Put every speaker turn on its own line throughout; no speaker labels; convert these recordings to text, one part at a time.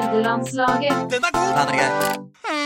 Nederlandslaget.
Den er god! Den er grei.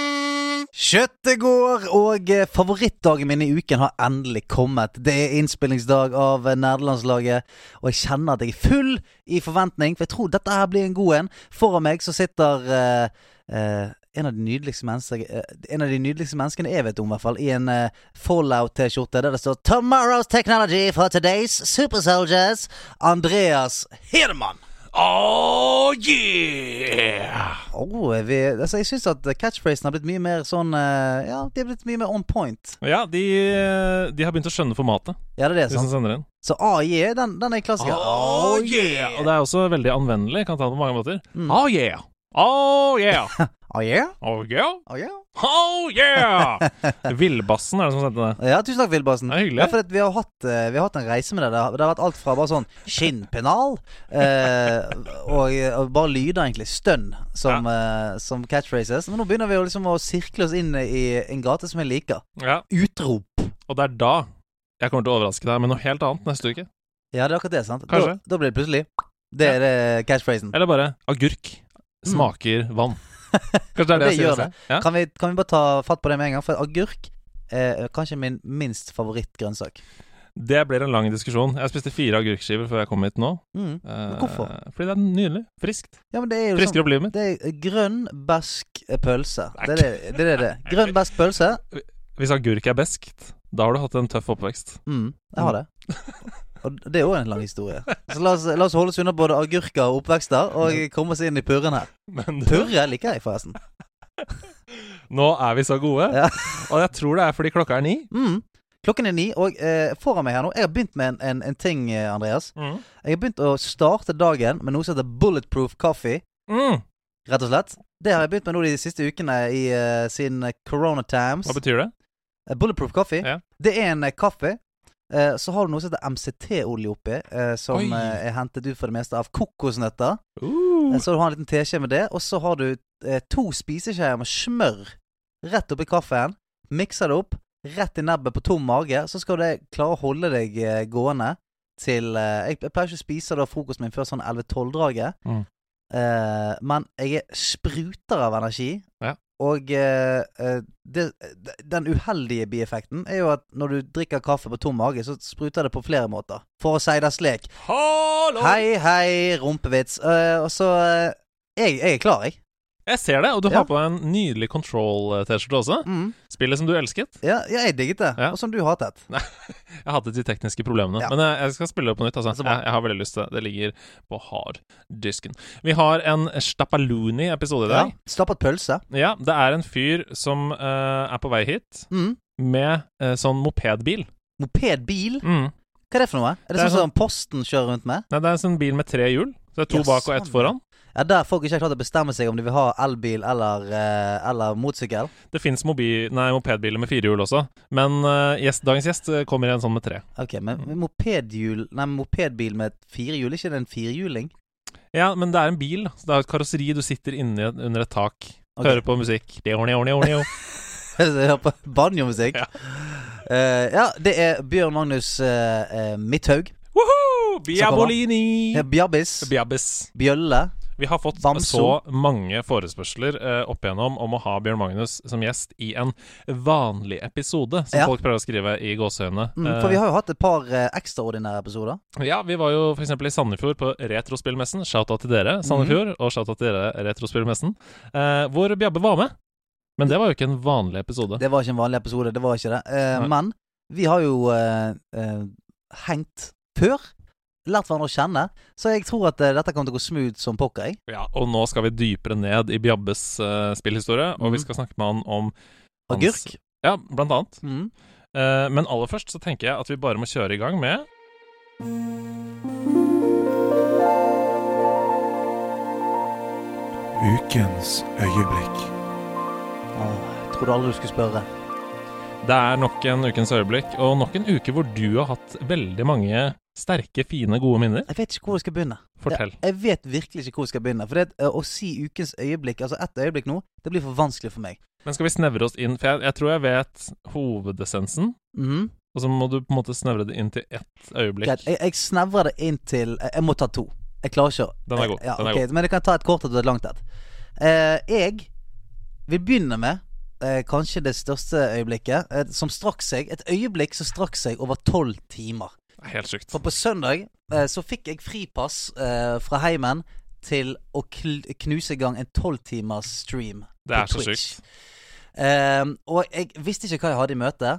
Kjøttet går, og eh, favorittdagen min i uken har endelig kommet. Det er innspillingsdag av eh, Nerdelandslaget, og jeg kjenner at jeg er full i forventning, for jeg tror dette her blir en god en. Foran meg så sitter eh, eh, en, av de nydeligste mennesker, eh, en av de nydeligste menneskene jeg vet om, i hvert fall, i en eh, Fallout-T-skjorte der det står 'Tomorrow's technology for today's super soldiers'. Andreas Hedemann.
Oh yeah!
Oh, vi, altså, jeg syns at catchphrasen har blitt mye mer sånn eh, Ja, de har blitt mye mer on point.
Ja, de, eh, de har begynt å skjønne formatet,
Ja, det er det,
de som
sant?
sender inn.
Så AI, den, den er klassiker.
Oh yeah!
Ah, Og det er også veldig anvendelig, kan ta det på mange måter.
Mm.
Oh yeah! Oh yeah!
Oh yeah?
Oh yeah!
Oh yeah?
Oh yeah! Villbassen er det som sendte det.
Ja, tusen takk, Vilbassen.
Det er hyggelig.
Ja, for at vi, har hatt, eh, vi har hatt en reise med det. Det har, det har vært alt fra bare sånn skinnpennal eh, og, og bare lyder, egentlig. Stønn som, eh, som catchphrases. Men nå begynner vi å, liksom, å sirkle oss inn i en gate som jeg liker.
Ja,
Utrop.
og det er da jeg kommer til å overraske deg med noe helt annet neste uke.
Ja, det er akkurat det, sant? Da,
Kanskje.
da blir det plutselig Det er det catchphrasen.
Eller bare agurk smaker
Mm.
vann. Kanskje det er det jeg
Det gjør
sier. neste? Ja?
Kan vi, kan vi bare ta fatt på det med en gang? For agurk er kanskje min minst favorittgrønnsak.
Det blir en lang diskusjon. Jeg spiste fire agurkskiver før jeg kom hit nå.
Mm.
Eh,
Hvorfor?
Fordi det er nydelig. Friskt.
Ja, men det er jo sånn
Friskere opp livet mitt.
Det er grønn besk pølse. Det er det det. Er det. Grønn besk pølse.
Hvis agurk er beskt, da har du hatt en tøff oppvekst.
Mm, jeg har det. Og det er òg en lang historie. Så la oss, la oss holde oss unna både agurker og oppvekster, og komme oss inn i purren her.
Men du,
Purre liker jeg, forresten.
nå er vi så gode,
Ja.
og jeg tror det er fordi klokka er ni.
Mm. Klokken er ni, og eh, foran meg her nå Jeg har begynt med en, en, en ting, eh, Andreas.
Mm.
Jeg har begynt å starte dagen med noe som heter bulletproof coffee.
Mm.
Rett og slett. Det har jeg begynt med nå de siste ukene i, eh, siden eh, corona times.
Hva betyr det?
Eh, Bulletproof coffee.
Ja.
Det er en eh, kaffe. eh, Så har du noe som heter MCT-olje oppi, eh, som
Oi.
eh, er hentet ut for det meste av kokosnøtter. Eh,
Uh.
Så du har en liten teskje med det, og så har du eh, to spiseskjeer med smør rett oppi kaffen. Mikser det opp, rett i nebbet på tom mage, så skal det klare å holde deg eh, gående til eh, Jeg jeg pleier ikke å spise da frokosten min før sånn 11-12-draget,
Mm.
eh, men jeg er spruter av energi.
Ja.
Og eh, eh, det, d- den uheldige bieffekten er jo at når du drikker kaffe på tom mage, så spruter det på flere måter. For å si det slik,
Hallo!
Hei, hei, rumpevits. Eh, og så eh, jeg, jeg er klar, jeg.
Jeg ser det, og du
Ja.
har på deg en nydelig Control-T-skjorte også.
Mm.
Spillet som du elsket.
Ja, ja, jeg digget det.
Ja.
Og som du hatet.
Jeg hadde de tekniske problemene,
Ja.
men jeg, jeg skal spille det på nytt. Altså.
Så
Jeg,
bra.
jeg har veldig lyst til det. Det ligger på harddisken. Vi har en Stapaluni-episode i
Ja.
dag.
Stappet pølse.
Ja. det er en fyr som eh, er på vei hit
Mm.
med eh, sånn mopedbil.
Mopedbil.
Mm.
Hva er det for noe? Er det,
Det er
sånn som Posten kjører rundt med?
Nei, det er en sånn bil med tre hjul. Så det er to
Ja,
bak og ett
sånn,
foran.
Ja, Der folk ikke har klart å bestemme seg om de vil ha elbil eller, eh, eller motorsykkel.
Det fins mopedbiler med fire hjul også, men eh, gjest, dagens gjest eh, kommer i en sånn med tre.
Ok, men mopedhjul Nei, mopedbil med fire hjul, er ikke det en firehjuling?
Ja, men det er en bil. da. Så det er et karosseri du sitter inni et- under et tak.
Ok.
Hører på musikk. Det er ordentlig, ordentlig, ordentlig.
Hører på Banjomusikk?
Ja.
Eh, ja, det er Bjørn Magnus eh, eh, Midthaug.
Woohoo!
Det
Biabolini!
er Bjabbis.
Bjabbes.
Bjølle.
Vi har fått
Bamso.
så mange forespørsler eh, opp igjennom om å ha Bjørn Magnus som gjest i en vanlig episode, som
Ja.
folk prøver å skrive i gåseøynene.
Mm, for vi har jo hatt et par eh, ekstraordinære episoder.
Eh, ja, vi var jo f.eks. i Sandefjord på Retrospillmessen. Shout-out
Mhm.
til dere, Sandefjord, og shout-out til dere, Retrospillmessen, eh, hvor Bjabbe var med. Men det var jo ikke en vanlig episode.
Det var ikke en vanlig episode, det var ikke det. Eh,
Ah. Nei.
men vi har jo eh, eh, hengt før. Lært hverandre å kjenne. Så jeg tror at eh, dette kommer til å gå smooth som pokker. Jeg.
Ja, og nå skal vi dypere ned i Bjabbes eh, spillhistorie, og
Mhm.
vi skal snakke med han om hans-
Agurk.
Ja, blant annet.
Mm.
Eh, men aller først så tenker jeg at vi bare må kjøre i gang med
Ukens øyeblikk.
Åh, Ah, trodde aldri du skulle spørre.
Det er nok en ukens øyeblikk, og nok en uke hvor du har hatt veldig mange sterke, fine, gode minner.
Jeg vet ikke hvor jeg skal begynne.
Fortell.
Jeg, jeg vet virkelig ikke hvor jeg skal begynne. For det, at, eh, å si ukens øyeblikk, altså ett øyeblikk nå, det blir for vanskelig for meg.
Men skal vi snevre oss inn? For jeg, jeg tror jeg vet hovedessensen,
Mhm.
og så må du på en måte snevre det inn til ett øyeblikk.
Greit, jeg, jeg snevrer det inn til Jeg, jeg må ta to. Jeg klarer ikke å
Den er god,
Ja,
den er
ok, Men jeg kan ta et kort et og et langt et. Eh, jeg vil begynne med eh, kanskje det største øyeblikket, eh, som strakk seg. Et øyeblikk som strakk seg over tolv timer.
Helt sjukt.
For på søndag eh, så fikk jeg fripass eh, fra heimen til å kl knuse i gang en tolvtimers stream
Det er
på
så
Twitch.
sjukt.
Eh, og jeg visste ikke hva jeg hadde i møte.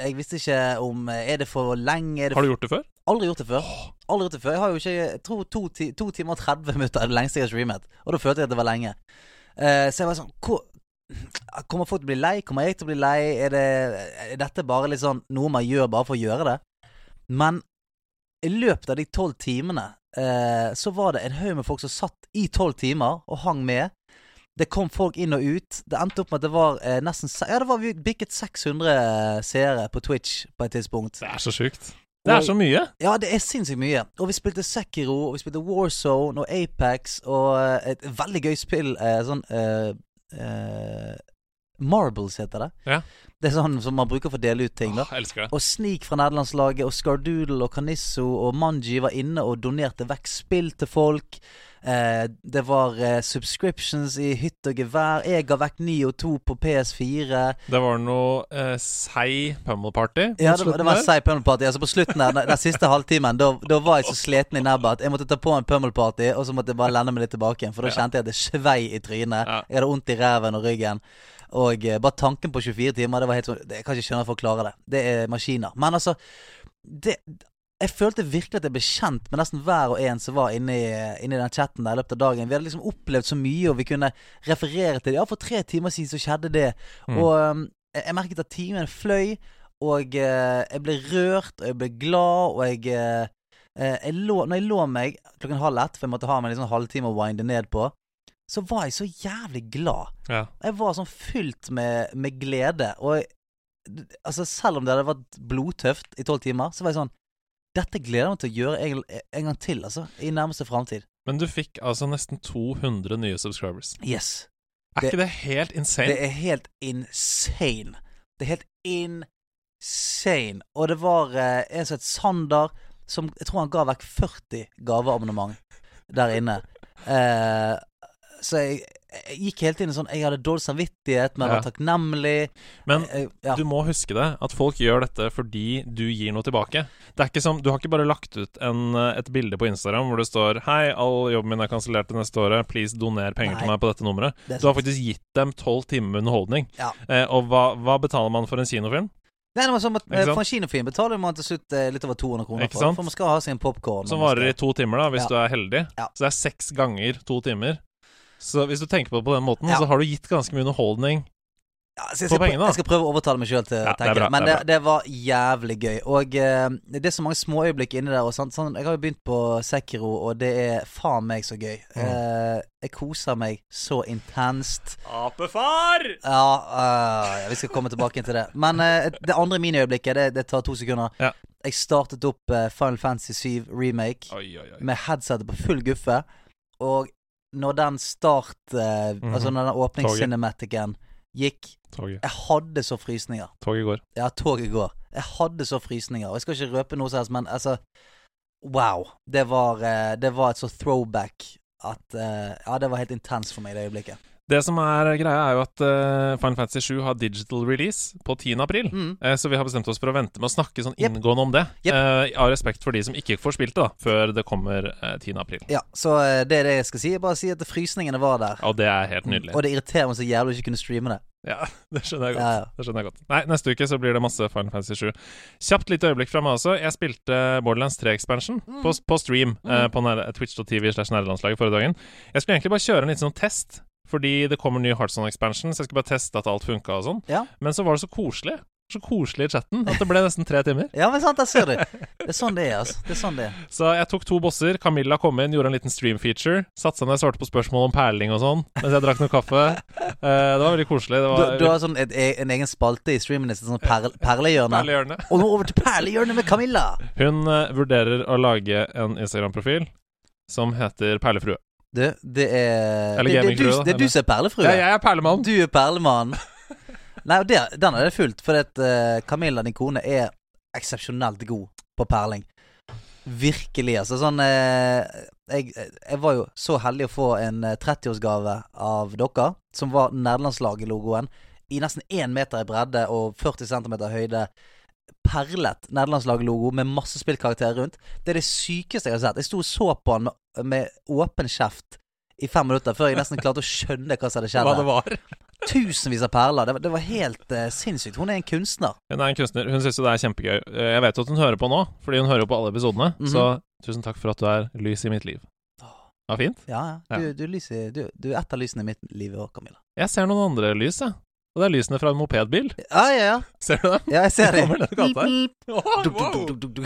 Jeg visste ikke om eh, Er det for lenge? Er det
Har du gjort det før?
Aldri gjort det før. Aldri gjort det før Jeg har jo ikke jeg tror to, ti, to timer og 30 minutter er det lengste jeg har streamet. Og da følte jeg at det var lenge. Eh, så jeg var sånn hvor, Kommer folk til å bli lei? Kommer jeg til å bli lei? Er, det, er dette bare litt sånn noe man gjør bare for å gjøre det? Men i løpet av de tolv timene eh, så var det en haug med folk som satt i tolv timer og hang med. Det kom folk inn og ut. Det endte opp med at det var eh, nesten se- Ja, det var vi bikket 600 seere på Twitch på et tidspunkt.
Det er så sjukt. Det er så mye.
Ja, det er sinnssykt mye. Og vi spilte Sekiro, og vi spilte Warzone og Apex og eh, et veldig gøy spill eh, sånn eh, eh, Marbles heter det.
Ja. Ah.
Det er sånn som man bruker for å dele ut ting, da.
Åh, jeg elsker det.
Og Sneak fra nederlandslaget og Scardoodle og Canisso og Manji var inne og donerte vekk spill til folk. Eh, det var eh, subscriptions i hytt og gevær. Jeg ga vekk 9 og 2 på PS4.
Det var noe eh, seig pummel party. på
Ja, det, var-
slutten
det var
der.
en seig pummel party. Altså på slutten der, den- den siste halvtimen, da, da var jeg så sliten i nebbet at jeg måtte ta på en pummel party, og så måtte jeg bare lende meg litt tilbake igjen, for da kjente jeg at det svei i trynet.
Ja.
Jeg hadde vondt i ræven og ryggen. Og eh, bare tanken på 24 timer, det var helt sånn det- Jeg kan ikke skjønne at folk klarer det. Det er maskiner. Men altså det, Jeg følte virkelig at jeg ble kjent med nesten hver og en som var inni, inni den chatten der i løpet av dagen. Vi hadde liksom opplevd så mye, og vi kunne referere til det. Ja, for tre timer siden så skjedde det.
Mm.
Og um, jeg jeg merket at timen fløy, og eh, jeg ble rørt, og jeg ble glad, og jeg eh, eh, jeg lå, Når jeg lå meg klokken halv ett, for jeg måtte ha meg en liksom halvtime å winde ned på, så var jeg så jævlig glad.
Ja.
Jeg var sånn fylt med, med glede. Og jeg- d- altså, selv om det hadde vært blodtøft i tolv timer, så var jeg sånn Dette gleder jeg meg til å gjøre en, en gang til, altså. I nærmeste framtid.
Men du fikk altså nesten 200 nye subscribers.
Yes.
Er
Det-
ikke det helt insane?
Det er helt insane. Det er helt insane. Og det var eh, en som het Sander, som jeg tror han ga vekk 40 gaveabonnement der inne. Eh, så jeg, jeg gikk hele tiden sånn Jeg hadde dårlig samvittighet, men jeg var
Ja.
takknemlig.
Men
Eh, ja.
du må huske det, at folk gjør dette fordi du gir noe tilbake. Det er ikke som, Du har ikke bare lagt ut en, eh, et bilde på Instagram hvor det står 'Hei, all jobben min er kansellert det neste året. Please doner penger til
Nei.
meg på dette nummeret'.
Det er
Du har
sant.
faktisk gitt dem tolv timer med underholdning.
Ja.
Eh, og hva, hva betaler man for en kinofilm?
Nei, det var sånn at
Ikke
eh,
sant?
For en kinofilm betaler man til slutt eh, litt over 200 kroner
Ikke
for.
sant?
For man skal ha sin popkorn.
Som varer i to timer, da, hvis
Ja.
du er heldig.
Ja.
Så det er seks ganger to timer. Så hvis du tenker på det på den måten,
Ja.
så har du gitt ganske mye underholdning.
ja, så jeg,
Få
skal,
pengene, da.
jeg skal prøve å overtale meg sjøl til
Ja,
å
det er
tenke
bra,
det. Men
det
det,
er
det var jævlig gøy. Og eh, det er så mange småøyeblikk inni der. Og sånt, sånn, jeg har jo begynt på Sekiro, og det er faen meg så gøy.
Mm.
Eh, jeg koser meg så intenst.
Apefar!
Ja, øh, vi skal komme tilbake til det. Men eh, det andre miniøyeblikket, det, det tar to sekunder.
Ja.
Jeg startet opp eh, Final Fantasy 7 Remake.
Oi, oi, oi.
med headsetet på full guffe. Og når den start eh,
Mhm.
Altså når den åpningscinematikken gikk
Toget,
Jeg hadde så frysninger.
Toget går.
Ja, toget går. Jeg hadde så frysninger. Og jeg skal ikke røpe noe som helst, men altså Wow. Det var, eh, det var et så throwback at eh, Ja, det var helt intenst for meg i det øyeblikket.
Det som er greia, er jo at eh, Final Fantasy 7 har digital release på 10. april.
Mm.
Eh, Så vi har bestemt oss for å vente med å snakke sånn
Jep.
inngående om det.
Jep.
eh, Av respekt for de som ikke får spilt det, da, før det kommer eh, 10. april.
Ja, så eh, det er det jeg skal si. Jeg Bare si at frysningene var der.
Og det er helt nydelig.
Mm. Og det irriterer meg så jævlig å ikke kunne streame det.
Ja, det skjønner jeg godt.
Ja, ja.
Det skjønner jeg godt. Nei, neste uke så blir det masse Final Fantasy 7. Kjapt lite øyeblikk fra meg også. Jeg spilte Borderlands 3-expansion
Mm.
på, på stream eh, på nær- twitch.tv slash nærlandslaget forrige dagen. Jeg skulle egentlig bare kjøre en liten sånn test, fordi det kommer ny Heartson-expansion, så jeg skulle bare teste at alt funka og sånn.
Ja.
Men så var det så koselig. Så koselig i chatten at det ble nesten tre timer.
Ja, men sant, der ser du. Det er sånn det er, altså. Det er sånn det er.
Så jeg tok to bosser. Camilla kom inn, gjorde en liten stream feature. Satte seg ned og svarte på spørsmål om perling og sånn mens jeg drakk noe kaffe. Eh, det var veldig koselig.
Du,
Det var
du har sånn et, en egen spalte i streamen din, sånn perle, perlehjørne.
Perlehjørnet.
Og nå over til perlehjørnet med Camilla!
Hun eh, vurderer å lage en Instagram-profil som heter Perlefrue.
Du, det er
Eller
det, det, du,
gamingfrue, da,
det er du
eller?
som er perlefrue.
Ja, jeg er perlemann.
Du er perlemann. Nei, og det, den er det fullt, for at, eh, Camilla, din kone, er eksepsjonelt god på perling. Virkelig, altså. Sånn eh, jeg, jeg var jo så heldig å få en eh, 30-årsgave av dere, som var nederlandslaget-logoen i nesten én meter i bredde og 40 cm høyde. Perlet nederlandslaget-logo med masse spillkarakterer rundt. Det er det sykeste jeg har sett. Jeg sto og så på han med, med åpen kjeft i fem minutter før jeg nesten klarte å skjønne hva som hadde skjedd.
Hva
her.
det var.
Tusenvis av perler. Det var, det var helt eh, sinnssykt. Hun er en kunstner.
Hun er en kunstner. Hun syns jo det er kjempegøy. Eh, Jeg vet jo at hun hører på nå, fordi hun hører jo på alle episodene.
Mhm.
Så tusen takk for at du er lys i mitt liv. Ja, fint.
Ja, ja. Du, du, lyser, du, du er et av lysene i mitt liv òg, Camilla.
Jeg ser noen andre lys, jeg. Og det er lysene fra en mopedbil.
Ja, ja, ja.
Ser du dem?
ja jeg ser det.
Kommer denne gata her?
Du, du, du, du, du, du.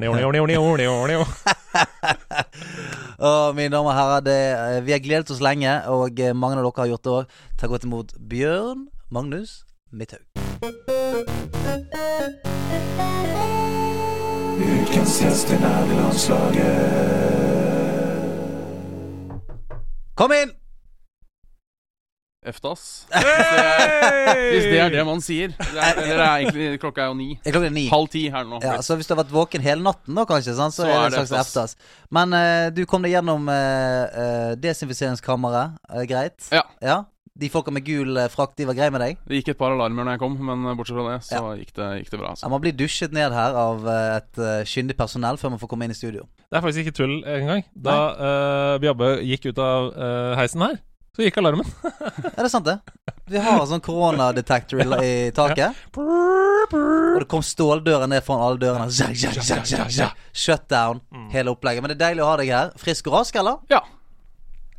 Nio, nio, nio, nio, nio, nio.
Å, mine damer og herrer, det, eh, vi har gledet oss lenge, og eh, mange av dere har gjort det òg. Ta godt imot Bjørn Magnus Midthaug.
Ukens gjest i
er
nederlandslaget.
Kom inn!
Eftas. Hvis det er det man sier. Det er, eller det er egentlig, klokka er jo ni.
Det er klokken ni.
Halv ti her nå.
Ja, så hvis du har vært våken hele natten, da kanskje, sant? så, er det en slags eftas. Men eh, du kom deg gjennom uh, desinfiseringskammeret. eh, greit?
Ja.
De folka med gul eh, frakk, de var greie med deg?
Det gikk et par alarmer når jeg kom, men bortsett fra det, så gikk, det, gikk det bra.
Ja,
Altså.
man blir dusjet ned her av eh, et eh, kyndig personell før man får komme inn i studio.
Det er faktisk ikke tull engang. Da eh, Bjabbe gikk ut av eh, heisen her, så gikk alarmen.
Er det sant, det? Vi har en sånn koronadetector i, i taket. Og det kom ståldører ned foran alle dørene. Zja, zja, zja, zja, zja. Shutdown, hele opplegget. Men det er deilig å ha deg her. Frisk og rask, eller?
Ja.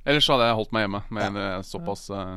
Ellers hadde jeg holdt meg hjemme. Men det er såpass, eh,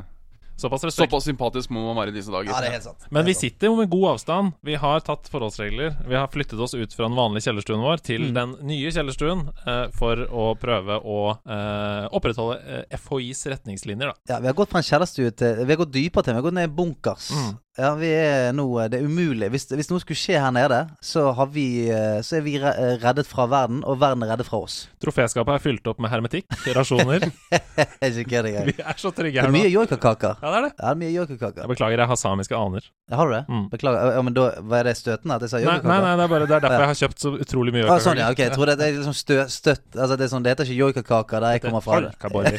Såpass respekt.
såpass sympatisk må man være i disse dager.
Ja, det er helt sant.
Men
Det er
vi
sant.
sitter jo med god avstand. Vi har tatt forholdsregler. Vi har flyttet oss ut fra den vanlige kjellerstuen vår
Mm.
til den nye kjellerstuen eh, for å prøve å eh, opprettholde eh, FHIs retningslinjer, da.
Ja, vi har gått fra en kjellerstue til Vi har gått dypere til, vi har gått ned i bunkers.
Mm.
Ja, vi er nå eh, Det er umulig. Hvis, hvis noe skulle skje her nede, så, har vi, eh, så er vi re- eh, reddet fra verden, og verden er reddet fra oss.
Troféskapet er fylt opp med hermetikk, rasjoner.
Jeg er ikke kødd engang.
Vi er så trygge
Det
her
er
nå.
mye joikakaker.
Ja, det er det.
Ja, det er mye joikakaker.
Jeg beklager, jeg har samiske aner.
Ja, har du det?
Mm.
Beklager. Ja, men da var det støtende at jeg sa
Nei,
joikakaker?
nei, nei, det er bare det er derfor jeg har kjøpt så utrolig mye.
Ah, sånn, ja, ok, jeg tror det, det er liksom stø, støtt Altså Det er sånn, det heter ikke joikakaker der jeg kommer fra. Det
Halkaboller.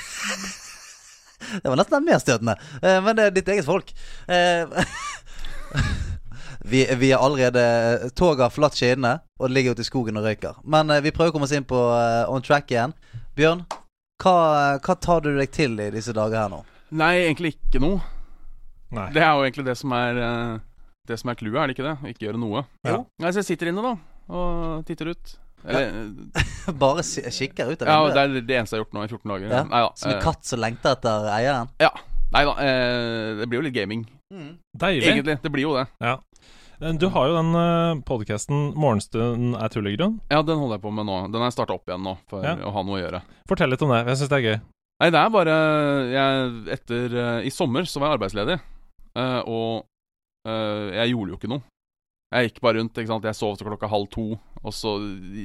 Det var nesten mer støtende. Eh, men det er ditt eget folk. Eh, vi, vi er allerede Toget har forlatt skinnene og ligger ute i skogen og røyker. Men eh, vi prøver å komme oss inn på eh, on track igjen. Bjørn, hva, hva tar du deg til i disse dager her nå?
Nei, egentlig ikke noe.
Nei.
Det er jo egentlig det som er eh, Det som er clouet, er det ikke det? Å Ikke gjøre noe.
Jo.
Nei, så jeg sitter inne, da, og titter ut. Eller eh,
Bare si- kikker ut av
Ja, det eh.
vinduet?
er det eneste jeg har gjort nå i 14 dager.
Ja,
Nei da.
Som en katt som lengter etter eieren?
Nei da, eh, det blir jo litt gaming.
Mm,
Deilig.
Egentlig. Det blir jo det.
Men Du har jo den podkasten 'Morgenstunden er tullegrunn'.
Ja, den holder jeg på med nå. Den har jeg starta opp igjen nå, for
Ja.
å ha noe å gjøre.
Fortell litt om det. Jeg syns det er gøy.
Nei, det er bare jeg, Etter eh, I sommer så var jeg arbeidsledig, eh, og eh, jeg gjorde jo ikke noe. Jeg gikk bare rundt. ikke sant? Jeg sov til klokka halv to, og så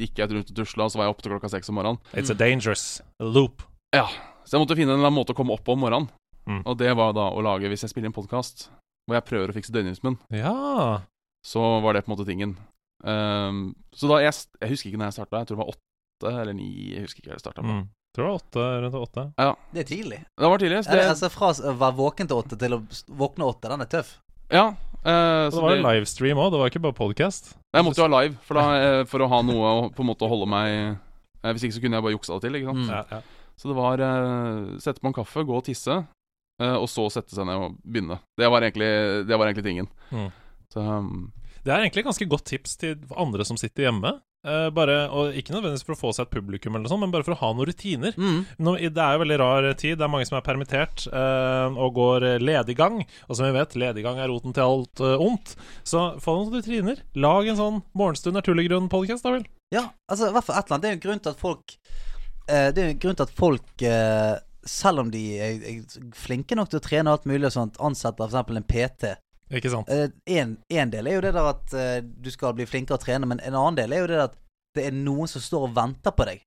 gikk jeg rundt og tusla, og så var jeg oppe til klokka seks om morgenen.
It's
Mm.
a dangerous loop.
Så jeg måtte finne en eller annen måte å komme opp på om morgenen.
Mm.
Og det var da å lage Hvis jeg spiller en podkast hvor jeg prøver å fikse døgnrytmen,
Ja.
så var det på en måte tingen. Ehm, så da jeg, jeg husker ikke når jeg starta, jeg tror det var åtte eller ni. Jeg husker ikke jeg startet
Mm. Tror det var åtte, rundt åtte.
Det er tidlig.
Det var tidlig. Så
Eller,
det,
altså Fra s- å være våken til åtte til å s- våkne åtte, den er tøff.
ja,
Og
eh, så
det var
det-
jo livestream òg, det var ikke bare podkast.
Jeg måtte jo ha live for, da, eh, for å ha noe å på en måte holde meg eh, Hvis ikke så kunne jeg bare juksa det til. Ikke sant?
Mm.
Ja, ja.
Så det var eh, sette på en kaffe, gå og tisse, eh, og så sette seg ned og begynne. Det var egentlig, det var egentlig tingen.
Mm.
Så, um,
Det er egentlig et ganske godt tips til andre som sitter hjemme. Eh, bare, og Ikke nødvendigvis for å få seg et publikum, eller noe sånt, men bare for å ha noen rutiner.
Mm.
Nå, i- det er jo veldig rar tid. Det er mange som er permittert eh, og går eh, lediggang. Og som vi vet, lediggang er roten til alt eh, ondt. Så få noen rutiner. Lag en sånn Morgenstund er tullegrunn-podkast, da vel.
Ja, altså i hvert fall et eller annet. Det er jo en grunn til at folk eh, Det er jo en grunn til at folk eh, selv om de er, er flinke nok til å trene og alt mulig og sånt, ansetter f.eks. en PT.
Ikke sant?
Eh, en, en del er jo det der at eh, du skal bli flinkere å trene, men en annen del er jo det der at det er noen som står og venter på deg.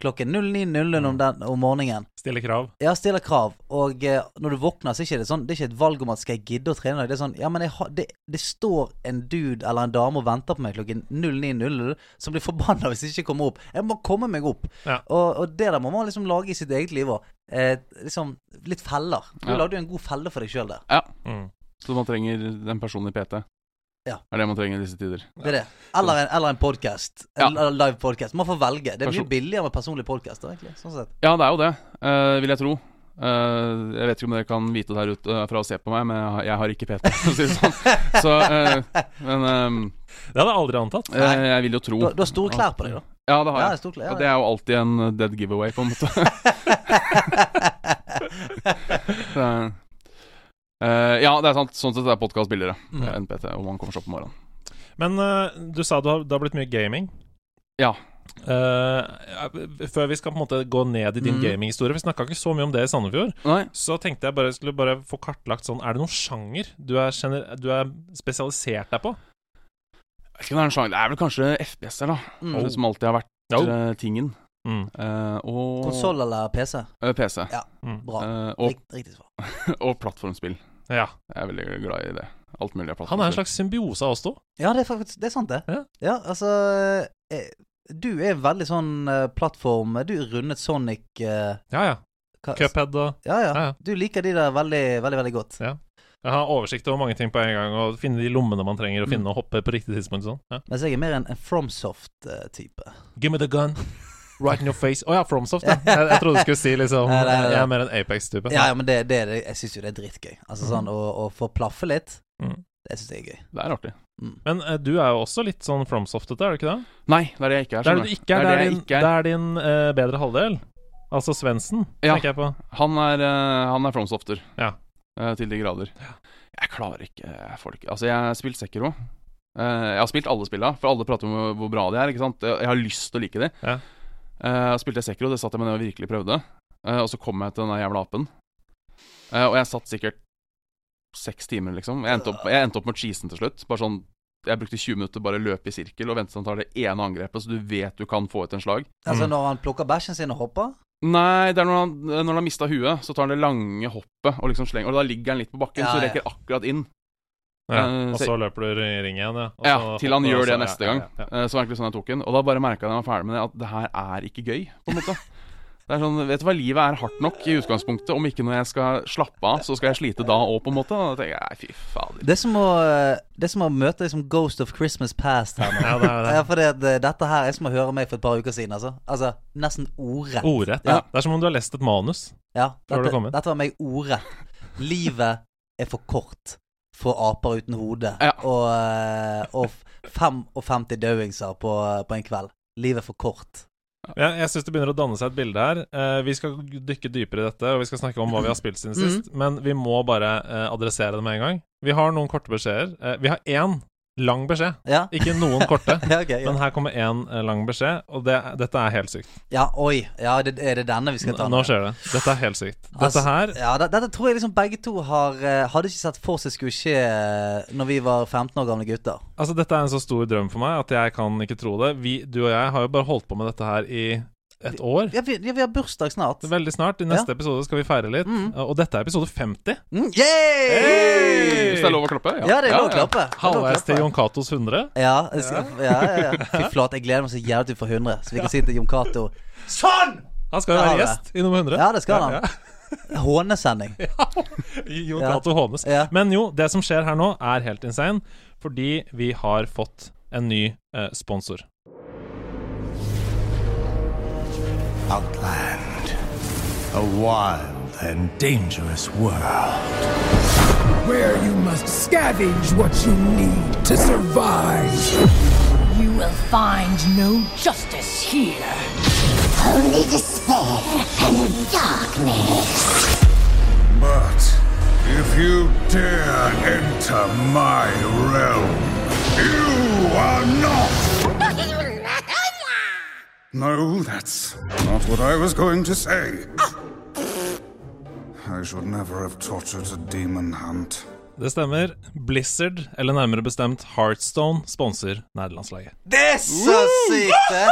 klokken 09.00 om, den- om morgenen.
Stille krav.
Jeg stiller krav, og eh, når du våkner, så er ikke det sånn Det er ikke et valg om at skal jeg gidde å trene i dag. Det er sånn Ja, men jeg har det, det står en dude eller en dame og venter på meg klokken 09.00 som blir forbanna hvis jeg ikke kommer opp. Jeg må komme meg opp.
Ja.
Og, og det der må man liksom lage i sitt eget liv òg. Eh, liksom litt feller. Du
Ja.
lagde jo en god felle for deg sjøl der.
Mm.
Så man trenger den personen i PT.
Ja.
Er det man trenger i disse tider.
Det er det. Eller en, eller en podkast.
Ja.
En live podkast. Man får velge. Det blir
Person-
billigere med personlig podkast, egentlig. Sånn sett.
Ja, det er jo det, eh, vil jeg tro. Eh, jeg vet ikke om dere kan vite det her ute eh, fra å se på meg, men jeg har, jeg har ikke PT, for å si det sånn. Så, eh, men
Det hadde jeg aldri antatt.
eh, eh, jeg vil jo tro
Du, har- du har store klær på deg, da.
Ja, det har
Ja,
jeg.
store klær.
Og
Ja,
det er jo alltid en uh, dead giveaway, på en måte. Så, eh, ja, det er sant. Sånn sett er podkast billigere
Mm.
enn PT, og man kommer seg opp om morgenen.
Men eh, du sa du har, det har blitt mye gaming.
Ja.
Eh, før vi skal på en måte gå ned i din
Mm.
gaminghistorie, vi snakka ikke så mye om det i Sandefjord,
Nei,
så tenkte jeg bare jeg skulle bare få kartlagt sånn Er det noen sjanger du er, gener- du er spesialisert deg på?
jeg vet ikke om det er en sjanger. Det er vel kanskje FPS-er, da.
det mm.
Det Som alltid har vært
Jo.
eh, tingen.
Mm.
Eh, og
Konsoll eller PC?
eh, PC.
Mm.
Bra.
Eh, og,
Rikt, riktig svar.
og plattformspill.
Ja.
Jeg er veldig glad i det. Alt mulig av
Han er en
plattformspill.
slags symbiose av oss to.
Ja, det er faktisk Det er sant, det.
Ja.
altså eh, Du er veldig sånn eh, plattform Du rundet Sonic eh,
Ja, ja.
hva-
Cuphead og
Ja, ja.
Ja, ja.
Du liker de der veldig, veldig veldig godt.
Jeg har oversikt over mange ting på en gang, og finne de lommene man trenger, og finne og hoppe på riktig tidspunkt. og Sånn. Ja.
Mens jeg er mer en, en FromSoft-type.
Give me the gun. Right in your face. Å ja, FromSoft, ja. Jeg, jeg trodde du skulle si liksom
Nei, nei, nei.
Jeg er mer en Apex-type.
Ja, ja, men det, det, er det, jeg syns jo det er dritgøy. Altså sånn å, å få plaffe litt,
Mm.
det syns jeg er gøy. Mm.
Det er artig.
Men eh, du er jo også litt sånn FromSoft-ete, er du ikke det?
Nei, det er det jeg ikke er.
Det er
skjønner
du
du.
ikke er, det er
jeg
din,
ikke er.
det er din eh, bedre halvdel. Altså Svendsen,
Ja.
tenker jeg på.
Han er, eh, han er fromsofter.
Ja.
Eh, til de grader. Jeg klarer ikke jeg får det ikke. Altså, jeg har spilt Sekiro. Eh, jeg har spilt alle spilla, for alle prater om hvor- hvor bra de er. Ikke sant? Eh, Jeg jeg har lyst til å like de.
Ja.
Eh, jeg spilte Sekiro, det satt jeg meg ned og virkelig prøvde. Eh, og så kom jeg til den der jævla apen. Eh, og jeg satt sikkert seks timer, liksom. Jeg endte opp, jeg endte opp med cheesen til slutt. Bare sånn jeg brukte 20 minutter, bare løp i sirkel og ventet til han tar det ene angrepet, så du vet du kan få ut en slag.
Altså
Mm.
når han plukker bæsjen sin og hopper
Nei, det er når han, eh, når han har mista huet, så tar han det lange hoppet og liksom slenger Og da ligger han litt på bakken,
Ja,
så
ja.
rekker akkurat inn.
Ja.
Eh,
Og
så-
så løper du i ring igjen, ja. Og
Ja,
så
til han
hopper du,
gjør
og så-
det neste
ja,
gang.
Ja, ja.
Eh, Så var egentlig sånn jeg tok den. Og da bare merka jeg da jeg var ferdig med det, at det her er ikke gøy, på en måte. Det er sånn, Vet du hva, livet er hardt nok i utgangspunktet. Om ikke når jeg skal slappe av, så skal jeg slite da òg, på en måte. Og da tenker jeg nei, fy fader.
Det er som å, eh, det er som å møte liksom Ghost of Christmas Past her nå.
Ja, det er det.
Ja, for det, det, dette her er som å høre meg for et par uker siden, altså. Altså, nesten ordrett.
Ordrett.
Ja.
Det er som om du har lest et manus.
Ja,
Før du
dette,
kom inn.
dette var meg ordrett. Livet er for kort for aper uten hode
Ja.
og, eh, og f- 55 dauingser på, på en kveld. Livet er for kort.
Ja, jeg syns det begynner å danne seg et bilde her. Eh, vi skal dykke dypere i dette, og vi skal snakke om hva vi har spilt siden sist, men vi må bare eh, adressere det med en gang. Vi har noen korte beskjeder. Eh, vi har én lang beskjed,
Ja,
ikke noen korte.
ja ok. Ja,
Men her kommer én eh, lang beskjed, og det, dette er helt sykt.
ja oi. Ja, det, er det denne vi skal ta
Nå skjer det. Dette er helt sykt. Dette
Altså,
her
Ja, det- dette tror jeg liksom begge to har eh, Hadde ikke sett for seg skulle skje eh, Når vi var 15 år gamle gutter.
Altså, dette er en så stor drøm for meg at jeg kan ikke tro det. Vi, du og jeg har jo bare holdt på med dette her i et år.
Ja, vi, ja, vi har bursdag snart.
Veldig snart. I neste episode skal vi feire litt. Og dette er episode 50.
Mm, yay!
Hey!
Hvis det er lov å klappe?
Ja, det er lov å klappe. Det er lov å
Halvveis til
klappe.
Jon Catos 100.
Ja, jeg skal, ja, ja, ja. Fy flate, jeg gleder meg så jævlig til vi får 100, så vi kan si til Jon Cato
Han skal jo
Ja,
være
det.
gjest i nummer 100.
Ja, det skal han.
Ja,
Hånesending.
Jon
Ja.
Cato Hånes.
Ja.
Men jo, det som skjer her nå, er helt insane, fordi vi har fått en ny eh, sponsor.
Outland. A wild and dangerous world.
where you must scavenge what you need to survive.
You will find no justice here.
Only despair and darkness.
But if you dare enter my realm, you are not. No, that's not what I was going to say. I should never have tortured a demon hunt.
Det stemmer. Blizzard, eller nærmere bestemt Heartstone, sponser nærlandslaget.
Det er så sykt, det!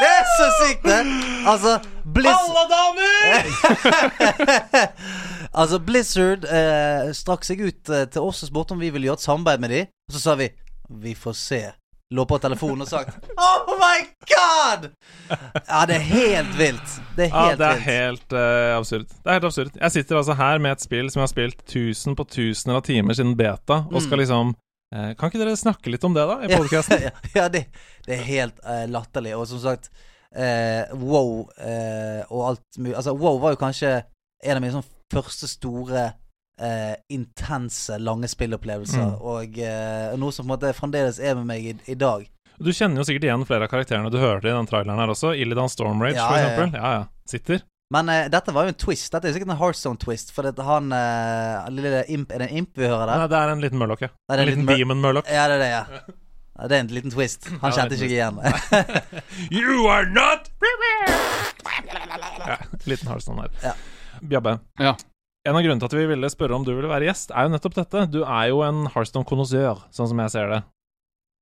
Det er så sykt, det! Altså, Blizz...
damer!
Altså, Blizzard eh, strakk seg ut eh, til oss og spurte om vi ville gjøre et samarbeid med dem. Og så sa vi 'Vi får se'. Lå på telefonen og sagt 'Oh my God!' Ja, det er helt vilt. Det er
Ja,
helt
det er
vilt.
helt eh, absurd. Det er helt absurd. Jeg sitter altså her med et spill som jeg har spilt tusen på tusener av timer siden beta, og skal liksom eh, Kan ikke dere snakke litt om det, da, i podkasten?
Mm. ja, ja det, det er helt eh, latterlig. Og som sagt, eh, wow eh, og alt mulig Altså, wow var jo kanskje en av mine sånn første store eh, intense, lange
Mm.
spillopplevelser, og eh, noe som på en måte fremdeles er med meg i, i dag.
Du kjenner jo sikkert igjen flere av karakterene du hørte i den traileren her også. Illidan Stormrage,
Ja,
for
ja, ja.
eksempel. Ja, ja. Sitter.
Men eh, dette var jo en twist. Dette er jo sikkert en Heartstone-twist, for det, han eh, lille imp Er det en imp vi hører der?
Nei, det er en liten mørlokk, ja.
Nei, det er en
En liten
liten mør-
demon-mørlokk.
Ja, det er det, ja. Ja, Det er en liten twist. Han
Ja,
kjente
det er
ikke jeg igjen. Eh.
You are not ja, Liten halvstand her.
Ja.
Bjabbe.
Ja.
En av grunnene til at vi ville spørre om du ville være gjest, er jo nettopp dette. Du er jo en Hearthstone-konnoisseur, sånn som jeg ser det.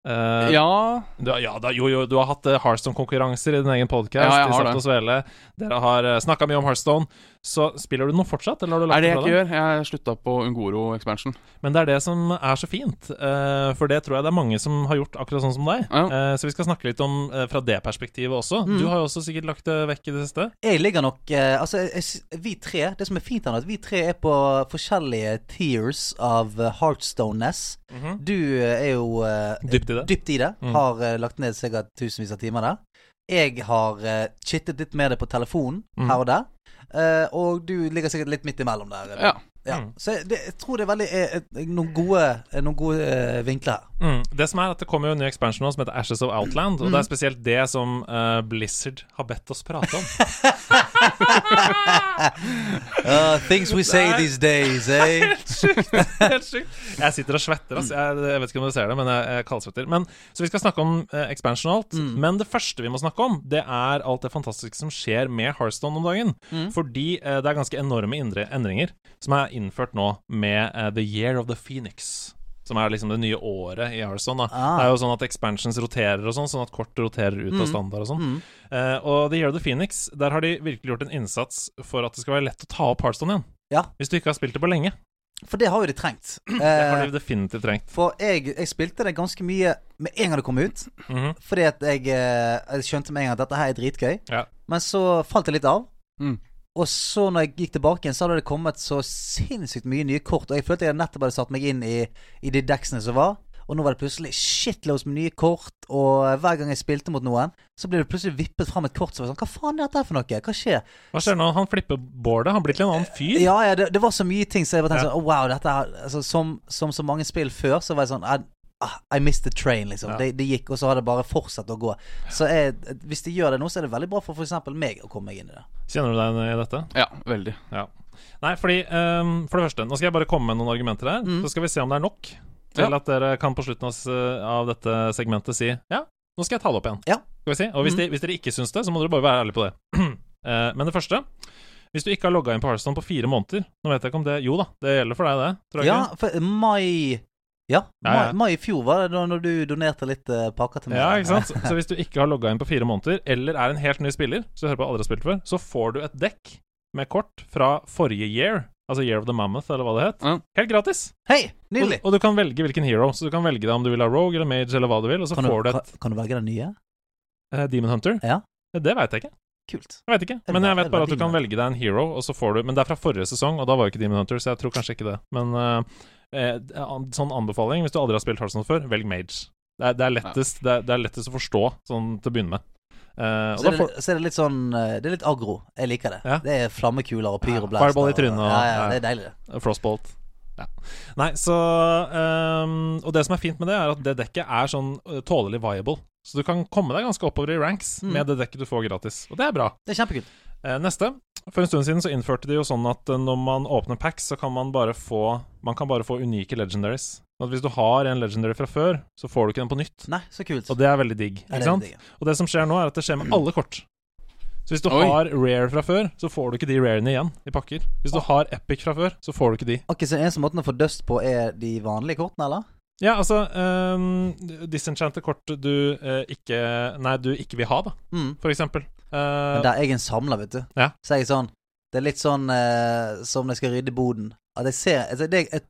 Eh,
Ja,
Du, har- ja da, jo, jo, du har hatt eh, Hearthstone-konkurranser i din egen podkast.
Ja, jeg har det.
Dere har uh, snakka mye om Hearthstone. Så spiller du noe fortsatt, eller har du
er
lagt
det jeg
fra
ikke
deg?
gjør. Jeg slutta på Ungoro-expansion.
Men det er det som er så fint, eh, for det tror jeg det er mange som har gjort akkurat sånn som deg.
Ja. Mm.
Eh, så vi skal snakke litt om eh, fra det perspektivet også. Du har jo også sikkert lagt det vekk i det siste.
Jeg ligger nok eh, Altså, jeg, jeg, sy- vi tre Det som er fint, er at vi tre er på forskjellige tiers av eh, Heartstone-ness. Du eh, er jo eh,
Dypt i det.
dypt i det. Har eh, lagt ned sikkert tusenvis av timer der. Jeg har eh, chittet litt med det på telefonen her og der. Eh, og du ligger sikkert litt midt imellom der. eller?
Ja.
Ja.
Mm.
Så jeg, det, jeg tror det er veldig eh, eh, noen gode, eh, noen gode eh, vinkler her.
Mm. Det som er at det kommer jo en ny expansion nå som heter Ashes of Outland, og det
Mm.
er spesielt det som eh, Blizzard har bedt oss prate om.
Uh, things we say these days, eh?
Helt sjukt. Jeg sitter og svetter, ass. Jeg, jeg vet ikke om dere ser det, men jeg, jeg kaldsvetter. Men, så vi skal snakke om eh, expansion og alt, men det første vi må snakke om, det er alt det fantastiske som skjer med Hearthstone om dagen. Fordi eh, det er ganske enorme indre endringer som er innført nå med eh, The Year of the Phoenix. Som er liksom det nye året i Hearthstone. Da. Det er jo sånn at expansions roterer og sånn, sånn at kort roterer ut av standard og sånn. Eh, og The Year of the Phoenix, der har de virkelig gjort en innsats for at det skal være lett å ta opp Hearthstone igjen.
Ja.
Hvis du ikke har spilt det på lenge.
For det har jo de trengt.
Det
Eh,
har de definitivt trengt.
For jeg, jeg spilte det ganske mye med en gang det kom ut.
Mhm.
Fordi at jeg, eh, jeg skjønte med en gang at dette her er dritgøy.
Ja.
Men så falt jeg litt av.
Mm.
Og så når jeg gikk tilbake igjen, så hadde det kommet så sinnssykt mye nye kort. Og jeg følte jeg nettopp hadde satt meg inn i, i de deksene som var. Og nå var det plutselig shitloads med nye kort, og hver gang jeg spilte mot noen, så ble det plutselig vippet fram et kort som var sånn Hva faen er dette her for noe? Hva skjer?
Hva skjer nå? Han flipper bordet. Han blir til en annen fyr.
Ja, ja, det, det var så mye ting Så jeg bare tenkte
Ja.
sånn, oh, wow, dette her altså, som, som så mange spill før, så var jeg sånn I, ah, I missed the train, liksom.
Ja.
Det, det gikk, og så har det bare fortsatt å gå. Så jeg, hvis de gjør det nå, så er det veldig bra for f.eks. meg å komme meg inn i det.
Kjenner du deg igjen i dette?
Ja, veldig.
Ja. Nei, fordi ehm, For det første, nå skal jeg bare komme med noen argumenter her.
Mm.
Så skal vi se om det er nok til
Ja.
at dere kan på slutten av, s- eh, av dette segmentet si ja, nå skal jeg ta det opp igjen.
Ja. Mm.
Skal vi si? Og hvis, de, hvis dere ikke syns det, så må dere bare være ærlige på det. Eh, men det første Hvis du ikke har logga inn på Hearthstone på fire måneder Nå vet jeg ikke om det Jo da, det gjelder for deg, det. Tror jeg
Ja,
ikke?
for mai ja,
Ja,
mai,
ja.
mai i fjor var det da når du donerte litt eh, pakker til meg.
Ja, ikke sant? Så hvis du ikke har logga inn på fire måneder, eller er en helt ny spiller, så du hører på aldri har spilt før, så får du et dekk med kort fra forrige year, altså Year of the Mammoth, eller hva det het,
Ja.
helt gratis.
Hei,
Og,
nydelig!
og du kan velge hvilken hero, så du kan velge deg om du vil ha Rogue eller Mage eller hva du vil, og så
Kan du,
får du et
kan, kan du velge den nye?
eh, Demon Hunter.
Ja.
Det veit jeg ikke.
Kult.
Jeg vet ikke.
det
Men
bare-
jeg
er
vet
det
bare
bare
at du kan velge deg en hero, og så får du Men det er fra forrige sesong, og da var jo ikke Demon Hunter, så jeg tror kanskje ikke det. Men eh, eh, an- sånn anbefaling, hvis du aldri har spilt Hearthstone før, velg Mage. Det er, det er, lettest, det er, det er lettest å forstå, sånn til å begynne med. Eh, og
Så
da
er,
får,
det, så er det litt sånn eh, Det er litt aggro. Jeg liker det.
Ja.
Det er flammekuler og pyroblast.
Fireball i
og-
trynet og-
ja, ja,
ja.
det er deilig, det.
eh, Frostbolt. Ja. Nei, så ehm, Og det som er fint med det, er at det dekket er sånn eh, tålelig viable. Så du kan komme deg ganske oppover i ranks
Mm.
med det dekket du får gratis. Og det er bra.
Det er kjempekult.
Eh, neste. For en stund siden så innførte de jo sånn at eh, når man åpner packs, så kan man bare få Man kan bare få unike legendaries. Sånn At hvis du har en legendary fra før, så får du ikke den på nytt.
Nei, så kult.
Og det er veldig digg.
Ja,
Ikke
det er
sant?
veldig digg.
Og det som skjer nå, er at det skjer med alle kort. Så hvis du
Oi.
har rare fra før, så får du ikke de rarene igjen i pakker. Hvis du har epic fra før, så får du ikke de.
Ok, Så eneste måten å få dust på, er de vanlige kortene, eller?
Ja, altså um, Disenchanted kort du eh, ikke Nei, du ikke vil ha, da,
Mm.
for eksempel. Eh,
Men der er jeg en samler, vet du.
Ja.
Så er jeg sånn Det er litt sånn eh, som når jeg skal rydde boden. At jeg ser altså, det, Jeg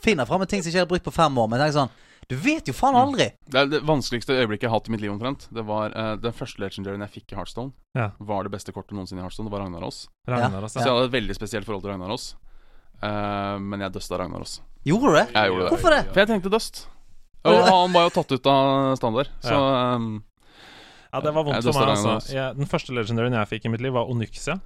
finner fram en ting som jeg ikke har brukt på fem år, men jeg tenker sånn Du vet jo
Mm.
faen aldri!
Det, er det vanskeligste øyeblikket jeg har hatt i mitt liv, omtrent. Det var eh, Den første legendaryen jeg fikk i Heartstone,
Ja.
var det beste kortet noensinne i Heartstone. Det var Ragnarås.
Ragnar,
Ja.
altså.
Så jeg hadde et veldig spesielt forhold til Ragnarås. Eh, men jeg dusta Ragnarås.
Gjorde du det?
Jeg gjorde det.
Hvorfor det?
For jeg tenkte dust. Og han var jo tatt ut av standard, så ehm,
Ja, det var
Ja,
vondt for
det
meg,
står der,
altså.
altså.
Jeg, den første legendaryen jeg fikk i mitt liv, var Onyxia.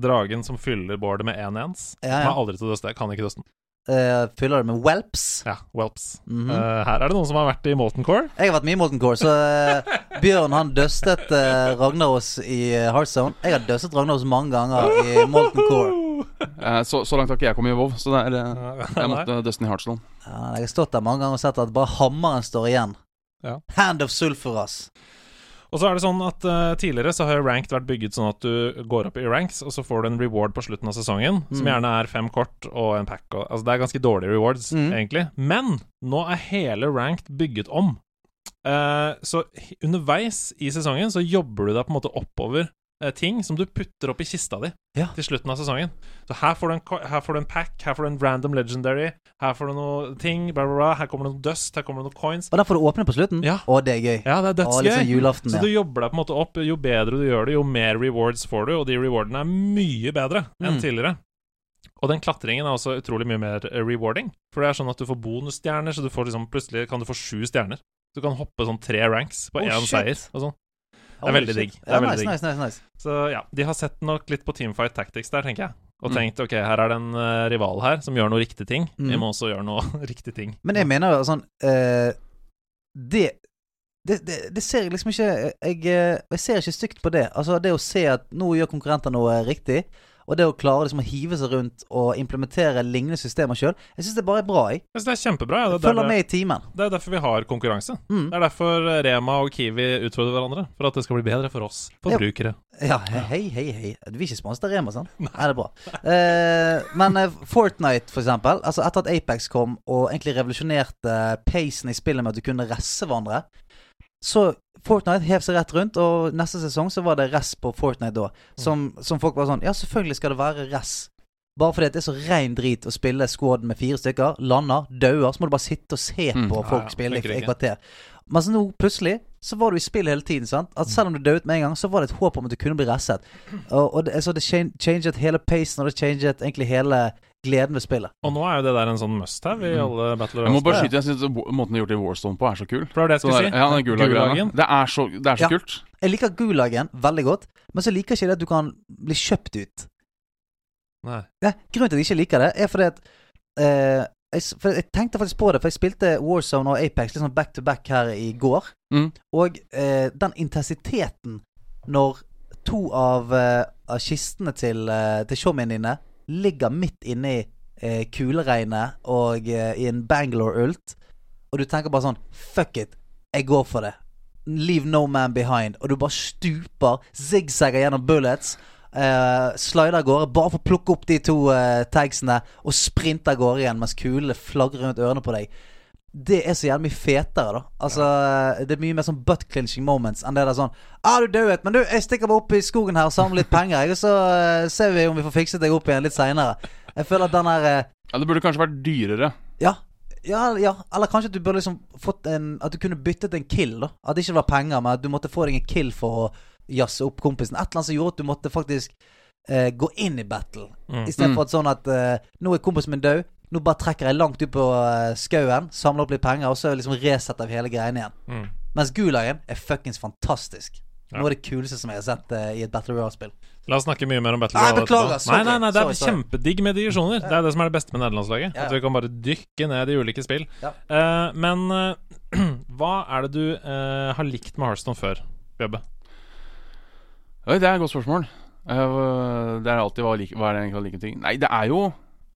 Dragen som fyller bålet med én ens.
Ja, ja.
Jeg har aldri til å døste. Jeg kan ikke døste den.
Eh, fyller det med whelps.
Ja, whelps.
Mhm.
Eh, her er det noen som har vært i Molten Core.
Jeg har vært mye i Molten Core, så eh, Bjørn han døstet eh, Ragnarås i eh, Hearthstone. Jeg har døstet Ragnarås mange ganger i Molten Core.
eh, så, så langt har ikke jeg kommet i WoW, så det er eh,
Eh,
Jeg
nei.
måtte døste den i Heartstone.
Ja, jeg har stått der mange ganger og sett at bare hammeren står igjen.
Ja.
Hand of Sulfuras.
Og så er det sånn at eh, Tidligere så har ranked vært bygget sånn at du går opp i ranks, og så får du en reward på slutten av sesongen, som gjerne er fem kort og en pack. Og, altså Det er ganske dårlige rewards,
Mm.
egentlig. Men nå er hele ranked bygget om. Eh, så h- underveis i sesongen så jobber du deg på en måte oppover eh, ting som du putter opp i kista di
Ja.
til slutten av sesongen. Så her får, du en, ko- her får du en pack, her får du en random legendary, her får du noe ting, bla, bla, bla. Her kommer det noe dust, her kommer det noen coins.
Og den får du åpne på slutten.
Ja.
Å, det er gøy.
Ja, det er
Å,
dødsgøy.
litt sånn julaften, ja.
Så du jobber deg på en måte opp. Jo bedre du gjør det, jo mer rewards får du, og de rewardene er mye bedre enn
Mm.
tidligere. Og den klatringen er også utrolig mye mer eh, rewarding. For det er sånn at du får bonusstjerner, så du får liksom, plutselig kan du få sju stjerner. Du kan hoppe sånn tre ranks på
Oh,
én
shit.
seier og sånn.
Å,
er veldig
shit.
digg. Det er
Ja,
veldig
nice,
digg.
nice, nice, nice.
Så ja, de har sett nok litt på Teamfight Tactics der, tenker jeg. Og
Mm.
tenkt ok, her er det en eh, rival her som gjør noe riktig ting.
Mm.
Vi må også gjøre noe riktig ting.
Men jeg mener jo sånn eh, det, det, det, det ser jeg liksom ikke jeg, eh, jeg ser ikke stygt på det. Altså Det å se at nå gjør konkurrenter noe riktig, og det å klare liksom å hive seg rundt og implementere lignende systemer sjøl, jeg syns det bare er bra. Jeg,
Jeg synes det er kjempebra. Ja.
jeg
Det, er
følger
derfor,
med i timen.
det er derfor vi har konkurranse.
Mm.
Det er derfor Rema og Kiwi utfordrer hverandre. For at det skal bli bedre for oss forbrukere.
Ja, hei, hei, hei. Du vil ikke sponse Rema, sant? Nei, det er bra. Eh, men eh, Fortnite, for eksempel. Altså etter at Apex kom og egentlig revolusjonerte pacen i spillet med at du kunne resse hverandre, så Fortnite hev seg rett rundt, og neste sesong så var det ress på Fortnite da. Som, som folk var sånn Ja, selvfølgelig skal det være ress. Bare fordi at det er så rein drit å spille squad med fire stykker, lander, dauer, så må du bare sitte og se
Mm.
på
Ja,
folk
ja,
spille
funker
i
ikke.
et kvarter. Men så nå, plutselig, så var du i spill hele tiden, sant. At selv om du døde med en gang, så var det et håp om at du kunne bli resset. Og, og det, så det chan- changet hele pacen, og det changet egentlig hele gleden ved spillet.
Og nå er jo det der en sånn must have
Mm.
i alle Battle
Jeg må
Royals.
bare
ja.
skyte, jeg syns måten de har gjort det i Warstone på, er så kul.
For det var det jeg
Så der,
skulle si.
ja, den gulaggreia.
Gulagen.
Det er så, det er så
Ja.
kult.
Jeg liker gulagen veldig godt, men så liker jeg ikke det at du kan bli kjøpt ut.
Nei.
Nei, grunnen til at jeg ikke liker det, er fordi at eh, jeg, s- for jeg tenkte faktisk på det, for jeg spilte Warzone og Apex liksom back to back her i går.
Mm.
Og eh, den intensiteten når to av, eh, av kistene til, uh, til showmien dine ligger midt inni uh, kuleregnet og eh, i en Bangalore-ult, og du tenker bare sånn Fuck it, jeg går for det. Leave no man behind. Og du bare stuper, zigzagger gjennom bullets. Uh, slider av gårde bare for å plukke opp de to eh, tagsene, og sprinter av gårde igjen mens kulene flagrer rundt ørene på deg. Det er så jævlig mye fetere, da. Altså, Det er mye mer sånn butt clinching moments enn det der sånn ah, 'Du dauet, men du, jeg stikker bare opp i skogen her og samler litt penger, jeg, og så eh, ser vi om vi får fikset deg opp igjen litt seinere'. Jeg føler at den her eh,
Ja, det burde kanskje vært dyrere.
ja. Ja, ja, eller kanskje at du burde liksom fått en At du kunne byttet en kill, da. At det ikke var penger, men at du måtte få deg en kill for å jazze opp kompisen. Et eller annet som gjorde at du måtte faktisk eh, gå inn i battle.
Mm.
Istedenfor at sånn at eh, Nå er kompisen min død, nå bare trekker jeg langt ut på eh, skauen, samler opp litt penger, og så liksom resetter vi hele greiene igjen.
Mm.
Mens Gulagen er fuckings fantastisk.
Ja.
Noe av det kuleste som jeg har sett eh, i et Battle Royale-spill.
La oss snakke mye mer om Battle
Nei,
Royale
beklager,
etterpå.
sorry.
Nei, nei, nei, det er
Sorry, sorry.
kjempedigg med digresjoner. Det er det som er det beste med nederlandslaget.
Ja, ja.
At vi kan bare dykke ned i ulike spill.
Ja.
Eh, men eh, hva er det du eh, har likt med Hearthstone før, Bjøbbe?
Oi, det er et godt spørsmål. Eh, det er alltid hva, like, hva er det jeg egentlig liker ting Nei, det er jo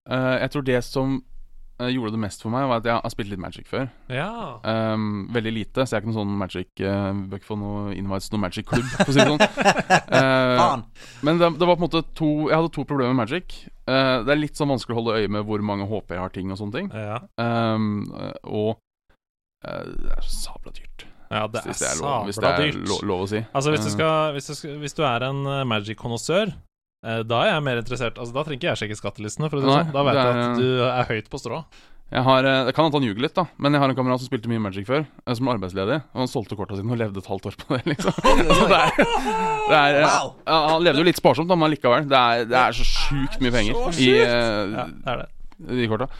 eh, Jeg tror det som eh, gjorde det mest for meg, var at jeg har spilt litt Magic før.
Ja.
Ehm, veldig lite, så jeg er ikke noen sånn Magic uh, Bør ikke få noe invites til noen Magic-klubb, for å si det sånn. Eh,
Faen!
men det, det var på en måte to Jeg hadde to problemer med Magic. Eh, det er litt sånn vanskelig å holde øye med hvor mange HP jeg har ting og sånne ting.
ja.
Ehm, og eh, det er så sabla dyrt.
Ja, det er
Hvis det er lov, hvis det
sabla
er
dyrt.
lo, lov å si.
Altså, hvis du,
Eh,
skal, hvis, du skal, hvis du er en eh, magic-konnoissør, eh, da er jeg mer interessert Altså, Da trenger ikke jeg sjekke skattelistene, for å si det
Nei,
sånn. Da vet
det
jeg
er-
at du er høyt på strå.
Jeg har, eh, det kan hende han ljuger litt, da men jeg har en kamerat som spilte mye Magic før, eh, som er arbeidsledig. Og han solgte korta sine og levde et halvt år på det. liksom Så det er, det er, eh,
Wow.
ja, Han levde jo litt sparsomt, da, men likevel. Det er, det er så sjukt mye penger i,
Ja,
eh,
det er det.
de korta.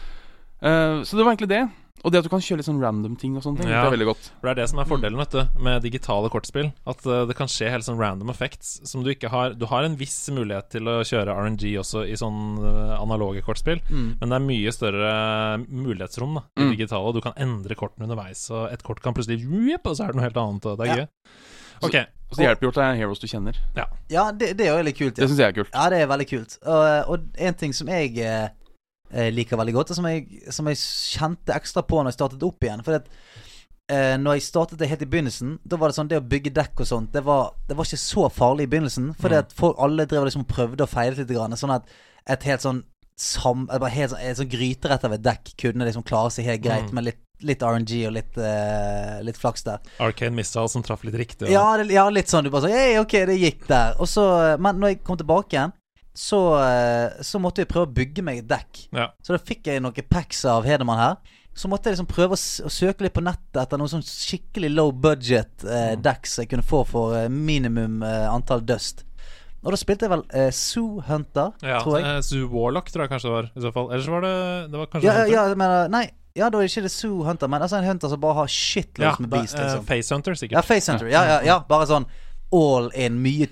Eh, så det var egentlig det. Og det at du kan kjøre litt sånn random ting og sånne ting.
Ja.
Det er veldig godt.
For det er det som er fordelen vet du, med digitale kortspill. At eh, det kan skje helt sånn random effects som du ikke har Du har en viss mulighet til å kjøre RNG også i sånn eh, analoge kortspill, men det er mye større eh, mulighetsrom da, i
Mm.
digitale. Du kan endre kortene underveis, og et kort kan plutselig Jupp, Og så er det noe helt annet, og det er
Ja.
gøy. Ok,
Så det hjelper jo at det er heroes du kjenner.
Ja, det, det er jo litt kult.
Det
Ja.
syns jeg er kult.
Ja, det er veldig kult. Og, eh, og en ting som jeg eh, eh, liker veldig godt, og som jeg, som jeg kjente ekstra på når jeg startet opp igjen For at, eh, når jeg startet det helt i begynnelsen, da var det sånn det å bygge dekk og sånt, det var, det var ikke så farlig i begynnelsen. Fordi at folk alle drev liksom og prøvde og feilet litt. Grann, sånn at et helt sånn sam, eh, bare helt sånn, et sånn gryterett av et dekk kunne liksom klare seg helt greit
Mm.
med litt, litt RNG og litt, eh, litt flaks der.
Arcane Missile som traff litt riktig. og-
Ja, det, ja litt sånn. Du bare sånn Hei, ok, det gikk der. Og så, eh, men når jeg kom tilbake igjen, så, eh, så måtte jeg prøve å bygge meg et dekk.
Ja.
Så da fikk jeg noen packs av Hedemann her. Så måtte jeg liksom prøve å, s å søke litt på nettet etter noen sånn skikkelig low budget
Mm.
eh, dekk som jeg kunne få for eh, minimum eh, antall dust. Og da spilte jeg vel eh, Zoo Hunter,
Ja,
tror jeg.
eh, Zoo Warlock tror jeg kanskje det var, i så fall. Ellers var det Det var kanskje
Ja, ja, jeg mener, nei, ja, da er det ikke det Zoo Hunter, men altså en hunter som bare har
ja,
shitloads med
da,
beast, liksom.
eh, Face Hunter, sikkert.
Ja, Face Hunter. Ja, ja, ja. Bare sånn all in, mye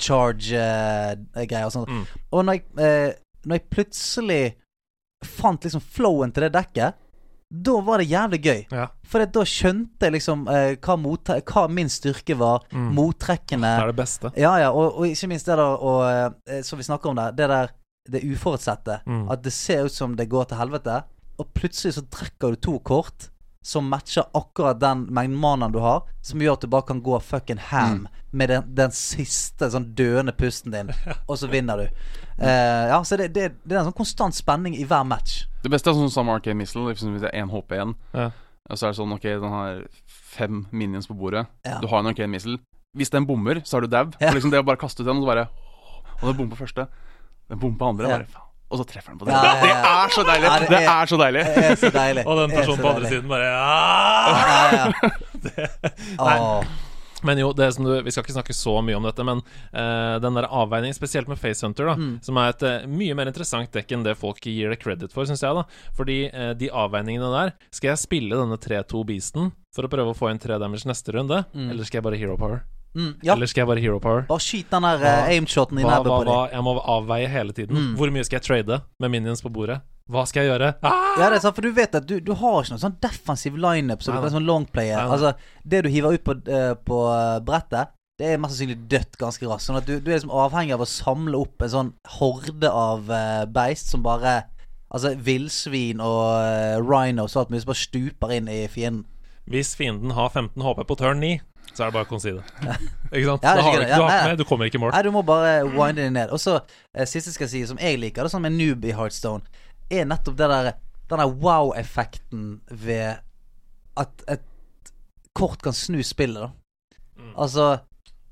charge-greier og sånt.
Mm.
Og når jeg, eh, når jeg plutselig fant liksom flowen til det dekket, da var det jævlig gøy.
Ja.
For da skjønte jeg liksom eh, hva, motta- hva min styrke var,
Mm.
mottrekkene
Det er det beste.
Ja, ja, og, og ikke minst det der og, eh, Som vi snakker om der, det der Det uforutsette.
Mm.
At det ser ut som det går til helvete, og plutselig så trekker du to kort som matcher akkurat den mengden mana du har, som gjør at du bare kan gå fucking
Mm.
ham med den, den siste sånn døende pusten din, og så vinner du. Eh, ja, så det, det, det er en sånn konstant spenning i hver match.
Det beste er sånn som Arcane Missile, liksom hvis det er én HP igjen.
Ja.
Og så er det sånn, ok, den har fem minions på bordet.
Ja.
Du har en Arcane Missile. Hvis den bommer, så er du dau.
Ja.
For Liksom det å bare kaste ut den, og så bare Og den bommer på første. Den bommer på andre.
Ja.
Bare, faen. Og så treffer den på den.
Ja, ja, ja.
Det er så deilig!
Ja,
det,
det
er,
er-
så deilig.
Det er så deilig.
Og den
Det er
personen
så
på andre
deilig.
siden bare «Ah!»
Ja, ja. Åh.
Men jo, det som du, vi skal ikke snakke så mye om dette, men eh, den der avveiningen, spesielt med Face Hunter, da,
Mm.
som er et eh, mye mer interessant dekk enn det folk gir det credit for, syns jeg, da. Fordi eh, de avveiningene der Skal jeg spille denne 3-2-beasten for å prøve å få inn 3-damage neste runde, eller skal jeg bare hero power?
Mm, ja.
Eller skal jeg bare hero power?
Bare skyt den der uh, aimshoten i
Hva,
nebbet
hva,
på Mm.
hva,
dem.
jeg må avveie hele tiden. Hvor mye skal jeg trade med minions på bordet? Hva skal jeg gjøre? Ah!
Ja, det er sant, for du vet at du, du har ikke noen sånn defensiv lineup som
Nei,
du kan
nei.
sånn longplayer.
Nei, nei.
Altså, det du hiver ut på, eh, på eh, brettet, det er mest sannsynlig dødt ganske raskt. Sånn at du, du er liksom avhengig av å samle opp en sånn horde av eh, beist som bare Altså villsvin og eh, rhinos og alt mulig som bare stuper inn i fienden.
Hvis fienden har 15 HP på turn 9, så er det bare å konside. Ikke sant?
Ja, det er
da har du
sikkert-
ikke, du,
ja,
har
nei,
ikke
nei.
med, du kommer ikke i mål.
Nei, du må bare winde det ned. Og så eh, siste skal jeg si, som jeg liker, det er sånn med noob i Heartstone, er nettopp det der den der wow-effekten ved at et kort kan snu spillet, da. Altså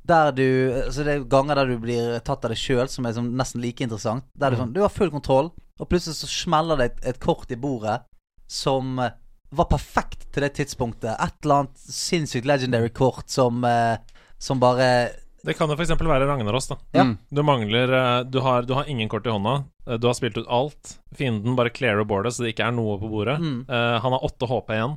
der du altså Det er ganger der du blir tatt av deg sjøl, som er sånn nesten like interessant. Der du, sånn, du har full kontroll, og plutselig så smeller det et, et kort i bordet som eh, var perfekt til det tidspunktet. Et eller annet sinnssykt legendary kort som, eh, som bare
Det kan jo f.eks. være Ragnaros. da
Ja.
Mm.
Du mangler eh, du har, du har ingen kort i hånda. Eh, Du har spilt ut alt. Fienden bare clearer bordet, så det ikke er noe på bordet.
Mm.
Eh, han har åtte HP igjen.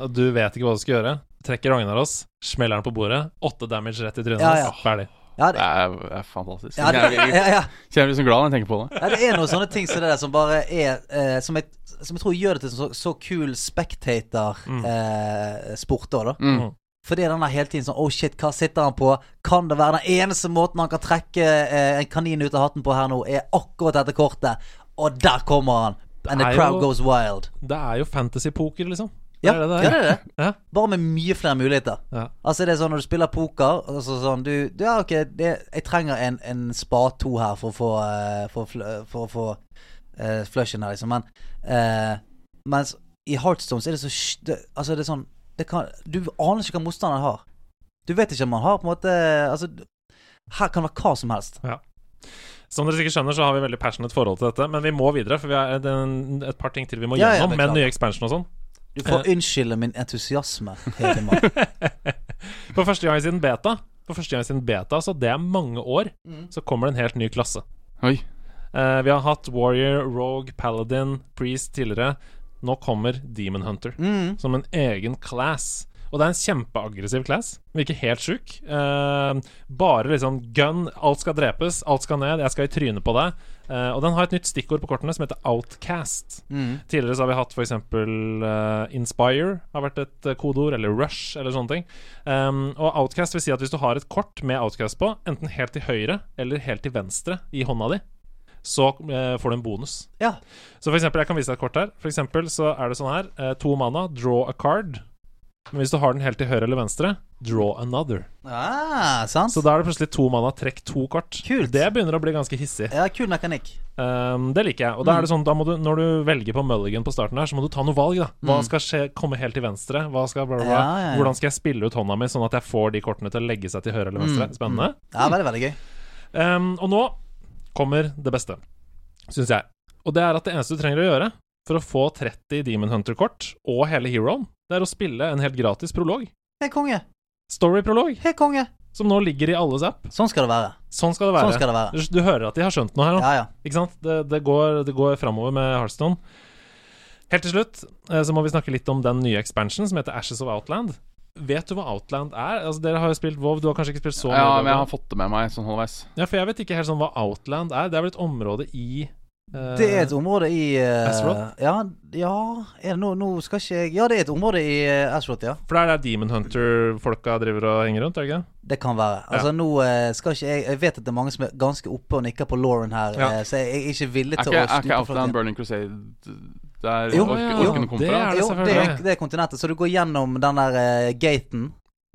Og Du vet ikke hva du skal gjøre. Trekker Ragnaros, smeller den på bordet. Åtte damage rett i trynet.
Ja, ja.
Ferdig.
Ja, det,
Det er, det er fantastisk.
Ja, det,
Jeg, jeg,
ja, ja.
jeg blir så glad når jeg tenker på det.
ja, det er noen sånne ting som det der som bare er eh, som, jeg, som jeg tror gjør det til så, så kul
Mm.
spectator-sport òg, da.
Mm.
Mm.
Fordi den er hele tiden sånn Oh shit, hva sitter han på? Kan det være den eneste måten han kan trekke eh, en kanin ut av hatten på her nå, er akkurat dette kortet? Og der kommer han! And the
Det er
crowd
jo-
goes wild.
Det er jo fantasy-poker, liksom.
Ja,
det er det
ja,
det er.
det er det.
Ja.
Bare med mye flere muligheter.
Ja.
Altså det er sånn Når du spiller poker altså sånn, du, du, Ja, ok, det, jeg trenger en, en spa 2 her for å få eh, For, å fl- for å få eh, flushen her, liksom. Men eh, Mens i Heartstones er det så sj- det, Altså, det er sånn det kan, Du aner ikke hva motstanderen har. Du vet ikke om han har på en måte Altså, her kan det være hva som helst.
Som dere sikkert skjønner, så har vi veldig passionate forhold til dette. Men vi må videre, for vi er det er en- et par ting til vi må
Ja, ja,
gjennom. med
beklager.
nye expansion og sånn.
Du får unnskylde min entusiasme, Hedemann.
For første gang siden beta, For første gang siden beta så det er mange år,
Mm.
så kommer det en helt ny klasse.
Oi.
Eh, vi har hatt Warrior, Rogue, Paladin, Priest tidligere. Nå kommer Demon Hunter som en egen class. Og det er en kjempeaggressiv class. Virker helt sjuk. Eh, bare liksom gun. Alt skal drepes, alt skal ned, jeg skal i trynet på deg. Eh, og den har et nytt stikkord på kortene som heter outcast. Tidligere så har vi hatt f.eks. Uh, inspire har vært et eh, kodeord, eller rush, eller sånne ting. Um, og outcast vil si at hvis du har et kort med outcast på, enten helt til høyre eller helt til venstre i hånda di, så eh, får du en bonus.
Ja.
Så for eksempel, jeg kan vise deg et kort her. For eksempel så er det sånn her. eh, To mana, draw a card. Men hvis du har den helt til høyre eller venstre, draw another.
Ah, sant?
Så da er det plutselig to mana, trekk to kort.
Kult.
Det begynner å bli ganske hissig.
ja, kul mekanikk.
Um, det liker jeg. Og da er det sånn, da må du, når du velger på mulligan på starten her, så må du ta noe valg, da. Hva skal skje, komme helt til venstre? Hva skal bla, bla,
Mm.
bla.
Ja, ja, ja.
Hvordan skal jeg spille ut hånda mi, sånn at jeg får de kortene til å legge seg til høyre eller venstre?
Mm,
Spennende.
Ja, veldig, veldig gøy.
Um, og nå kommer det beste, syns jeg. Og det er at det eneste du trenger å gjøre for å få 30 Demon Hunter-kort og hele heroen, det er å spille en helt gratis prolog.
Helt konge.
Story-prolog,
Helt konge.
som nå ligger i alles app.
Sånn skal det være.
Sånn skal det være.
Sånn skal det være.
Du, du hører at de har skjønt noe her nå.
Ja, ja.
Ikke sant? Det, det går, det går framover med Hearthstone. Helt til slutt eh, så må vi snakke litt om den nye expansion som heter Ashes of Outland. Vet du hva Outland er? Altså, dere har jo spilt WoW, du har kanskje ikke spilt så mye
Ja,
WoW?
men jeg har fått det med meg sånn halvveis.
Ja, for jeg vet ikke helt sånn hva Outland er. Det er vel et område i eh,
Det er et område i eh,
Azeroth? Ja,
Ja, ja er det noe Nå skal ikke jeg Ja, det er et område i uh, Ashroth, ja.
For det er der Demon Hunter-folka driver og henger rundt, er det ikke? det?
Det kan være. Altså, nå eh, skal ikke jeg Jeg vet at det er mange som er ganske oppe og nikker på Lauren her,
Ja.
eh, så jeg er ikke villig
Er
til å
ikke, er ikke
snupe folk
Outland
inn.
Burning Crusade der
Jo,
ork-
ja,
orkene
det
kom
Jo, det
er det
fra?
er,
selvfølgelig.
det er kontinentet. Så du går gjennom den der eh, gaten.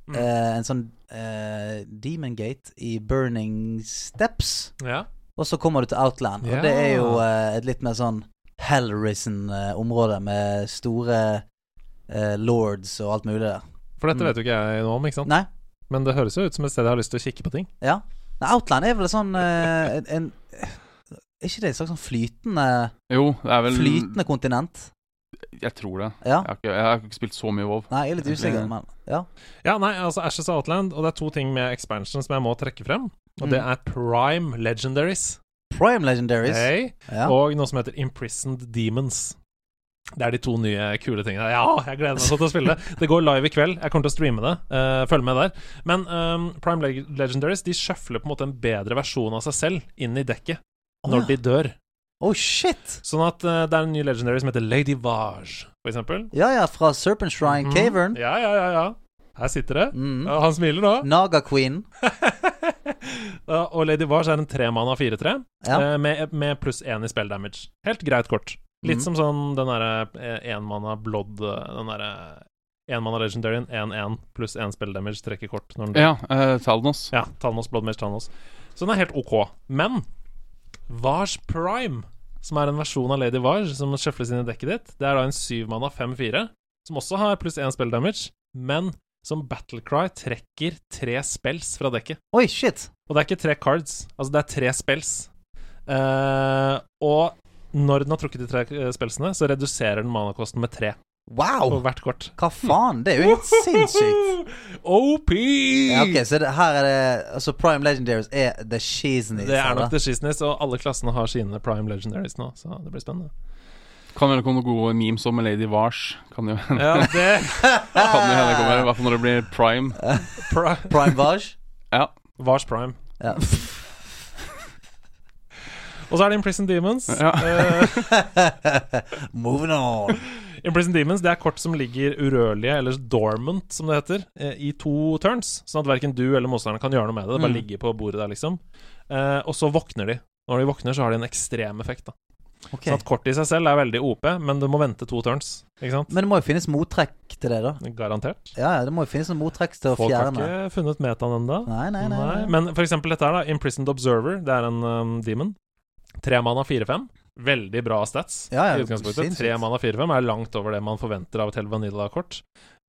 Mm.
eh, en sånn eh, demon gate i Burning Steps.
Ja.
Og så kommer du til Outland.
Ja.
Og det er jo eh, et litt mer sånn Hellrisen-område med store eh, lords og alt mulig der.
For dette vet jo ikke jeg noe om, ikke sant?
Mm. Nei?
Men det høres jo ut som et sted jeg har lyst til å kikke på ting.
Ja. Nei, Outland er vel sånn eh, en, en Er ikke det et slags sånn flytende
Jo, det er vel
Flytende kontinent?
Jeg tror det.
Ja.
Jeg har ikke, jeg har ikke spilt så mye WoW.
Nei, jeg er litt usikker, men ja.
Ja, nei, altså Ashes of Outland, og det er to ting med expansion som jeg må trekke frem. Og
Mm.
det er Prime Legendaries
Prime Legendaries.
Hei.
Ja.
og noe som heter Imprisoned Demons. Det er de to nye kule tingene. Ja, jeg gleder meg sånn til å spille det. Det går live i kveld. Jeg kommer til å streame det. Eh, følg med der. Men ehm, Prime Leg Legendaries de sjøfler på en måte en bedre versjon av seg selv inn i dekket når
Å,
de dør.
Oh shit!
Sånn at eh, det er en ny Legendary som heter Lady Vage, for eksempel.
Ja ja, fra Serpent Shrine Cavern.
Mhm. Ja, ja, ja, ja. Her sitter det.
Mm.
Ja, han smiler nå.
Naga Queen.
Ja, og Lady Vage er en tremann av 4-3,
Ja.
eh, med, med pluss 1 i spell damage. Helt greit kort. Litt som sånn den derre enmanna blood eh, Den derre enmanna legendaryen 1-1 pluss 1 spell damage trekker kort når den dør.
Ja, eh, Talnos.
Ja, Thanos, Bloodmage, Thanos. Så den er helt ok. Men Vars Prime, som er en versjon av Lady Vars som sjøfles inn i dekket ditt, det er da en syvmanna 5-4, som også har pluss én spell damage, men som Battlecry trekker tre spells fra dekket.
Oi, shit.
Og det er ikke tre cards, altså det er tre spells. Eh, og når den har trukket de tre eh, spelsene, så reduserer den manakosten med tre på
Wow!
hvert kort.
Hva faen? Det er jo helt sinnssykt.
OP!
Ja, ok, så det, her er det Altså, Prime Legendaries er the cheesenies.
Det er
eller?
nok The Shizness, og alle klassene har sine Prime Legendaries nå, så det blir spennende.
Kan hende komme noen gode memes om Lady Vars. Kan jo hende
Ja, det
kan jo hende kommer, i hvert fall når det blir prime.
Pri-
Prime Vaj.
Ja.
Vars Prime.
Ja.
Og så er det Imprison Demons.
ja.
Moving on.
Imprison Demons det er kort som ligger urørlige, eller dormant, som det heter, eh, i to turns. Sånn at verken du eller motstanderen kan gjøre noe med det. Det bare ligger på bordet der, liksom. Eh, og så våkner de. Når de våkner, så har de en ekstrem effekt. da
Ok
Sånn at Kortet i seg selv er veldig OP, men du må vente to turns. Ikke sant?
Men det må jo finnes mottrekk til det, da.
Garantert.
Ja, ja, det må jo finnes noe mottrekk til å
Folk har
fjerne det.
ikke funnet metaen ennå.
Nei, nei, nei.
Nei, Men for eksempel dette her, da. Imprisoned Observer. Det er en um, demon. Tremann av 4-5. veldig bra stats.
Ja, ja,
I utgangspunktet
sinnssykt.
Tre mann av fire-fem er langt over det man forventer av et helt vanilla-kort.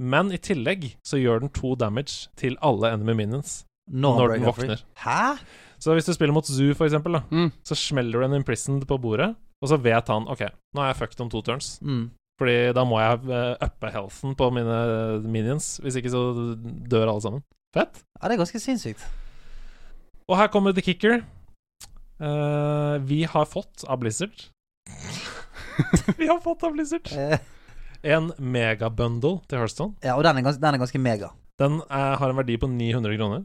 Men i tillegg så gjør den to damage til alle enemy minions
Når,
når
han
den
breaker free.
våkner.
Hæ?
Så hvis du spiller mot Zoo, for eksempel, da,
Mm.
så smeller du en imprisoned på bordet, og så vet han OK, nå er jeg fucked om to turns.
Mm.
Fordi da må jeg eh, uppe healthen på mine minions, hvis ikke så dør alle sammen. Fett.
Ja, det er ganske sinnssykt.
Og her kommer the kicker. Eh, vi har fått av Blizzard Vi har fått av Blizzard
Eh,
en megabundle til Hearthstone.
ja, og den er, gans, den er ganske mega.
Den eh, har en verdi på 900 kroner.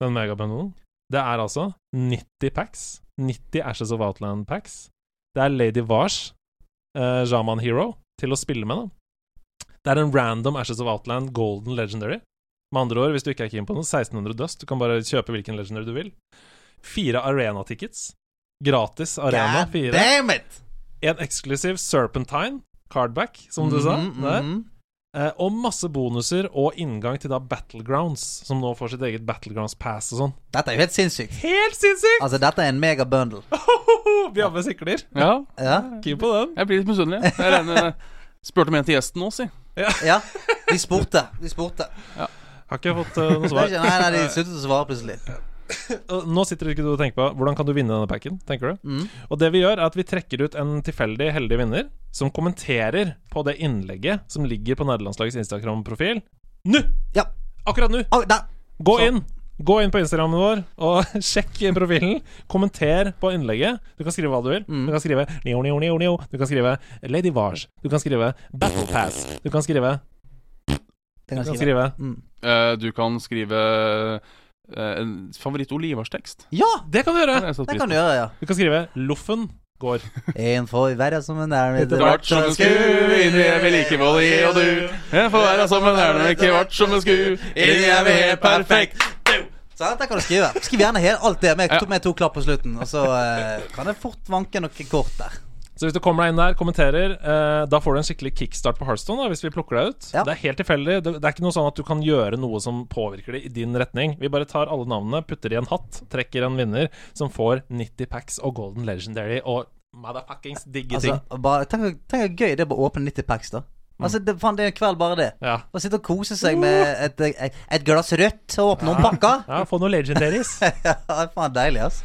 Den megabundlen. Det er altså 90 packs. 90 Ashes of Outland packs. Det er Lady Vars, eh, Jaman Hero, til å spille med, da. Det er en random Ashes of Outland Golden Legendary. Med andre ord, hvis du ikke er keen på den, 1600 Dust. Du kan bare kjøpe hvilken legendary du vil. Fire arena-tickets. Gratis arena.
God
Fire.
damn it!
En eksklusiv Serpentine cardback, som du sa.
Mhm,
Der.
mhm.
Eh, og masse bonuser og inngang til da Battlegrounds, som nå får sitt eget Battlegrounds Pass og sånn.
Dette er jo helt sinnssykt.
Helt sinnssykt!
Altså, dette er en mega bundle.
Ah. Bjabbe sikler.
Ja,
Ja.
Keen på den.
jeg blir litt misunnelig. jeg. Jeg regner Spurte om en til gjesten nå, si.
ja. De spurte. De spurte.
Har ikke fått eh, noe
Det er
svar.
ikke, nei, nei, de sluttet å svare plutselig.
Eh, Og Nå sitter ikke du og tenker på hvordan kan du vinne denne packen, tenker du.
Mm.
Og det vi gjør, er at vi trekker ut en tilfeldig heldig vinner som kommenterer på det innlegget som ligger på nederlandslagets Instagram-profil nå!
Ja.
Akkurat nå!
Å, der.
Gå
Så-
inn Gå inn på Instagrammen vår og sjekk profilen. Kommenter på innlegget. Du kan skrive hva du vil.
Mm.
Du kan skrive neo, neo, neo, neo. Du kan skrive Lady Vars. Du kan skrive Battle Pass. Du kan skrive
Det
Du
kan
kan
jeg skrive.
skrive
Mm.
Eh, du kan skrive eh, en favoritt Olivars tekst.
Ja,
Det kan du gjøre!
det kan du gjøre, ja.
Du kan skrive Loffen går.
En får være som en er med
Vart som en sku, inni jeg vil ikke både gi og du. Jeg får være sammen her når ikke vart som en sku, inni jeg vil helt perfekt.
Sant, der kan du skrive. Skriv gjerne hele, alt det med,
Ja.
to- med to klapp på slutten. Og så eh, kan jeg fort vanke noe kort der.
Så hvis du kommer deg inn der, kommenterer, eh, da får du en skikkelig kickstart på Hearthstone da, hvis vi plukker deg ut.
Ja.
Det er helt tilfeldig. Det, det er ikke noe sånn at du kan gjøre noe som påvirker det i din retning. Vi bare tar alle navnene, putter i en hatt, trekker en vinner som får 90 packs og Golden Legendary og motherfuckings digge
Altså,
ting.
bare, tenk, tenk hvor gøy det er å åpne 90 packs, da. Altså, det, faen, det er en kveld bare det.
Ja.
Å sitte og kose seg med et, et, et glass rødt og åpne noen pakker.
ja, få noen legendaries.
Ja, det er faen deilig, ass.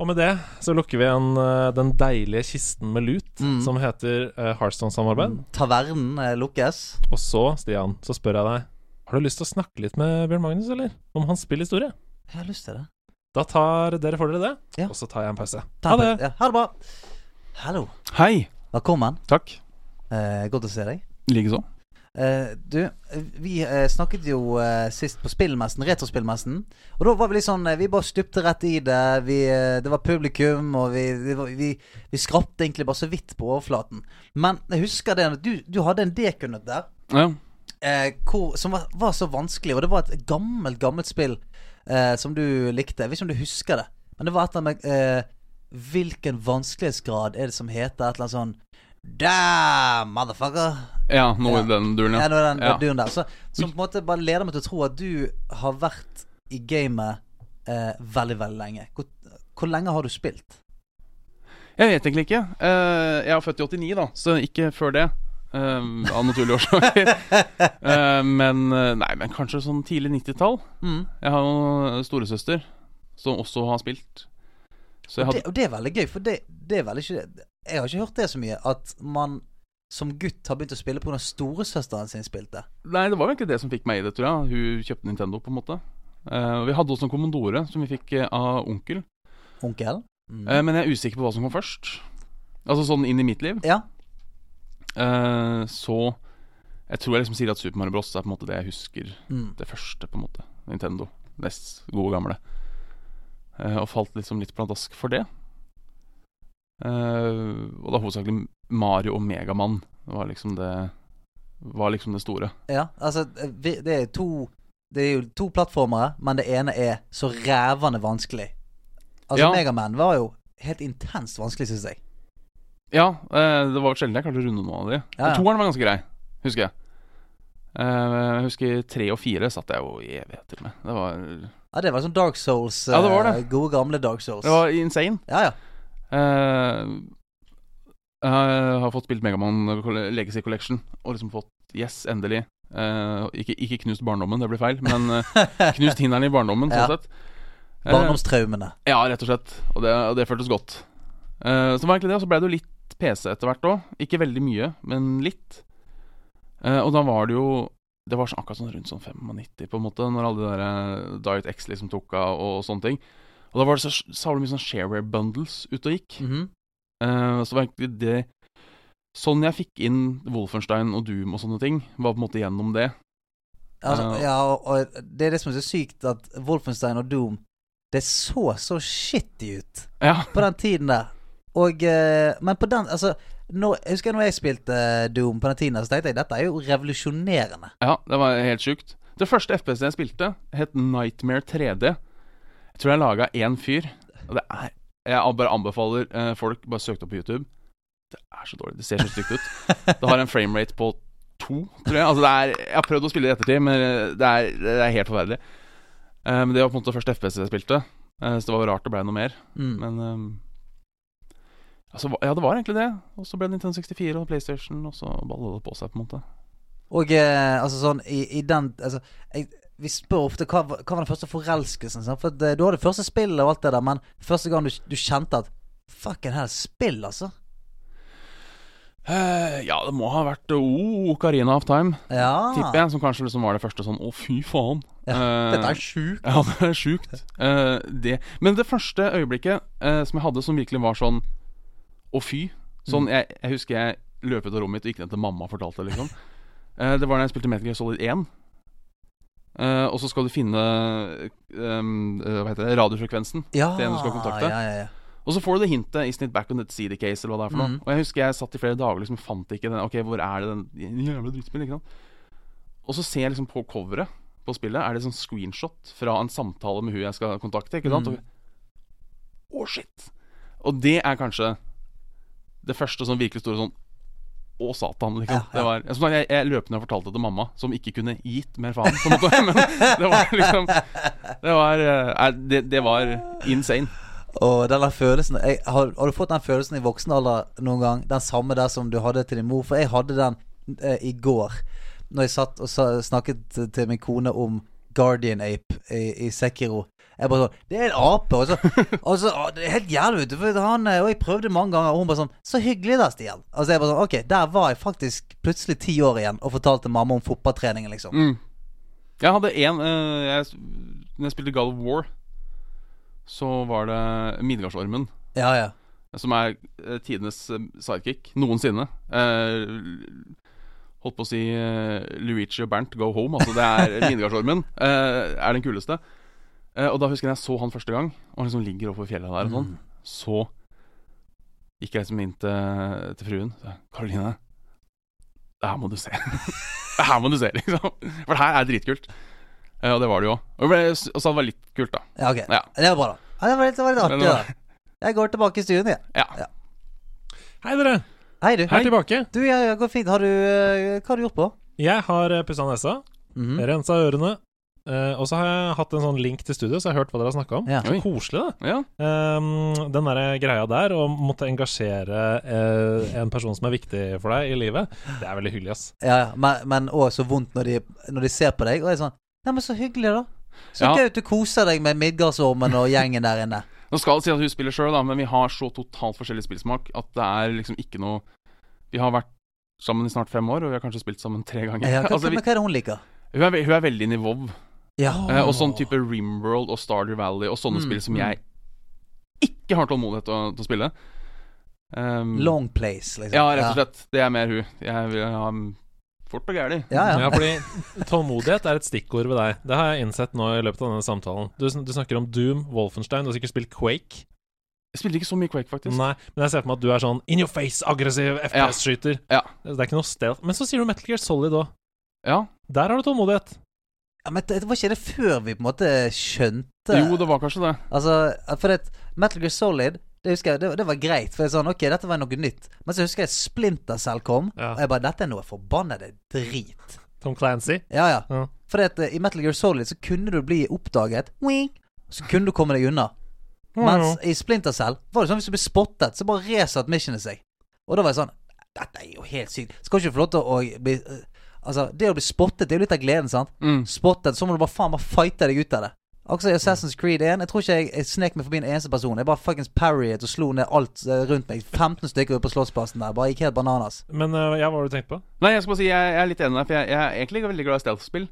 Og med det så lukker vi en, eh, den deilige kisten med lut
Mm.
som heter eh, Hearthstone-samarbeid.
Tavernen eh, lukkes.
Og så, Stian, så spør jeg deg Har du lyst til å snakke litt med Bjørn Magnus, eller? Om hans spillhistorie?
Jeg har lyst til det.
Da tar dere får dere det,
Ja.
og så tar jeg en pause.
Ta
Ha det!
en pause. Ja, ha det bra. Hallo.
Hei.
Velkommen.
Takk.
Eh, godt å se deg.
Likeså.
Eh, du, eh, vi eh, snakket jo eh, sist på spillmessen, retrospillmessen. Og da var vi litt sånn eh, Vi bare stupte rett i det. Vi, eh, det var publikum, og vi, det var- vi, vi skrapte egentlig bare så vidt på overflaten. Men jeg husker det at du, du hadde en dekunnet der
Ja.
eh, hvor, som var, var så vanskelig. Og det var et gammelt, gammelt spill eh, som du likte. Jeg vet ikke om du husker det, men det var et eller annet med eh, Hvilken vanskelighetsgrad er det som heter et eller annet sånn Damn, motherfucker.
ja, noe i
Ja.
den duren,
Ja,
ja.
det var den
Ja.
duren der. Så, som på en måte bare leder meg til å tro at du har vært i gamet eh, veldig, veldig lenge. Hvor, hvor lenge har du spilt?
Jeg vet egentlig ikke. Eh, jeg er født i 89, da, så ikke før det. eh, av naturlige årsaker. Eh, men eh, Nei, men kanskje sånn tidlig 90-tall.
Mm.
Jeg har jo storesøster som også har spilt. Så jeg
Og,
hadde
det, og det er veldig gøy, for det, det er vel ikke Jeg har ikke hørt det så mye, at man som gutt har begynt å spille pga. storesøsteren sin spilte.
Nei, det var jo egentlig det som fikk meg i det, tror jeg. Hun kjøpte Nintendo, på en måte. Eh, vi hadde også en Commodore som vi fikk eh, av onkel.
Onkel? Mm.
Eh, men jeg er usikker på hva som kom først. Altså sånn inn i mitt liv.
Ja.
Eh, så jeg tror jeg liksom sier at Super Mario Bros. er på en måte det jeg husker.
Mm.
Det første, på en måte. Nintendo. Nest gode gamle. Eh, og falt liksom litt pladask for det. Eh, og da hovedsakelig Mario og Megamann var liksom det Var liksom det store.
ja. Altså, vi, det er to Det er jo to plattformere, men det ene er så rævende vanskelig. Altså,
Ja.
Megaman var jo helt intenst vanskelig, syns jeg.
Ja, eh, det var vel sjelden jeg klarte å runde noen av de.
Ja, ja.
Men Toeren var ganske grei, husker jeg. Eh, jeg husker tre og fire satt jeg jo i evigheter med. Det var,
Ja, det var sånn Dark Souls.
Ja, det var det.
eh, Gode gamle Dark Souls.
det var insane.
Ja, ja.
Eh, Jeg har- har fått spilt Megaman Legacy Collection og liksom fått Yes, endelig. Eh, ikke, ikke knust barndommen, det blir feil, men eh, knust hindrene i barndommen,
Ja.
sånn sett. Eh,
Barndomstraumene.
ja, rett og slett. Og det, og det føltes godt. Eh, så var egentlig det, og så ble det jo litt PC etter hvert òg. Ikke veldig mye, men litt. Eh, og da var det jo Det var sånn, akkurat sånn rundt sånn 95, på en måte, når alle de der eh, Diet X liksom tok av og, sånne ting. Og da var det så savla mye sånn shareware bundles ute og gikk.
Mhm.
Eh, så var egentlig det Sånn jeg fikk inn Wolfenstein og Doom og sånne ting, var på en måte gjennom det.
altså,
Ja.
ja, og, og det er det som er så sykt, at Wolfenstein og Doom Det så så shitty ut.
Ja.
på den tiden der. Og eh, Men på den Altså, når, jeg husker når jeg spilte eh, Doom på den tiden, der, så tenkte jeg dette er jo revolusjonerende.
Ja, det var helt sjukt. Det første FPS jeg spilte, het Nightmare 3D. Jeg tror jeg laga én fyr. Og det er Jeg bare anbefaler eh, folk bare søk det opp på YouTube. Det er så dårlig. Det ser så stygt ut. Det har en framerate på to, tror jeg. Altså, det er Jeg har prøvd å spille det i ettertid, men det er, det er helt forferdelig. Eh, Men det var på en måte første FPS jeg spilte, eh, så det var rart det ble noe mer.
Mm.
Men eh, Altså, ja, det var egentlig det. Og så ble det Nintendo 64 og PlayStation, og så balla det på seg, på en måte.
Og eh, altså sånn i, i den Altså, jeg, vi spør ofte hva, var- hva var den første forelskelsen. Sant? For det, du har det første spillet og alt det der, men første gang du, du kjente at Fucking hell, spill, altså.
Eh, ja, det må ha vært oh, Ocarina of Time,
Ja.
tipper jeg. Som kanskje liksom var det første sånn Å, fy faen.
Ah. Ja,
Eh,
Dette er sjukt.
ja, det er sjukt. Eh, det. Men det første øyeblikket eh, som jeg hadde som virkelig var sånn Å, fy. Sånn, jeg, jeg husker jeg løp ut av rommet mitt og gikk ned til mamma og fortalte det, liksom. Eh, det var da jeg spilte Metal Gear Solid 1. Eh, og så skal du finne ehm, eh, Hva heter det radiofrekvensen
Ja,
til en du skal kontakte.
Ja, ja, ja.
Og så får du det hintet i snitt back on that CD case, eller hva det er for noe.
Mm.
Og jeg husker jeg satt i flere dager liksom fant ikke den Ok, hvor er det den jævla drittspillet, ikke sant? Og så ser jeg liksom på coveret på spillet, er det sånn screenshot fra en samtale med hun jeg skal kontakte, ikke sant?
Mm.
Og- Å, shit! Og det er kanskje det første sånn virkelig store sånn å, satan, liksom.
Ja, ja.
Det var, som sagt, jeg, jeg løp ned og fortalte det til mamma, som ikke kunne gitt mer faen, på en måte. Men det var liksom Det var, eh, nei, det, det var insane.
Og den der følelsen jeg, har, har du fått den følelsen i voksen alder noen gang? Den samme der som du hadde til din mor? For jeg hadde den eh, i går. Når jeg satt og sa, snakket til- til min kone om Guardian Ape i, i Sekiro. Jeg bare sånn Det er en ape! Og så, og så å, Det er helt jævlig, vet du. For han, eh, og jeg prøvde mange ganger, og hun bare sånn Så hyggelig da, Stian. Altså jeg bare sånn Ok, der var jeg faktisk plutselig ti år igjen og fortalte mamma om fotballtreningen, liksom.
Jeg hadde én eh, jeg, Når jeg spilte God of War, så var det Midgardsormen.
Ja, ja.
Som er eh, tidenes eh, sidekick noensinne. Eh, holdt på å si eh, Luigi og Bernt go home. Altså, det er Midgardsormen. eh, er den kuleste. Eh, og da husker jeg jeg så han første gang, og han liksom ligger over fjellet der og sånn. Så gikk jeg liksom inn til, til fruen. Så, jeg, Karoline, det her må du se. det her må du se, liksom. For det her er dritkult. Eh, og det var det jo òg. Og det ble- og så det var litt kult, da.
Ja, ok.
Ja.
Det var bra, da. Ja, det var litt, det var litt artig, da. Jeg går tilbake i stuen, jeg.
Ja.
Ja.
Hei, dere!
Hei, du.
Her tilbake.
Du, ja, ja, går fint. Har du, eh, hva har du gjort på?
Jeg har eh, pussa nesa,
Mhm.
rensa ørene, eh, og så har jeg hatt en sånn link til studio, så jeg har hørt hva dere har snakka om.
Ja.
Så koselig, det.
ja.
Ehm, den der greia der å måtte engasjere eh, en person som er viktig for deg i livet, det er veldig hyggelig, ass.
Ja, ja. Men, men også så vondt når de, når de ser på deg og er sånn Nei, men så hyggelig, da. Så
Ja.
gøy at du koser deg med Midgardsormen og gjengen der inne.
Nå skal det si at hun spiller sjøl, men vi har så totalt forskjellig spillsmak at det er liksom ikke noe Vi har vært sammen i snart fem år, og vi har kanskje spilt sammen tre ganger.
Ja, hva,
altså, vi,
men hva er det hun liker?
hun, er, ve- hun er veldig inn i WoW,
Ja.
eh, og sånn type Rimworld og Stardew Valley og sånne
Mm,
spill som
mm.
jeg ikke har tålmodighet til å, til å spille. Um,
Long place, liksom.
ja, rett og slett. Det er mer hun. Jeg vil ha um, fort og gæli.
Ja, ja.
Ja, fordi tålmodighet er et stikkord ved deg. Det har jeg innsett nå i løpet av denne samtalen. Du, sn- du snakker om Doom, Wolfenstein, du har sikkert spilt Quake.
Jeg spilte ikke så mye Quake, faktisk.
Nei, men jeg ser for meg at du er sånn in your face, aggressiv FPS-skyter.
Ja.
Det er ikke noe stealth. Men så sier du Metal Gear Solid òg.
Ja.
Der har du tålmodighet.
ja men det, det var ikke det før vi på en måte skjønte
Jo, det var kanskje det.
Altså, for det, Metal Gear Solid det husker jeg, det, det var greit, for jeg sånn, ok, dette var noe nytt. Men så husker jeg Splinter Cell kom,
Ja.
og jeg bare Dette er noe forbannede drit.
Tom Clancy.
Ja, ja.
Ja.
Fordi at eh, i Metal Gear Solid så kunne du bli oppdaget. Wink! Så kunne du komme deg unna. Mens i Splinter Cell var det sånn hvis du ble spottet, så bare resatt missionet seg. Og da var jeg sånn Dette er jo helt sykt. Skal ikke få lov til å bli eh, Altså, det å bli spottet, det er jo litt av gleden, sant? Spottet, så må du bare faen bare fighte deg ut av det. Akkurat som i Assassin's Creed 1. Jeg tror ikke jeg, jeg snek meg forbi en eneste person. Jeg bare fuckings parryet og slo ned alt eh, rundt meg. 15 stykker ute på Slottsplassen der. Bare gikk helt bananas.
Men eh, ja, hva har du tenkt på?
Nei, jeg skal bare si jeg, jeg er litt enig med deg, for jeg, jeg er egentlig veldig glad i stealth-spill.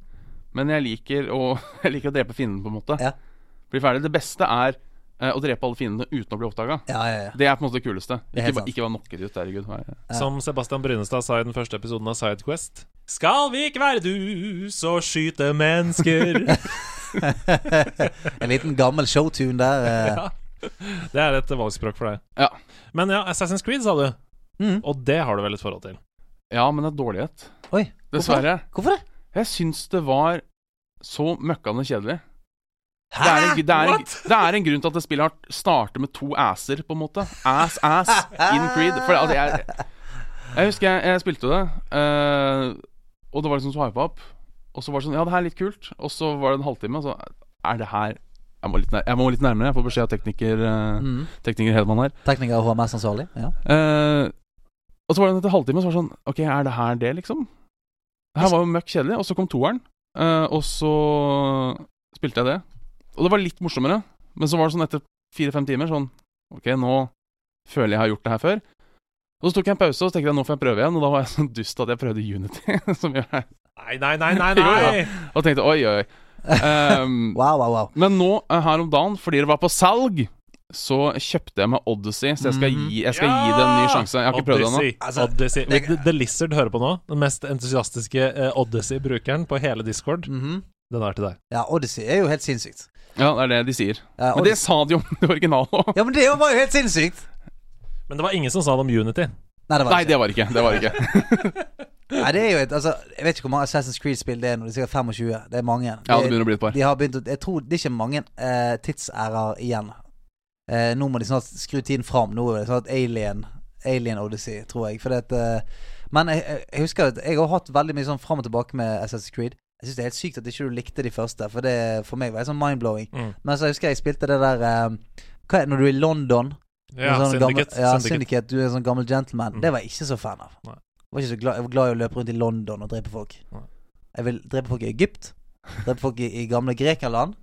Men jeg liker, å, jeg liker å drepe fienden, på en måte.
Ja.
Bli ferdig. Det beste er eh, å drepe alle fiendene uten å bli oppdaga.
Ja, ja, ja.
Det er på en måte det kuleste.
er helt
Ikke, ba-
sant.
ikke bare knocket ut, herregud. Nei.
Som Sebastian Brynestad sa i den første episoden av Sidequest. Skal vi ikke være dus og skyte mennesker?
En liten gammel showtune der. eh.
det er et valgspråk for deg.
Ja.
Men ja, Assassin's Creed, sa du. Og det har du vel et forhold til?
ja, men det er dårlighet.
Oi.
Dessverre.
Hvorfor det?
Jeg syns det var så møkkande kjedelig. Det
Hæ?
er, en, det, er en, det er en grunn til at det spillet har starter med to asser, på en måte. Ass, ass in Creed. For altså, jeg, jeg husker jeg, jeg spilte det, eh, og det var liksom så hypa opp. Og så var det sånn Ja, det her er litt kult. Og så var det en halvtime, og så er det her Jeg må litt, nær, jeg må litt nærmere. Jeg får beskjed av tekniker, eh,
Mm.
tekniker Hedman her.
Tekniker og HMS-ansvarlig. Ja.
Eh, og så var det etter halvtime så var det sånn Ok, er det her det, liksom? Det her var jo møkk kjedelig. Og så kom toeren, eh, og så spilte jeg det. Og det var litt morsommere, men så var det sånn etter fire-fem timer sånn Ok, nå føler jeg jeg har gjort det her før. Og så tok jeg en pause og så tenkte jeg, nå får jeg prøve igjen, og da var jeg sånn dust at jeg prøvde Unity. som gjør det.
Nei, nei, nei, nei!
Jo,
nei.
Og tenkte oi, oi. Um,
Wow, wow, wow.
men nå, eh, her om dagen, fordi det var på salg, så kjøpte jeg meg Odyssey. Så jeg skal gi, jeg skal gi det en ny sjanse. Jeg har ikke prøvd det ennå.
Odyssey.
Altså,
Odyssey.
det-
The, The Lizard hører på nå. Den mest entusiastiske eh, Odyssey-brukeren på hele Discord. Den er til deg.
Ja, Odyssey er jo helt sinnssykt.
Ja, det er det de sier.
Ja,
Men det
Odyssey-
sa de om det originale òg.
ja, men det var jo helt sinnssykt!
Men det var ingen som sa det om Unity.
Nei, det var
Nei,
det
det var ikke. Det var ikke.
ikke. Nei, det er jo et, altså, jeg vet ikke hvor mange Assassin's Creed-spill det er nå. Det er sikkert 25. Det er mange.
Ja, det begynner å bli et par.
De har begynt å, Jeg tror det er ikke mange eh, tidsærer igjen. Eh, nå må de snart skru tiden fram. Nå er det snart Alien Alien Odyssey, tror jeg. Fordi at, eh, men jeg, jeg- jeg husker at jeg har hatt veldig mye sånn fram og tilbake med Assassin's Creed. Jeg syns det er helt sykt at ikke du likte de første, for det for meg var det sånn mind-blowing.
Mm.
Men så husker jeg jeg spilte det der eh, Hva er det når du er i London?
Ja,
En sånn gammel-
Syndicate.
ja,
Syndicate.
Syndicate. Du er en sånn gammel gentleman.
Mm.
Det var jeg ikke så fan av.
Nei.
Jeg var ikke så glad, jeg var glad i å løpe rundt i London og drepe folk.
Nei.
Jeg vil drepe folk i Egypt. Drepe folk i, i gamle Grekerland.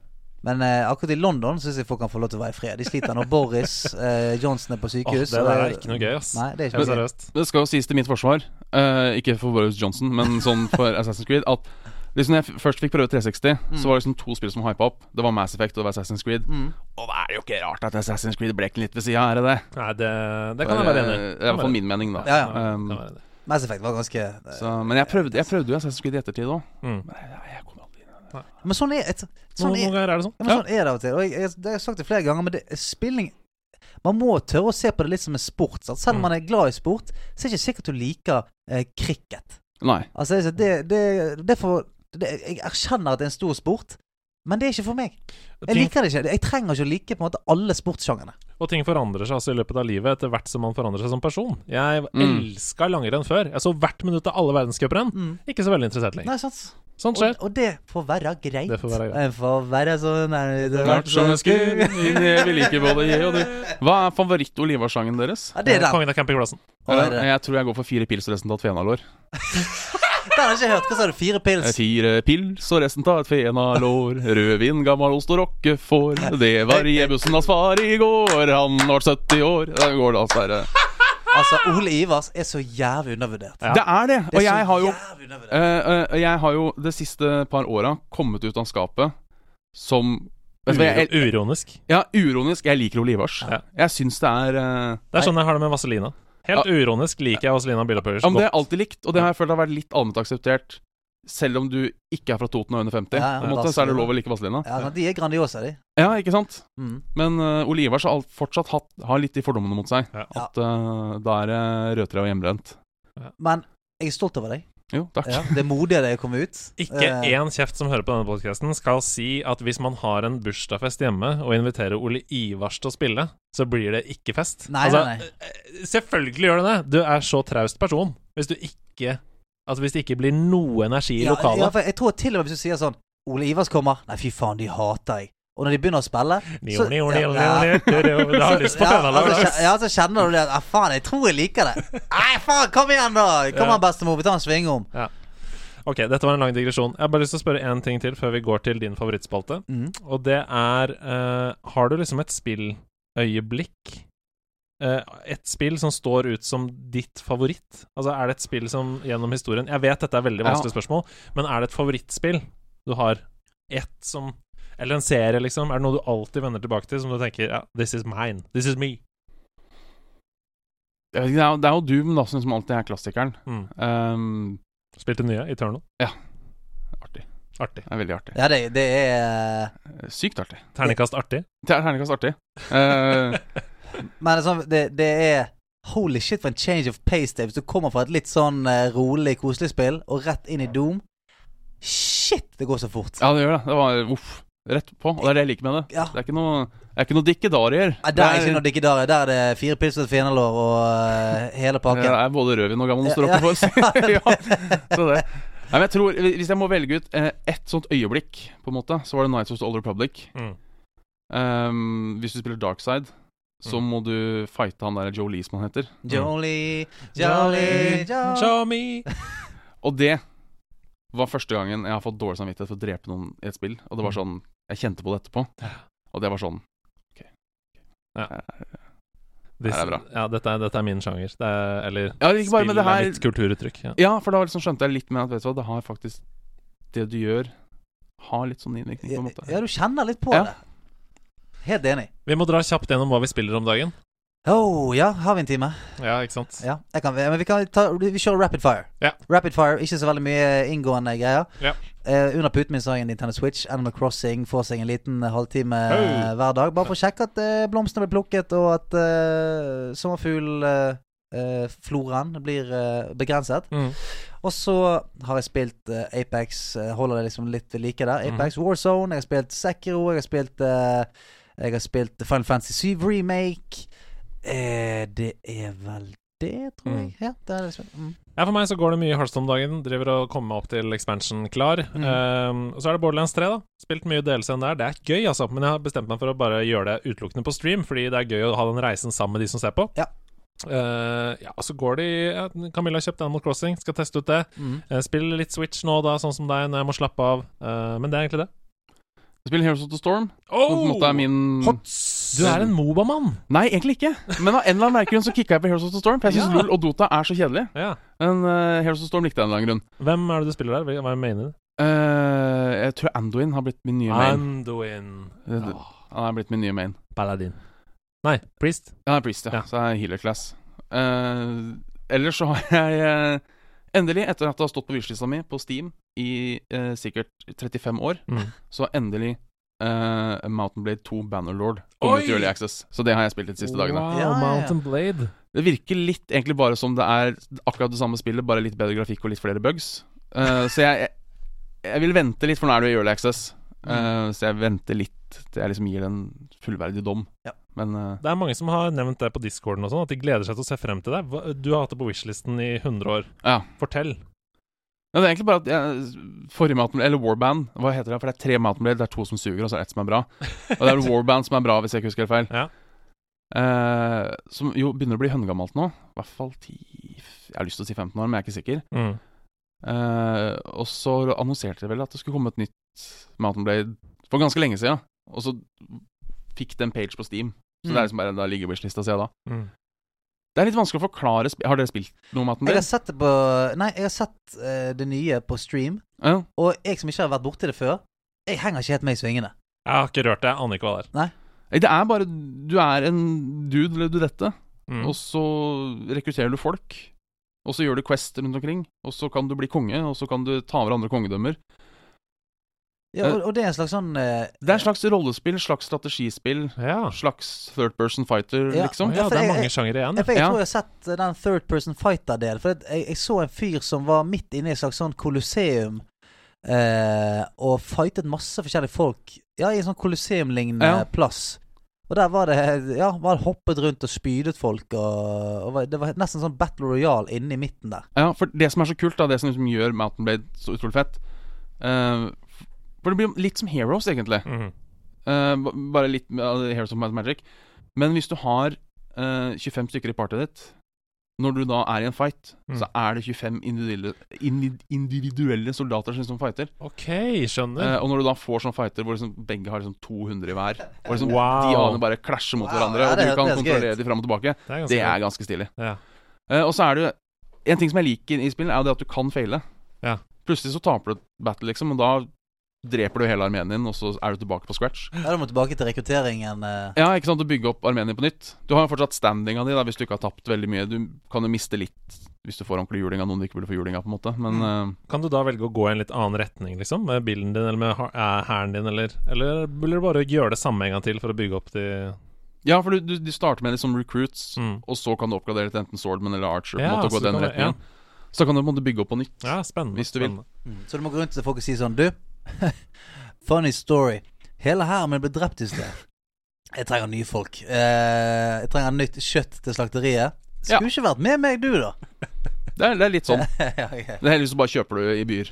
Men eh, akkurat i London syns jeg folk kan få lov til å være i fred. De sliter når Boris eh, Johnson er på
Åh, det
sykehus.
der
og-
er ikke noe gøy, ass.
Nei, det er
Helt
ikke noe gøy.
seriøst.
Det skal jo sies til mitt forsvar, eh, ikke for Boris Johnson, men sånn for Assassin's Creed, at liksom når jeg f- først fikk prøve 360,
Mm.
så var det liksom to spill som hypa opp. Det var Mass Effect og det var Assassin's Creed. Og det er jo ikke rart at Assassin's Creed blekk litt ved sida, er det det?
Nei, det, det kan jeg være enig i.
Det er i hvert fall min mening, da.
Ja, ja.
Um,
Kan være enig.
Mass Effect var ganske eh,
så, men jeg prøvde, jeg prøvde jo Assassin's Creed i ettertid òg.
Mm.
Men sånn er, et, sånn
Noen,
er,
noen ganger er det sånn.
ja, men sånn er det av og til. Og jeg, jeg, det har jeg sagt det flere ganger, men det, spilling Man må tørre å se på det litt som en sport. Sant? Selv om
Mm.
man er glad i sport, så er det ikke sikkert du liker eh, cricket.
Nei.
Altså, jeg- det, det, det er for det, Jeg erkjenner at det er en stor sport, men det er ikke for meg. Jeg
Ting,
liker det ikke. Jeg trenger ikke å like på en måte alle sportssjangrene.
og ting forandrer seg altså i løpet av livet etter hvert som man forandrer seg som person. Jeg
Mm.
elska langrenn før. Jeg så hvert minutt av alle verdenscuprenn. Ikke så veldig interessert lenger.
Mm. Nei, sant?
Sånt
Og,
skjer.
og det får være greit.
Det får være greit.
Det får være sånn nei, det
Vært som en skur,
Ja,
vi liker både jeg og du. Hva er favoritt-Olivar-sangen deres?
det er den.
Eh, Kongen av campingplassen.
Og det er den.
Jeg tror jeg går for fire pils og resten tar et fenalår.
Den har jeg ikke hørt. Hva sa du? Fire pils?
Fire pils og resten tar et fenalår. Rødvin, gammel ost og rockefår. Det var Jebussens far i går, han ble 70 år. Det går det altså der.
Altså, Ole Ivars er så jævlig undervurdert.
Ja.
Det er det!
Det er
Og jeg
så
har jo
jævlig undervurdert.
eh, eh, Jeg har jo de siste par åra kommet ut av skapet som Vet du hva, jeg,
Uro- Uironisk.
ja, uronisk. Jeg liker Ole Ivars.
Ja.
Jeg syns det er eh,
Det er sånn jeg har det med Vaselina. Helt uironisk liker jeg Vaselina Billapøyers
Ja, men Det har jeg
godt.
alltid likt, og det har jeg følt har vært litt allment akseptert. Selv om du ikke er fra Toten og under 50,
Ja, ja,
på en måte, så er det
Vazelina.
lov å like Vazelina.
Ja, sant, de er Grandiosa, de.
Ja, ikke sant?
Mm.
Men uh, Ole Ivars har alt- fortsatt hatt, har litt de fordommene mot seg.
Ja.
At eh, da er det rødtre og hjemmebrent.
Men jeg er stolt over deg.
Jo, takk.
Ja, det er modig av deg å komme ut.
Ikke
Eh,
én kjeft som hører på denne podkasten, skal si at hvis man har en bursdagsfest hjemme og inviterer Ole Ivars til å spille, så blir det ikke fest.
Nei,
Altså,
nei, nei.
eh, Selvfølgelig gjør det det! Du er så traust person. Hvis du ikke Altså hvis det ikke blir noe energi i
Ja,
lokalet.
Ja, for jeg tror til og med hvis du sier sånn Ole Ivers kommer. Nei, fy faen, de hater jeg. Og når de begynner å spille
Nio, nio, nio, nio, nio, nio. Du har lyst på
ja,
Fønaland,
altså,
da.
kje- ja, så kjenner du det at ah, faen, jeg tror jeg liker det. Nei, faen, kom igjen, da! Kom
Ja.
an, bestemor, vi tar en sving om.
Ok, dette var en lang digresjon. Jeg har bare lyst til å spørre én ting til før vi går til din favorittspalte.
Mm.
Og det er eh, Har du liksom et spilløyeblikk? Eh, et spill som står ut som ditt favoritt? Altså, er det et spill som gjennom historien Jeg vet dette er veldig
Ja.
vanskelig spørsmål, men er det et favorittspill du har? Ett som Eller en serie, liksom? Er det noe du alltid vender tilbake til, som du tenker ja, This is mine. This is me.
Jeg vet ikke, det, er, jo- det er jo Doom da, som alltid er klassikeren.
Mm.
Ehm,
Spilte nye Eternal.
artig.
Artig.
Det er veldig artig.
Ja, det, det er eh,
Sykt artig.
Terningkast artig.
Det er terningkast artig. Eh,
Men det er sånn, det, det er Holy shit, for en change of pace, Dave. Du kommer fra et litt sånn eh, rolig, koselig spill, og rett inn i Doom. Shit, det går så fort.
ja, det gjør det. Det var uff. Rett på. Og det er det jeg liker med det.
Ja.
Det er ikke noe, det er ikke noe dikkedarier.
Nei, Der er ikke noe dikkedare. Der er det fire pils og et fiendelår og eh, hele
Ja, Det
pakken.
er både rødvin og gammel og
Ja,
står
ja.
oppe for. så- ja, så det. Nei, men jeg tror, Hvis jeg må velge ut eh, ett sånt øyeblikk, på en måte, så var det Nights of the Old Republic.
Mm.
Ehm, hvis du spiller Darkside, så må du fighte han der Joe Lee, som han heter.
Jolly, jolly, jolly
Show me.
Og det var første gangen jeg har fått dårlig samvittighet for å drepe noen i et spill. Og det var sånn Jeg kjente på det etterpå. Og det var sånn Eh,
This,
Her er bra.
Ja, dette er, dette er min sjanger. Det er, eller
Ja, ikke bare med det
er
her
mitt kulturuttrykk. Ja.
Ja, for da liksom skjønte jeg litt mer at vet du hva, det har faktisk Det du gjør, har litt sånn innvirkning, på en måte.
Ja, du kjenner litt på
Ja.
det. Helt enig.
Vi må dra kjapt gjennom hva vi spiller om dagen.
Oh, ja, har vi en time?
Ja, ikke sant?
Ja, jeg kan, men vi, kan ta, vi kjører rapid fire.
Ja.
Rapid fire, Ikke så veldig mye inngående greier.
Ja.
Eh, under puten min så har jeg en Nintendo Switch. Animal Crossing får seg en liten halvtime eh, hver dag. Bare for å sjekke at eh, blomstene blir plukket, og at uh, sommerfuglfloraen eh, blir eh, begrenset.
Mm.
Og så har jeg spilt uh, Apex, eh, holder det liksom litt ved like der. Apex War Zone, jeg har spilt Sekiro, jeg har spilt eh, Jeg har spilt Final Fantasy 7 Remake. Eh, det er vel det, tror jeg.
Mm.
Ja, det er det jeg har spilt. Mm.
Ja, For meg så går det mye Hearthstone om dagen. Driver og kommer meg opp til expansion klar.
Mm.
Um, og så er det Borderlands 3, da. Spilt mye delelse enn der. Det er gøy, altså. Men jeg har bestemt meg for å bare gjøre det utelukkende på stream, fordi det er gøy å ha den reisen sammen med de som ser på.
Ja.
Eh, ja, og så går det i ja, Camilla har kjøpt Animal Crossing, skal teste ut det.
Mm.
Eh, spiller litt Switch nå, da, sånn som deg, når jeg må slappe av. Eh, men det er egentlig det.
Jeg spiller Heroes of the Storm. Som på en
Oh!
måte er min
Du er en Moba-mann!
Nei, egentlig ikke. Men av en eller annen merkelig grunn så kicka jeg på Heroes of the Storm. For jeg syns
Ja.
LOL og Dota er så kjedelig.
Ja.
Men eh, Heroes of the Storm likte jeg av en eller annen grunn.
Hvem er det du spiller der? Hva mener du?
Eh, jeg tror Anduin har blitt min nye main.
Anduin.
Det- det- Han er blitt min nye main.
Paladin. Nei, Priest.
Ja, han er priest, ja.
Ja.
Så jeg er healer class. Eh, ellers så har jeg eh, endelig, etter at det har stått på vishlista mi på Steam i eh, sikkert 35 år,
Mm.
så har endelig eh, Mountain Blade 2 Bannerlord kommet til
Oi!
Early Access. Så det har jeg spilt de siste dagene.
Wow,
Ja, ja, ja.
Mountain Blade.
Det virker litt egentlig bare som det er akkurat det samme spillet, bare litt bedre grafikk og litt flere bugs. Eh, så jeg, jeg, jeg vil vente litt, for nå er det jo i Early Access. Eh, Så jeg venter litt til jeg liksom gir det en fullverdig dom.
Ja.
Men eh,
Det er mange som har nevnt det på discorden og sånn, at de gleder seg til å se frem til deg. Hva- Du har hatt det på wishlisten i 100 år.
Ja.
Fortell.
ja, det er egentlig bare at jeg, forrige Mountain Eller Warband, hva heter det? For det er tre Mountain Blade, det er to som suger, og så er det ett som er bra. Og det er Warband som er bra, hvis jeg ikke husker helt feil.
Ja.
Eh, som jo begynner å bli høngammalt nå. I hvert fall 10 Jeg har lyst til å si 15 år, men jeg er ikke sikker.
Mm.
Eh, og så annonserte de vel at det skulle komme et nytt Mountain Blade for ganske lenge siden. Og så fikk de en page på Steam. Så det er liksom bare da ligger wishlista si da.
Mm.
Det er litt vanskelig å forklare spi- Har dere spilt noe Mountain
Jeg har
Blade?
sett det på Nei, jeg har sett eh, det nye på stream,
Ja.
og jeg som ikke har vært borti det før, jeg henger ikke helt med i svingene.
Jeg har ikke rørt det. Jeg aner ikke hva det er.
Nei, Det er bare Du er en dude eller dudette,
Mm.
og så rekrutterer du folk. Og så gjør du quest rundt omkring, og så kan du bli konge, og så kan du ta over andre kongedømmer.
Ja, og, og det er en slags sånn eh,
Det er et slags rollespill, slags strategispill,
Ja.
slags third person fighter,
Ja.
liksom.
Ah. ja,
for
det er
jeg-
mange sjangere igjen.
Jeg, for jeg
Ja.
tror jeg har sett eh, den third person fighter-delen. For at jeg, jeg så en fyr som var midt inne i et slags sånn kolosseum eh, og fightet masse forskjellige folk. Ja, i en sånn kolosseum-lignende
Ja.
plass. Og der var det Ja, man hoppet rundt og spydet folk og, og var- Det var nesten sånn Battle Royale inne i midten der.
Ja, for det som er så kult, da, det som liksom gjør Mountain Blade så utrolig fett eh, For det blir litt som Heroes, egentlig.
Mhm.
Eh, ba- bare litt med uh, Heroes of Might and Magic. Men hvis du har eh, 25 stykker i partyet ditt, når du da er i en fight,
Mm.
så er det 25 individuelle, indi- individuelle soldater som liksom fighter.
OK, skjønner.
Eh, og når du da får sånne fighter hvor liksom begge har liksom 200 i hver, og liksom
Wow.
de anene bare klasjer mot
Wow,
hverandre,
ja,
og
det
du
er-
kan
det er så gøy.
kontrollere de fram og tilbake,
Det er ganske
det er ganske stilig.
Ja.
Eh, og så er det jo En ting som jeg liker i spillet, er jo det at du kan feile.
Ja.
Plutselig så taper du et battle, liksom, og da dreper du hele armeen din, og så er du tilbake på scratch.
Da må tilbake til rekrutteringen. eh.
Ja, ikke sant, å bygge opp armeen din på nytt. Du har jo fortsatt standinga di da, hvis du ikke har tapt veldig mye. Du kan jo miste litt hvis du får ordentlig juling av noen du ikke burde få juling av, på en måte. Men eh,
Kan du da velge å gå i en litt annen retning, liksom? Med bilen din, eller med ha- eh, hæren din, eller Eller vil du bare gjøre det samme en gang til for å bygge opp de
ja, for du, du, de starter med det som recruits,
Mm.
og så kan du oppgradere til enten swordman eller archer.
Ja,
på en måte, og
så
gå
du
den
kan- ja.
retningen. Så kan du på en måte bygge opp på nytt.
Ja, spennende.
Hvis du vil.
spennende.
Så du må gå rundt til folk og si sånn Du, funny story. Hele hæren min ble drept i sted. Jeg trenger nye folk. Eh, jeg trenger nytt kjøtt til slakteriet.
Ja.
Skulle ikke vært med meg, du, da.
Det, er, det er litt sånn.
ja, ok.
Det er Heldigvis så bare kjøper du i byer.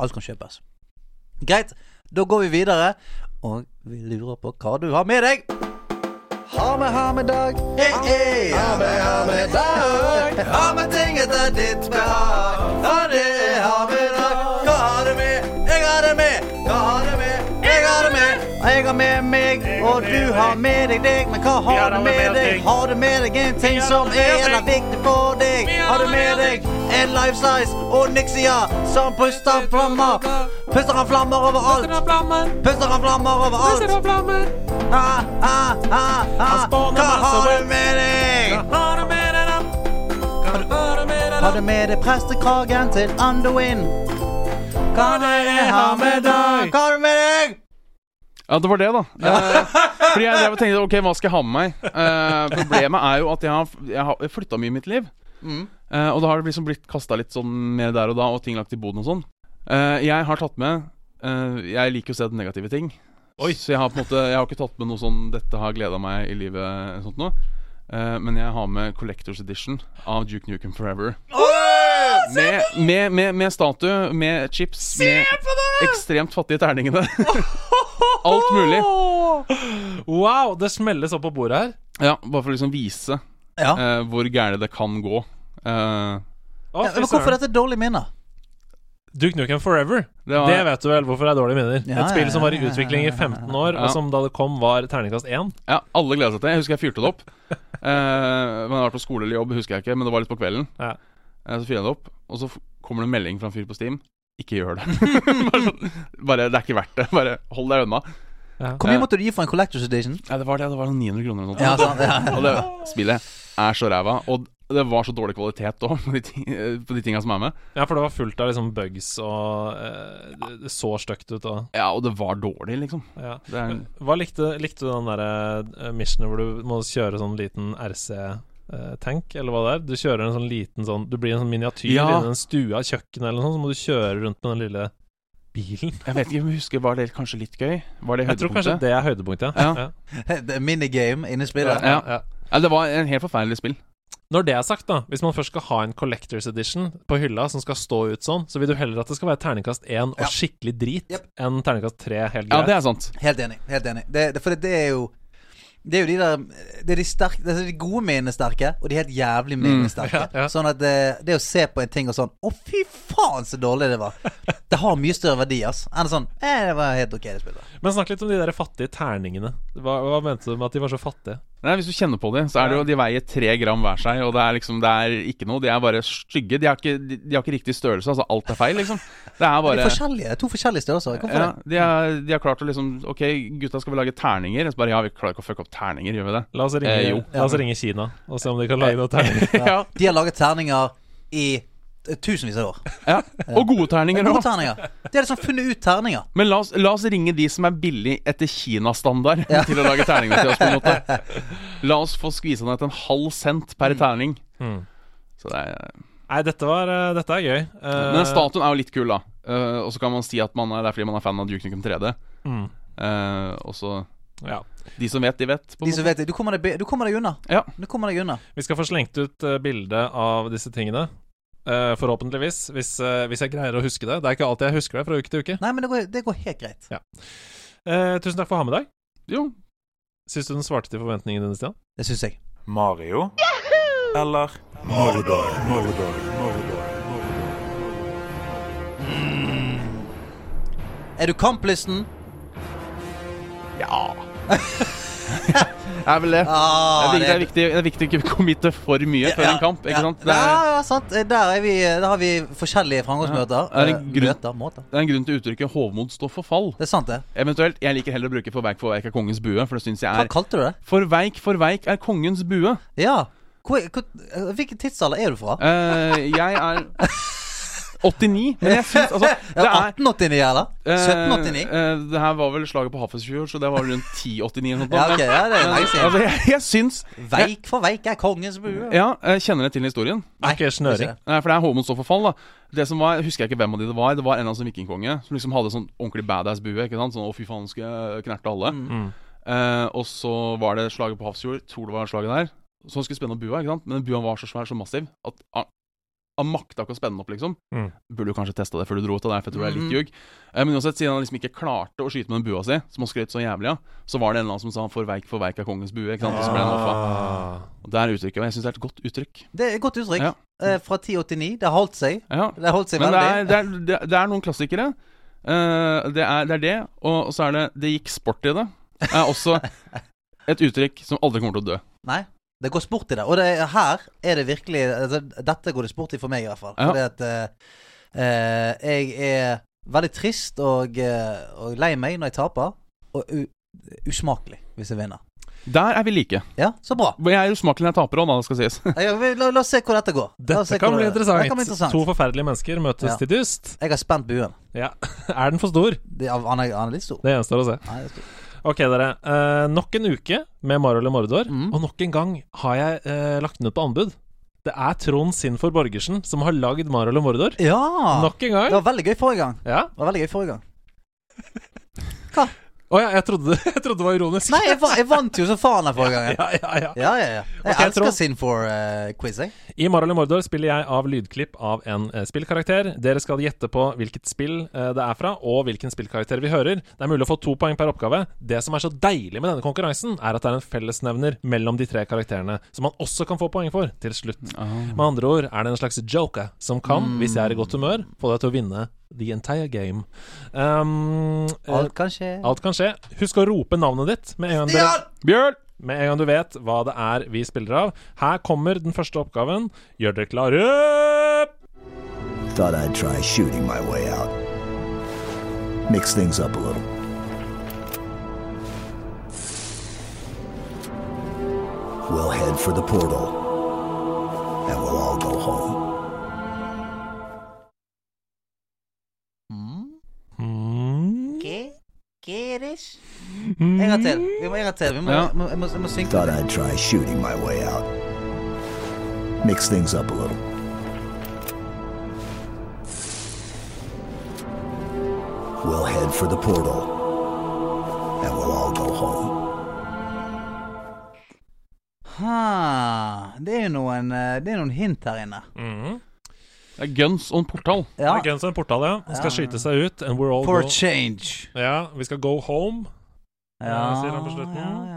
Alt kan kjøpes. Greit, da går vi videre, og vi lurer på hva du har med deg. Har med, har med dag. Hey, hey. Har med, har med dag. Har med ting etter ditt behag. Ja, det er har med dag. Hva har du med? Jeg har det med. Hva har du med? Jeg har det med. Og Jeg har med meg, og du har med deg deg. Men hva har du med deg? Har du med deg en ting som er jævla viktig for deg? Har du med deg en life size og Nixia som puster flammer? Puster han flammer overalt? Puster han flammer overalt? Ah, ah, ah, ah. Hva har du med deg? Har du med deg prestekragen til Anduin? Hva jeg har med deg? Hva har du med deg?
Ja, det var det, da. Eh, fordi jeg drev og tenkte ok, hva skal jeg ha med meg? Eh, problemet er jo at jeg har, jeg har flytta mye i mitt liv. Eh, og da har det liksom blitt kasta litt sånn mer der og da, og ting lagt i boden og sånn. Eh, jeg har tatt med eh, Jeg liker jo å se negative ting. Så jeg har på en måte Jeg har ikke tatt med noe sånn 'dette har gleda meg i livet' eller sånt noe. Eh, men jeg har med Collectors Edition av Duke Nukem Forever. Med, med, med, med statue, med chips, med ekstremt fattige terningene. Alt mulig.
Wow, det smelles opp på bordet her.
Ja, bare for å liksom vise
Ja.
eh, hvor gærent det kan gå. Eh,
Å,
Ja,
fy
men hvorfor
søren.
er dette dårlige minner?
Duke Nukem Forever.
Det var-
Det vet du vel hvorfor det er dårlige minner.
Ja,
Et spill som var i
ja, ja, ja,
utvikling i 15 år,
Ja.
og som da det kom, var terningkast 1.
ja, alle gleda seg til det. Jeg husker jeg fyrte det opp. Eh, men jeg var på skole eller jobb, husker jeg ikke, men det var litt på kvelden.
Ja.
Eh, så fyrte jeg det opp, og så f- kommer det en melding fra en fyr på Steam. Ikke gjør det. bare, sånn, bare, Det er ikke verdt det. Bare hold deg unna.
Hvor mye måtte du gi for en Collectors Edition?
Ja, det var det. Det var noen 900 kroner eller noe.
Ja, sant,
sånt.
ja.
Og det spillet er så ræva. Og det var så dårlig kvalitet òg, på de ting- eh, på de tinga som er med.
Ja, for det var fullt av liksom bugs, og eh, det- det så stygt ut. Og,
Ja, og det var dårlig, liksom.
ja.
Det er en
Hva likte, likte du den derre eh, missionen hvor du må kjøre sånn liten RC-tank, eller hva det er? Du kjører en sånn liten sånn Du blir en sånn miniatyr
Ja.
inni en stue av kjøkkenet eller noe sånt, så må du kjøre rundt med den lille bilen.
Jeg vet ikke om jeg husker, var det kanskje litt gøy? Var det
Jeg tror kanskje
høydepunktet?
det er høydepunktet,
Ja.
Det er minigame inne i spillet.
Ja. Ja, det var en helt forferdelig spill.
Når det er sagt, da, hvis man først skal ha en Collectors Edition på hylla som skal stå ut sånn, så vil du heller at det skal være terningkast 1 og
Ja.
skikkelig drit
Jep.
enn terningkast 3 helt
Ja,
greit.
det er sant.
Helt enig. helt enig det, det, For det, det er jo Det er jo de der Det er de, sterke, det er de gode minnene sterke, og de helt jævlig minnene sterke.
ja, ja.
Sånn at det, det å se på en ting og sånn Å, fy faen, så dårlig det var. Det har mye større verdi, ass. Enn sånn eh, Det var helt ok, det spillet.
Men snakk litt om de der fattige terningene. Hva, hva mente du med at de var så fattige?
Nei, Hvis du kjenner på dem, så er det jo de veier tre gram hver seg. Og det er liksom, det er ikke noe. De er bare stygge. De har ikke, de, de har ikke riktig størrelse. Altså, alt er feil, liksom. Det er
De er
bare
forskjellige, to forskjellige størrelser. Hvorfor
ja, de, er, de har klart å liksom Ok, gutta skal vi lage terninger. Og så bare ja, vi klarer ikke å fucke opp terninger, gjør vi det?
La oss ringe,
Eh, jo.
la oss ringe Kina og se om de kan
Eh,
lage noen terninger.
det? Ja. De har laget terninger i eh, tusenvis av år.
Ja. Og gode terninger
Gode
òg.
terninger. De har liksom funnet ut terninger.
Men la oss, la oss ringe de som er billig etter Kina-standard til å lage terninger til oss, på en måte. La oss få skvisa ned til en halv cent
Mm.
per terning. Så det er
Nei, dette, var, eh, dette er gøy. Eh,
Men statuen er jo litt kul, da. Eh, og så kan man si at man er, det er fordi man er fan av Duke Nukem 3D.
Mm.
Eh, og så
ja.
De som vet, de vet. på en
De som vet det. Du kommer deg, be- du kommer deg unna.
Ja.
Du kommer deg unna.
Vi skal få slengt ut eh, bilde av disse tingene. eh, forhåpentligvis, hvis, eh, hvis jeg greier å huske det. Det er ikke alltid jeg husker det fra uke til uke.
Nei, men det går, det går helt greit.
Eh, tusen takk for å ha med deg.
Jo,
Syns du den svarte til forventningene dine, Stian?
Det syns jeg.
Mario? Eller
Er du kamplisten?
det er vel det.
Ah,
det, er viktig, det er viktig å ikke committe for mye før en kamp. ikke sant?
Ja, Ah!
Det er,
ja, sant. Eh, Der, er vi, der har vi forskjellige framgangsmåter.
Ja, er det
Eh,
grunn-
Møter, måter.
det er en grunn til uttrykket 'hovmod står for fall'.
Det er sant, det.
Eventuelt, jeg liker heller å bruke 'for veik, for veik er kongens bue', for det syns jeg
Hva
er
kalte du det?
For veik, for veik er kongens bue.
Ja. Hvor, hvor, eh, hvilken tidsalder er du fra?
Eh, jeg er 89, men jeg syns altså
Er
Det
det
er
1889, eller?
Eh,
1789?
eh, det her var vel slaget på Hafrsfjord, så det var rundt 1089 eller noe.
Ja, ok, ja, det er
men-
lenge siden.
altså, jeg, jeg syns jeg,
Veik for veik er kongens bue.
Ja, jeg kjenner det til historien.
Nei,
ikke snøring.
det er ikke det.
Eh, For det er Håmon står for fall, da. Det som var, jeg husker jeg ikke hvem av de det var. Det var en eller annen sånn vikingkonge som liksom hadde sånn ordentlig badass bue. Ikke sant? Sånn 'Å, fy faen, skal jeg knerte alle'. Eh, og så var det slaget på Hafrsfjord. Tror det var slaget der. Så han skulle spenne opp bua, ikke sant? men den bua var så svær, så massiv, at han, han makta ikke å spenne den opp, liksom.
Mm.
Burde jo kanskje testa det før du dro ut av der, for jeg tror det er
Mhm.
litt ljug. Eh, men uansett, siden han liksom ikke klarte å skyte med den bua si, som han skrøt så jævlig av, så var det en eller annen som sa 'for veik, for veik er kongens bue', ikke sant. Og så ble han offa. Og det er uttrykket, og jeg syns det er et godt uttrykk.
Det er et godt uttrykk.
Ja.
Eh, fra 1089. Det har holdt seg.
Ja.
Det har holdt seg
Men det
veldig.
er, det, er, det, er, det er noen klassikere. Eh, det, er, det er det, og, og så er det 'det gikk sport i det'. er også et uttrykk som aldri kommer til å dø.
Nei, det går sport i det. Og det, er- her er det virkelig altså, Dette går det sport i for meg, i hvert fall.
Ja.
Fordi at eh, eh, jeg er veldig trist og, eh, og lei meg når jeg taper, og u usmakelig hvis jeg vinner.
Der er vi like.
Ja, så bra.
Men Jeg er usmakelig når jeg taper òg, da, det skal sies.
Ja, vi- la, la oss se hvor dette går. La oss se
Dette kan
hvor
bli
det-
interessant.
Det kan bli interessant.
To forferdelige mennesker møtes
Ja.
til dyst.
Jeg har spent buen.
Ja. er den for stor?
Det- Han er, han er litt stor.
Det gjenstår å se.
Nei, det er stor.
Ok, dere. Eh, nok en uke med Mario eller Mordor,
Mm.
og nok en gang har jeg eh, lagt den ut på anbud. Det er Trond Sinfor Borgersen som har lagd Mario eller Mordor.
Ja!
Nok en gang.
Det var veldig gøy forrige gang.
Ja.
Det var veldig gøy forrige gang.
Å ja, jeg trodde, jeg trodde det var ironisk.
Nei, jeg, va jeg vant jo som faen den forrige gangen.
Ja, ja, ja.
Ja, ja, ja. Jeg
Ok,
elsker
Trond.
Sinfor-quiz, jeg.
I Mario eller Mordor spiller jeg av lydklipp av en eh, spillkarakter. Dere skal gjette på hvilket spill eh, det er fra, og hvilken spillkarakter vi hører. Det er mulig å få to poeng per oppgave. Det som er så deilig med denne konkurransen, er at det er en fellesnevner mellom de tre karakterene, som man også kan få poeng for til slutt. Med andre ord er det en slags joker som kan, hvis jeg er i godt humør, få deg til å vinne the entire game. Um, eh,
Alt kan skje.
alt kan skje. Husk å rope navnet ditt med en gang dere
Bjørn!
med en gang du vet hva det er vi spiller av. Her kommer den første oppgaven. Gjør dere klare
Thought I'd try shooting my way out. Mix things up a little. We'll head for the portal. And we'll all go home.
Mm.
Ge- Gerish? En gang til. Vi må en gang til. Vi må,
Ja.
må, jeg må, jeg må synke.
Thought I'd try shooting my way out. Mix things up a little. We'll head for the portal. And we'll all go home.
Ha, det er jo noen, eh, det er noen hint her inne.
Mhm.
Det er guns on portal.
Ja.
Det er Guns on portal, ja. Han skal skyte seg ut. And we're all
For a
go-
change.
ja, vi skal go home. Ja, sier han på slutten.
ja, ja. ja, ja.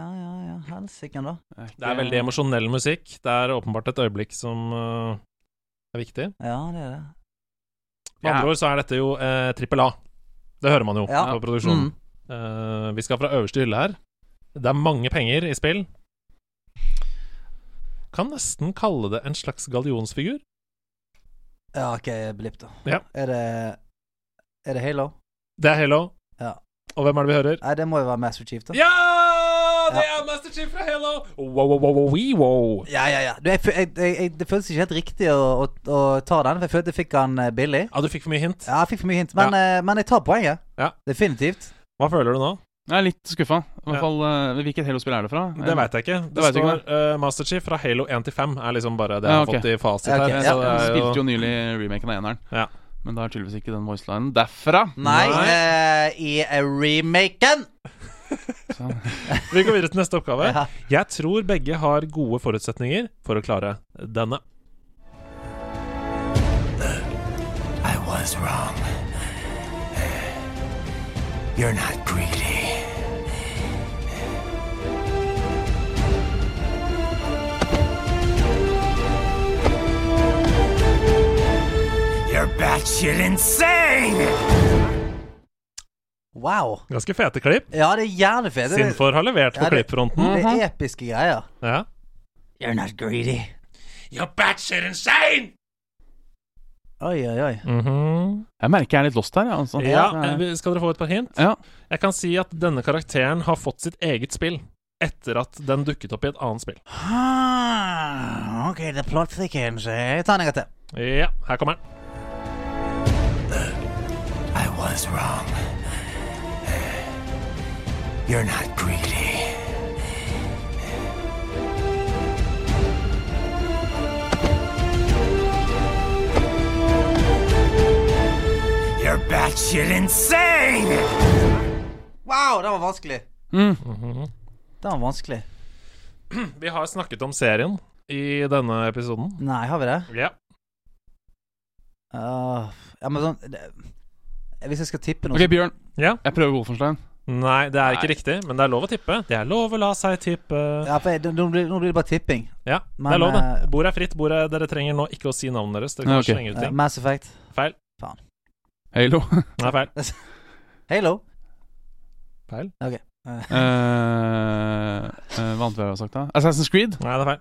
Helsike, da.
Det er veldig emosjonell musikk. Det er åpenbart et øyeblikk som eh, er viktig.
Ja, det er det.
Med andre ord så er dette jo eh, trippel A. Det hører man jo
Ja.
på produksjonen.
Mm.
Eh, vi skal fra øverste hylle her. Det er mange penger i spill. Kan nesten kalle det en slags gallionsfigur.
Ja, OK, blipp, da.
Ja.
Er det Er det Halo?
Det er Halo.
Ja.
Og hvem er det vi hører?
Nei, det må jo være Master Chief, da.
Ja! Det er Master Chief fra Halo! Wow, wow, wow, wow, wee, wow.
Ja, ja, ja. Du, jeg, fø- jeg, jeg, jeg, det føltes ikke helt riktig å, å, å ta den, for jeg følte jeg fikk den eh, billig.
Ja, du fikk for mye hint.
Ja, jeg fikk for mye hint, men, eh, men jeg tar poenget.
Ja.
Definitivt.
Hva føler du nå?
Jeg er litt skuffa. I
Ja.
hvert fall, eh, Hvilket Halo-spill er det fra?
Det veit jeg ikke. Det,
vet jeg
står
ikke,
eh, Master Chief fra Halo 1 til 5 er liksom bare det jeg
Ja,
har
ok.
fått i fasit
Ja, ok.
her.
Jeg
Ja.
Så det
spilte
er
jo nylig remaken av eneren.
Ja.
Men da er tydeligvis ikke den voicelinen derfra.
Nei,
Nei.
eh, i eh, remaken.
jo Vi går videre til neste oppgave.
Ja.
Jeg tror begge har gode forutsetninger for å klare denne.
I was wrong. You're not greedy.
that shit insane!
Wow.
Ganske fete klipp.
Ja, det er jævlig fete. Det,
Sinfor har levert på
Ja, det- Mm.
klippfronten.
det er episke greier.
Ja.
You're not greedy.
You're batshit insane!
Oi, oi, oi.
Mm.
Jeg merker jeg er litt lost her. Ja, altså.
Mhm. Ja,
sånn
Jeg-
eh, Skal dere få et par hint?
Ja.
Jeg kan si at denne karakteren har fått sitt eget spill etter at den dukket opp i et annet spill.
Ah, ok, det er plot thickens. Jeg tar en gang til.
Ja, her kommer den.
I was wrong. You're not greedy. You're batshit insane!
Wow, den var vanskelig.
Mm.
Mhm. Den var vanskelig.
Vi har snakket om serien i denne episoden.
Nei, har vi det?
Ja.
Ah, ja, men sånn det, Hvis jeg skal tippe noe
Ok, Bjørn.
Ja.
Jeg prøver Wolfenstein.
Nei, det er ikke riktig, men det er lov å tippe. Det er lov å la seg tippe. Ja,
ja, for jeg, nå, blir, nå blir det bare tipping.
det
Men,
er lov, det.
eh,
Bordet er fritt. Bordet Dere trenger nå ikke å si navnet deres. Dere
Ja,
kan
ok.
slenge ut
Eh,
ting.
Mass Effect.
Feil.
Halo.
Nei, feil.
Halo.
Feil.
Eh,
Eh, eh, hva annet har jeg sagt, da? Assassin's Creed?
Nei, det er feil.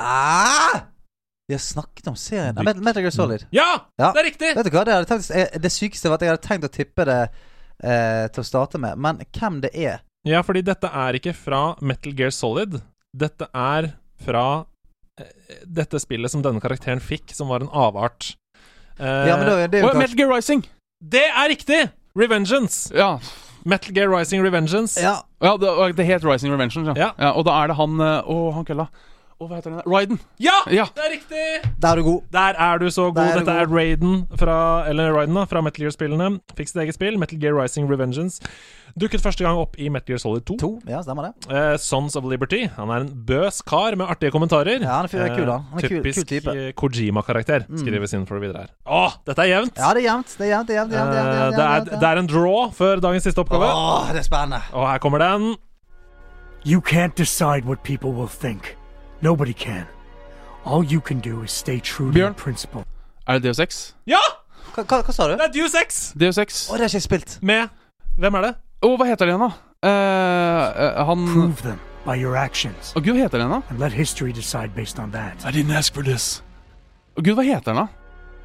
Ah! Vi har snakket om serien. Nei, Metal- Metal Gear Solid.
Ja!
Ja.
Det er riktig!
Vet du hva, Det, hadde tenkt, eh, det sykeste var at jeg hadde tenkt å tippe det eh, til å starte med, men hvem det er
Ja, fordi dette er ikke fra Metal Gear Solid. Dette er fra eh, dette spillet som denne karakteren fikk, som var en avart. Eh,
Ja, men det, det er jo
Åh,
kanskje-
Metal Gear Rising!
Det er riktig! Revengeance!
Ja,
Metal Gear Rising Revengeance.
Ja,
ja det, og det het Rising Revention. Ja.
Ja.
Ja. og da er det han eh, Å, han kølla. Å, hva heter han? Ryden.
Ja,
Ja.
Det er riktig!
der er du god.
Der er du så god.
Der er du
Dette er Raiden fra, eller Raiden da, fra Metal Gear-spillene. Fikk sitt eget spill, Metal Gear Rising Revengeance. Dukket første gang opp i Metal Gear Solid 2.
To. Ja, stemmer det.
Eh, Sons of Liberty. Han er en bøs kar med artige kommentarer. Eh,
Ja, han er fyr- er kul, han. Han er kul-
typisk
kul type. Mm.
eh, Kojima-karakter, skrives innenfor videre her. Å, dette er jevnt!
Ja, det er jevnt. Det er jevnt, det er jevnt, det er jevnt, det er
Eh,
jevnt,
det, er,
jevnt,
det er en draw før dagens siste oppgave.
Åh, det er spennende.
Og her kommer den.
You can't decide what people will think. Nobody can. All you can do is stay true to your
Bjørn.
principle.
Er det Deus Ex?
Ja!
Hva, hva, hva sa du?
Det er Deus Ex!
Deus Ex.
Å, det har ikke jeg spilt.
Med Hvem er det?
Å, hva heter det igjen, da? Eh, eh, han Å,
Prove them by your actions,
gud, hva heter det igjen, da?
and let history decide based on that.
I didn't ask for this. Å, gud, hva heter den, da?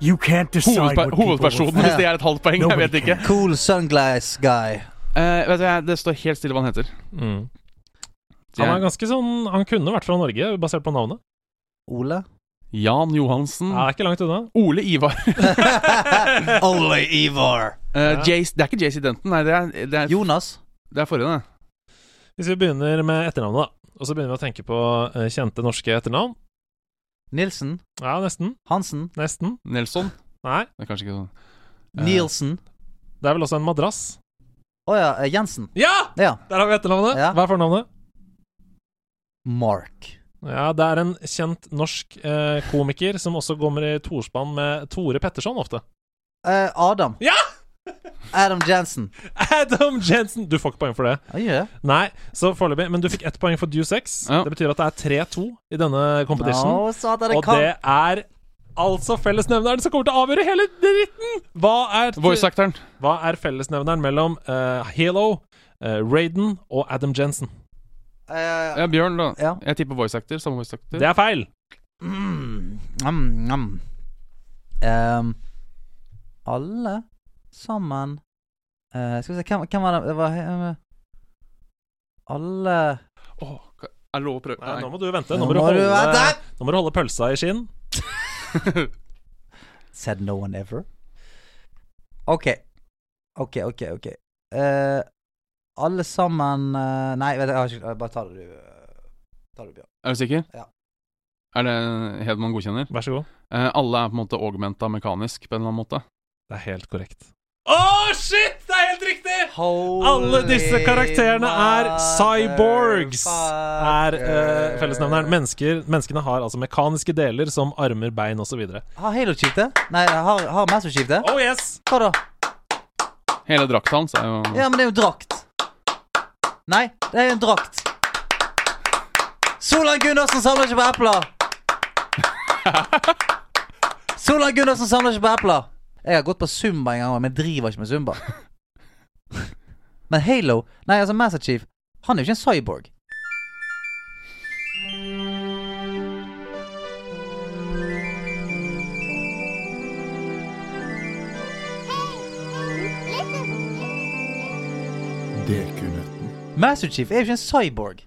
You can't decide
Hovedper
what people will
hovedpersonen,
think.
hvis det er et halvt poeng. Jeg
Nobody
vet ikke.
can.
Cool sunglass guy.
Eh, vet du, jeg- Det står helt stille hva han heter. Så
Han er
jeg,
ganske sånn Han kunne vært fra Norge, basert på navnet.
Ole?
Jan Johansen.
Ja, det er ikke langt unna.
Ole Ivar.
Ole Ivar.
Eh, Jace, det er ikke JC Denton, nei. Det er, det er,
Jonas?
det er forrige, det.
Hvis vi begynner med etternavnet, da. Og så begynner vi å tenke på eh, kjente norske etternavn.
Nilsen?
Ja, nesten.
Hansen?
Nesten.
Nelson.
Nei.
Det er kanskje ikke sånn. Eh,
Nielsen?
Det er vel også en madrass.
Å ja, eh, Jensen.
Ja!
Ja.
Der har vi etternavnet.
Ja.
Hva er fornavnet?
Mark.
Ja, det er en kjent norsk eh, komiker som også kommer i torspann med Tore Petterson ofte.
Eh, Adam.
Ja!
Adam Jensen.
Adam Jensen! Du får ikke poeng for det.
Å, gjør jeg?
Nei, så foreløpig. Men du fikk ett poeng for Due 6.
Ja.
Det betyr at det er 3-2 i denne competition.
Nå sa dere
og
kan.
det er altså fellesnevneren som kommer til å avgjøre hele dritten! Hva er,
Voice-actoren.
hva er fellesnevneren mellom eh, Halo, eh, Raiden og Adam Jensen?
Eh,
Ja, Bjørn, da.
Ja.
Jeg tipper voice-actor. Samme voice-actor.
Det er feil!
Mm, nam, nam. Ehm, alle sammen eh, Skal vi se, hvem, hvem var det? det var, eh, alle
Åh, hva- er det lov å prøve?
Nei, nå
Nei.
må du vente.
Nå
Nå må
må
du
du
holde,
vente.
nå må du holde pølsa i skinn.
Said no one ever. Ok. Ok, ok, ok. Eh, alle sammen eh, Nei, vet du, jeg har ikke Bare ta det, du. eh, Ta det, Bjørn.
Er du sikker?
Ja.
Er det Hedman godkjenner?
Vær så god.
Eh, alle er på en måte augmenta mekanisk på en eller annen måte.
Det er helt korrekt. Å, shit! Det er helt riktig!
Holy
Alle disse karakterene er cyborgs, er eh,
motherfucker.
fellesnevneren. Mennesker, menneskene har altså mekaniske deler som armer, bein osv.
Har Halo cheat det? Nei, har, har Master cheat det?
Oh yes!
Hva da?
Hele drakta hans er jo
Ja, men det er jo drakt. Nei, det er jo en drakt. Solan Gundersen samler ikke på epler. Solan Gundersen samler ikke på epler. Jeg har gått på Zumba en gang, men jeg driver ikke med Zumba. Men Halo Nei, altså Master Chief, han er jo ikke en cyborg.
Det kunne den.
Master Chief er jo ikke en cyborg.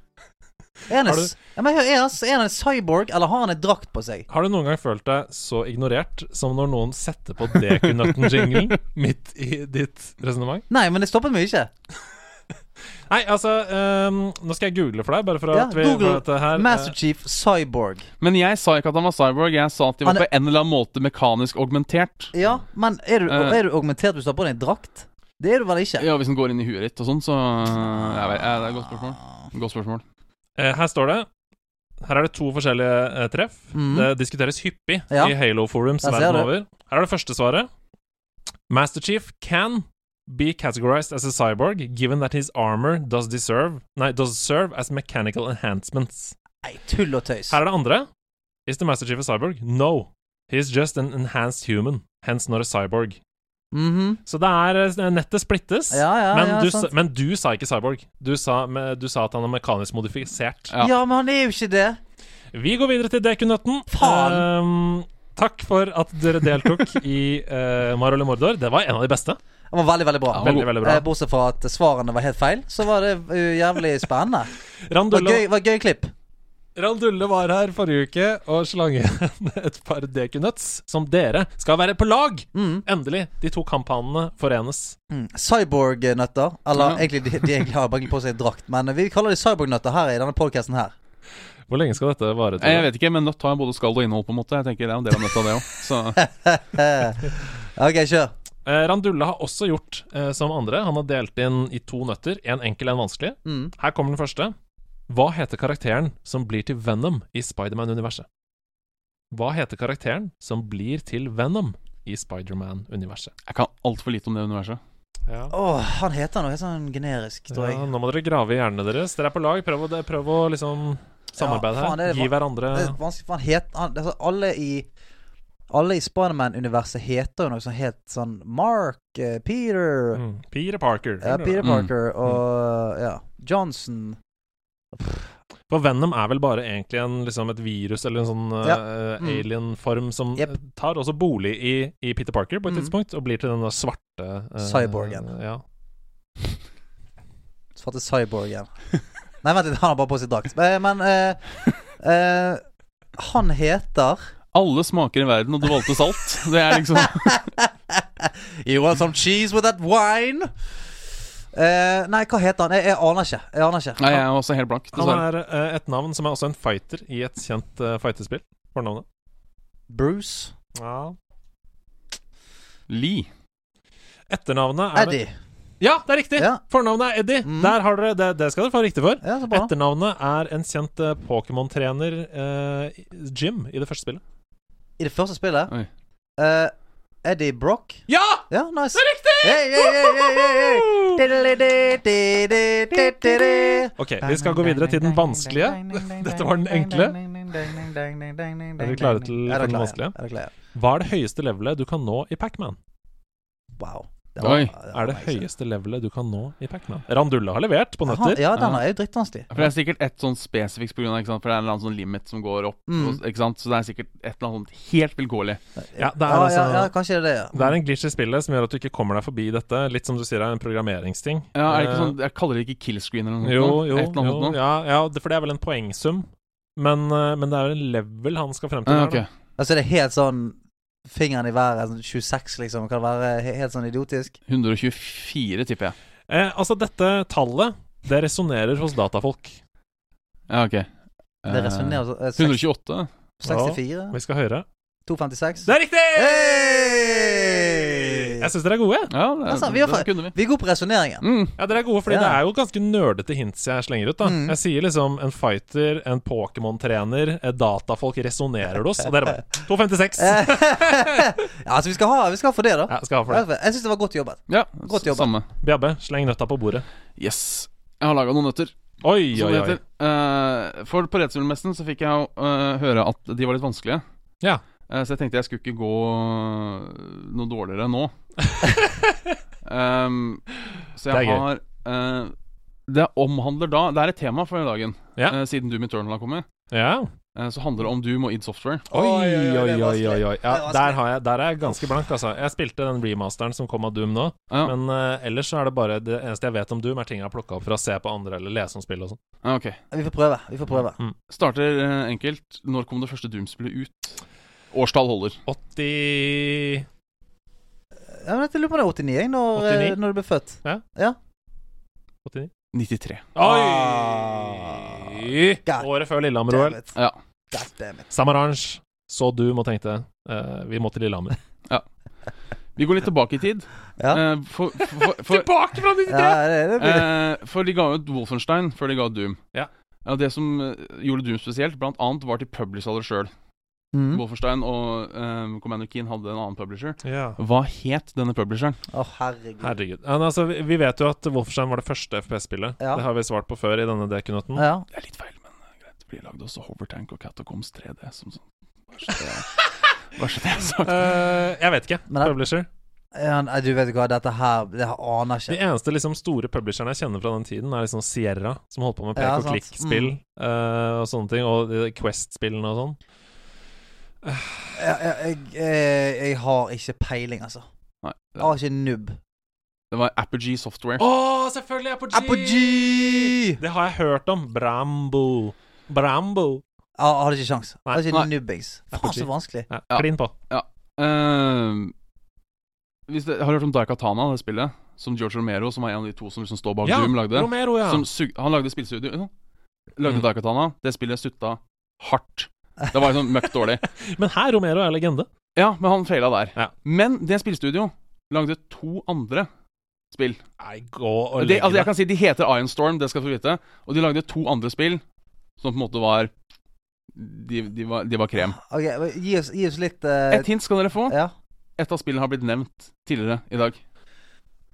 Er han
Har
en,
du-
s- ja, men hør, er han, s- er han en cyborg, eller har han en drakt på seg?
Har du noen gang følt deg så ignorert som når noen setter på Dekunøtten-jinglen midt i ditt resonnement?
Nei, men det stoppet meg ikke.
Nei, altså ehm, Nå skal jeg google for deg, bare for
Ja,
at vi for
Google
at det her, eh,
Master Chief cyborg.
Men jeg sa ikke at han var cyborg. Jeg sa at de var
Han er-
på en eller annen måte mekanisk augmentert.
Ja, men er du,
Eh.
er du augmentert hvis du har på deg en drakt? Det er du vel ikke?
Ja, hvis den går inn i huet ditt og sånn, så jeg vet, eh, Det er et godt spørsmål.
Ah,
Godt spørsmål.
eh, her står det Her er det to forskjellige eh, treff.
Mm.
Det diskuteres hyppig
Ja.
i Halo-forums
Der ser
verden
du.
over. Her er det første svaret. Master Chief can be categorized as a cyborg given that his armor does deserve Nei, does serve as mechanical enhancements.
Nei, tull og tøys.
Her er det andre. Is the Master Chief a cyborg? No. He is just an enhanced human. Hence not a cyborg.
Mhm.
Så det er eh, Nettet splittes.
Ja, ja,
men,
ja,
du,
sant.
sa- men du sa ikke cyborg. Du sa, me- du sa at han er mekanisk modifisert.
Ja.
ja, men han er jo ikke det.
Vi går videre til Dekunøtten. Ehm, takk for at dere deltok i uh, Marol og Mordor. Det var en av de beste.
Han var veldig, veldig bra.
Ja,
Veldig, veldig bra.
Eh, Bortsett fra at svarene var helt feil, så var det uh, jævlig spennende. Det var
Randulle,
gøy, var gøy klipp.
Randulle var her forrige uke og slang igjen et par Dekunøtts som dere skal være på lag.
Mm.
Endelig. De to kamphanene forenes.
Mm. Cyborg-nøtter. Eller
Ja.
egentlig, de, de egentlig har bare på seg en drakt, men vi kaller de cyborg-nøtter her i denne podcasten her.
Hvor lenge skal dette vare?
Eh, Jeg vet ikke, men nøtt har både skall og innhold, på en måte. Jeg tenker Det er en del av nøtta, det òg. Så
Eh, ok, kjør.
Eh, Randulle har også gjort eh, som andre. Han har delt inn i to nøtter. En enkel, en vanskelig.
Mm.
Her kommer den første. Hva heter karakteren som blir til Venom i Spiderman-universet? Hva heter karakteren som blir til Venom i Spiderman-universet?
jeg kan altfor lite om det universet.
Ja.
Åh, han heter noe sånn generisk, tror jeg.
nå må dere grave i hjernene deres. Dere er på lag. Prøv å, prøv å liksom samarbeide
faen, det
her.
er
Gi
va-
hverandre
Det er vanskelig, for han heter han, altså, Alle i Alle i Spiderman-universet heter jo noe sånn helt sånn Mark, eh, Peter
mm. Peter Parker.
ja, Peter
Mm.
Parker og ja, Johnson.
For Venom er vel bare egentlig en, liksom et virus eller en sånn eh,
Ja.
eh,
Mm.
alien-form som
Jep.
eh, tar også bolig i, i Peter Parker på et
Mm.
tidspunkt, og blir til den der svarte eh,
Cyborgen.
Ja.
Så heter Cyborg igjen. Nei, vent litt, han har bare på seg drakt. Eh, Men eh, eh, han heter
Alle smaker i verden, og du valgte salt. Det er liksom
You want some cheese with that wine? Eh, nei, hva heter han? Jeg, jeg aner ikke. Jeg aner ikke.
Nei, jeg er også helt blank,
Han
dessverre.
er eh, et navn som er også en fighter i et kjent eh, fighterspill. Fornavnet.
Bruce?
Lee.
Etternavnet er
Eddie?
Ja, det er riktig!
Ja.
Fornavnet er Eddie.
Mm.
Der har dere det. Det skal dere få riktig for.
Ja, så bra.
Etternavnet er en kjent eh, Pokémon-trener, eh, Jim, i det første spillet.
I det første spillet?
Oi.
Eh, Eddie Brock?
Ja!
Ja, nice.
Det er riktig!
Hey, hey, hey, hey, hey, hey. Diddle-di-di-di-di-di-di.
Ok, vi skal gå videre til den vanskelige. Dette var den enkle. Er dere klare
Er dere
til den
klare?
vanskelige?
Er dere klare?
Hva er det høyeste levelet du kan nå i Pac-Man?
Wow. Det
Oi.
Er det høyeste levelet du kan nå i Pac-Man? Randulle har levert på
Aha,
nøtter.
Ja, den er jo drittvanskelig.
For det er sikkert et sånn spesifikt pga. For det er en eller annen sånn limit som går opp.
Mm.
Og, ikke sant? Så det er sikkert et eller annet sånt helt vilkårlig.
Ja, det
Ja, ja,
er
ja,
altså
kanskje det er det.
det er en glitch i spillet som gjør at du ikke kommer deg forbi dette. Litt som du sier, er en programmeringsting.
Ja, er det ikke
Eh,
sånn, Jeg kaller det ikke killscreen eller noe
Jo,
sånt nå?
jo,
Et eller annet
jo
sånt nå?
ja, ja, det- for det er vel en poengsum. Men, eh, men det er jo en level han skal frem til.
Ah,
der, da.
ok.
Altså, det er helt sånn Fingeren i været, sånn 26, liksom. Kan være he- helt sånn idiotisk.
124, tipper jeg.
Eh, altså, dette tallet, det resonnerer hos datafolk.
Ja, ok.
Det
Eh,
resonnerer sånn. eh, seks-
128?
64?
Vi skal høre.
256?
Det er riktig!
Hey!
Jeg syns dere er gode.
Ja, det,
Altså, vi
det,
har fa-
kunne vi.
Vi er gode på resonneringen.
Mm.
Ja, dere er gode, fordi
Ja.
det er jo ganske nerdete hints jeg slenger ut. da
Mm.
Jeg sier liksom en fighter, en Pokémon-trener, eh, datafolk resonnerer det hos, og dere bare 256!
Eh, ja, altså, vi skal ha, vi skal ha for det, da.
Ja, skal ha for det.
Jeg syns det var godt jobbet.
Ja,
Godt
s-
jobba.
samme.
Bjabbe, sleng nøtta på bordet.
Yes. Jeg har laga noen nøtter.
Oi,
Som
oi,
det
oi.
heter. Eh, for på Redselmessen så fikk jeg jo eh, høre at de var litt vanskelige.
Ja.
Eh, Så jeg tenkte jeg skulle ikke gå eh, noe dårligere nå. Ehm, så jeg
Det er gøy.
har eh, Det omhandler da Det er et tema for dagen,
Ja.
eh, siden Doom Eternal har kommet.
Ja.
eh, så handler det om Doom og id Software.
Oi,
Oi, oi, oi,
oi,
det er
oi, oi,
vanskelig.
oi.
Det
Ja,
er vanskelig.
der, har jeg, der er jeg ganske blank, altså. Jeg spilte den remasteren som kom av Doom nå,
Ja,
men eh, ellers så er det bare Det eneste jeg vet om Doom, er ting jeg har plukka opp fra å se på andre eller lese om spill og sånn. Mm.
ja, Eh, ok.
Vi får prøve. vi får prøve
Starter eh, enkelt. Når kom det første Doom-spillet ut? Årstall holder.
80
ja, men Jeg lurer på om det er 89 jeg, når,
89?
eh, når du ble født.
89?
93.
Ah.
Oi!
God
Året før Lillehammer-OL.
damn it.
Ja.
God damn it.
Samaranch så Doom og tenkte eh, vi må til Lillehammer.
Vi går litt tilbake i tid.
Ja.
Eh, for, for, for,
Tilbake fra
Ja, det, det blir
Eh, for de ga ut Wolfenstein før de ga ut Doom.
Ja.
Ja, det som eh, gjorde Doom spesielt, blant annet var til publisher sjøl.
Mm.
Wolfenstein og eh, Commander Keen hadde en annen publisher.
Ja.
Hva het denne publisheren?
Å, herregud.
Herregud. Ja, men altså, vi- vi vet jo at Wolfenstein var det første FPS-spillet.
Ja.
Det har vi svart på før i denne dekunuten.
Ja.
Det er litt feil, men eh, greit. Det blir lagd også Hovertank og Catacombs 3D som sånn. Bare så det- Bare så det er sagt.
Eh, jeg vet ikke.
Men det-
Publisher.
ja, nei, eh, du vet hva, dette her Det her aner
De
jeg ikke.
eneste liksom, store publisherne jeg kjenner fra den tiden, er liksom Sierra, som holdt på med pek
Ja,
og
sant.
klikk-spill eh, og sånne ting. Og de Quest-spillene og sånn.
Jeg, jeg, jeg, jeg har ikke peiling, altså.
Nei,
Jeg har ikke nubb.
det var Apogee Software.
Å, selvfølgelig Apogee!
Apogee!
Det har jeg hørt om. Brambo. Brambo.
Jeg hadde ikke sjans. Jeg hadde ikke
Nei.
nubbings. Faen, så vanskelig.
Ja,
Ja.
Klin på.
Eh, hvis det, har du hørt om Daikatana, det spillet? Som George Romero, som var en av de to som liksom står bak
Ja,
Doom, lagde?
Romero, ja.
Som sug han lagde spillstudio ja. Lagde
Mm.
Daikatana. Det spillet sutta hardt. Det var liksom møkk dårlig.
Men her, Romero er legende.
Ja, men han feila der.
Ja.
Men det spillstudio lagde to andre spill.
Nei, gå og
De,
legg
altså jeg
deg.
kan si De heter Iron Storm, det skal du få vite. Og de lagde to andre spill som på en måte var De, de, var, de var krem.
Ok, men Gi oss, gi oss litt eh,
Et hint skal dere få.
Ja.
Et av spillene har blitt nevnt tidligere i dag.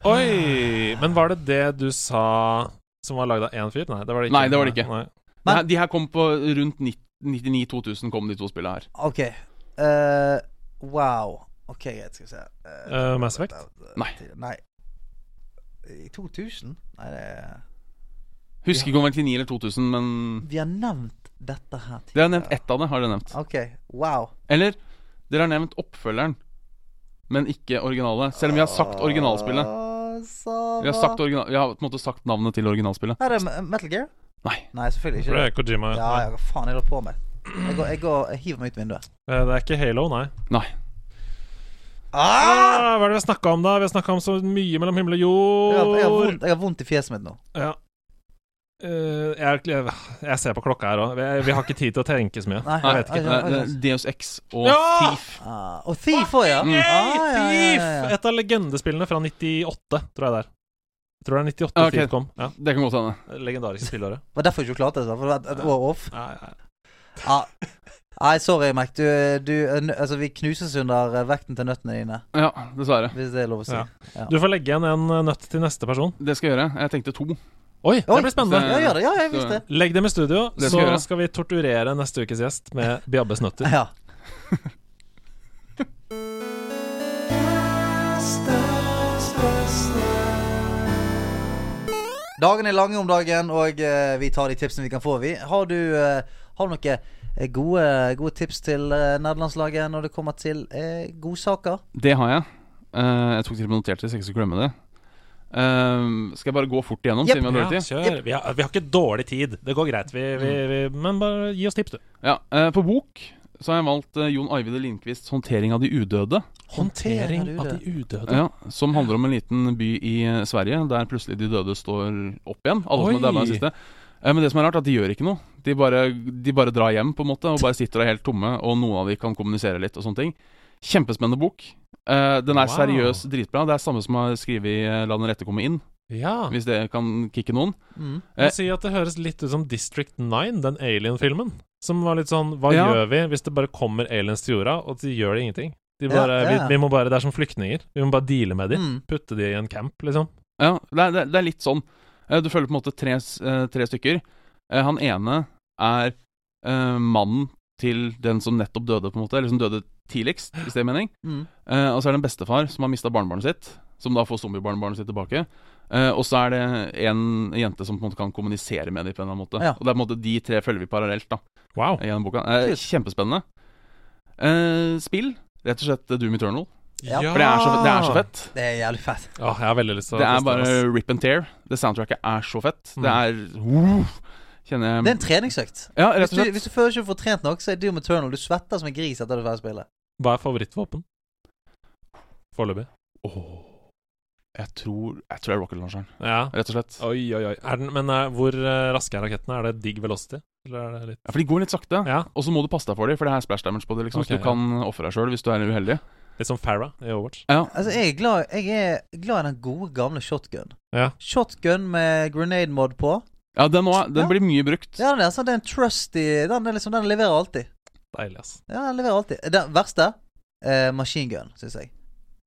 Oi! Men var det det du sa som var lagd av én fyr? Nei, det var det ikke.
Nei, det var det ikke.
Nei.
De
Men-
her, de her kom på rundt 99-2000 kom de to spillene her.
OK. Eh, wow. OK, greit, skal vi se. Eh,
Eh, Mass Effect?
Nei.
Nei. I 2000? Nei, det er
Husker ikke om det var 99 eller 2000, men
Vi har nevnt dette her tidligere.
Dere har nevnt ett av det. har dere nevnt
OK. Wow.
Eller dere har nevnt oppfølgeren, men ikke originale. Selv om vi har sagt originalspillet.
Å, så
Vi har,
bra.
sagt origina vi har på en måte sagt navnet til originalspillet.
Her er det Metal Gear?
Nei.
Nei, selvfølgelig
For
ikke.
det er Kojima.
Ja, ja, hva faen er det på med? Jeg, går, jeg, går, jeg hiver meg ut vinduet.
Eh, Det er ikke Halo, nei.
Nei.
Ah!
Ah, hva er det vi har snakka om, da? Vi har snakka om så mye mellom himmel og
Jeg, har, jeg, har
jord.
vondt, jeg har vondt i fjeset mitt nå.
Ja. Eh, jeg, jeg, jeg ser på klokka her òg. Vi, vi har ikke tid til å tenke så mye.
Nei,
jeg vet
nei,
ikke.
Det er- det er Deus Ex og
Ja!
Thief.
Ah, og Thief òg, ja. Ah,
Hey,
ja, ja,
Thief!
ja, ja.
Et av legendespillene fra 98, tror jeg det er. Jeg tror det er 98
Ja, ok.
Thief kom. Ja,
Det kan godt hende.
Legendariske spillåret.
Det var derfor jeg ikke klarte det. For det var et, et år off.
Ja, ja.
Ah. Nei, sorry, Mac. Du, du, altså, vi knuses under eh, vekten til nøttene dine,
Ja, dessverre.
hvis det er lov å si.
Ja.
Ja.
Du får legge igjen en eh, nøtt til neste person.
Det skal jeg gjøre. Jeg tenkte to.
Oi,
Oi,
det blir spennende.
Ja, gjør det. Ja, jeg visste det.
Legg dem i studio,
Det skal
så
jeg gjøre.
skal vi torturere neste ukes gjest med Biabbes nøtter.
Ja. Dagene er lange om dagen, og eh, vi tar de tipsene vi kan få. Vi. Har du eh, har du noen eh, gode, gode tips til uh, nederlandslaget når det kommer til uh, godsaker?
Det har jeg. Eh, jeg tok til og med notert det, så jeg ikke skal glemme det. Eh, skal jeg bare gå fort igjennom?
Jepp.
Ja, kjør.
siden vi har dårlig tid?
Vi har, vi har ikke dårlig tid. Det går greit. Vi, vi, vi, men bare gi oss tips, du.
Ja, eh, På bok så har jeg valgt eh, Jon Arvid Lindqvists 'Håndtering av de udøde'.
Håndtering av de
udøde.
Ja, Som handler om en liten by i eh, Sverige der plutselig de døde står opp igjen. Alle som
Oi.
er døde er de siste. Eh, Men det som er rart, er at de gjør ikke noe. De bare, de bare drar hjem på en måte og bare sitter der helt tomme, og noen av de kan kommunisere litt og sånne ting. Kjempespennende bok. Eh, den er
Wow.
seriøs dritbra. Det er samme som har skrevet eh, 'La den rette komme inn',
Ja.
hvis det kan kicke noen.
Mm.
Jeg må si at det høres litt ut som District 9, den alien-filmen. Som var litt sånn Hva
Ja.
gjør vi hvis det bare kommer aliens til jorda, og de gjør det ingenting? De
Ja,
bare,
ja, ja.
Vi, vi må bare, Det er som flyktninger. Vi må bare deale med de.
Mm.
Putte de i en camp, liksom.
Ja, det er, det er- det er litt sånn. Eh, Du følger på en måte tre, s- eh, tre stykker. Eh, Han ene er eh, mannen til den som nettopp døde, på en måte, eller som døde tidligst, hvis det er mening.
Mm.
Eh, og så er det en bestefar som har mista barnebarnet sitt, som da får zombiebarnebarnet sitt tilbake. Eh, og så er det en jente som på en måte kan kommunisere med dem på en eller annen måte.
Ja.
Og det er på en måte de tre følger vi parallelt da
Wow.
gjennom boka. Eh,
Kult.
kjempespennende. Eh, spill, rett og slett eh, Doom Eternal.
Ja.
For det er så, det er
Ah.
så fett.
Det er jævlig fett.
Åh, jeg har veldig lyst til å
Det er
teste
bare
ass.
rip and tear. Det soundtracket er så fett. Det er uh, Kjenner jeg
Mm. Det er en treningsøkt.
Ja,
Hvis
rett og
du,
slett.
hvis du føler ikke du får trent nok, så er Doom Eternal. Du svetter som en gris etter du er ferdig å spille.
Hva er favorittvåpen? Foreløpig.
Åh. Jeg tror Jeg tror det er rocket-lanseren,
Ja.
rett og slett.
Oi, oi, oi. Er den, men eh, hvor eh, raske er rakettene? Er det digg velocity? Eller er det litt
Ja, For de går litt sakte,
Ja,
og så må du passe deg for dem, for det er splash damage på dem, liksom,
Ok,
så du kan ofre deg sjøl hvis du er uheldig.
litt som Farah i Overwatch.
Ja.
Altså, jeg er glad, jeg er glad i den gode, gamle shotgun.
Ja.
Shotgun med grenade mod på.
ja, den, nå er- den
Ja.
blir mye brukt.
Ja, den er, sånn, det er en trusty Den, er liksom, den leverer alltid.
Deilig, ass.
Ja, den leverer alltid. Den verste eh, machine gun, syns jeg.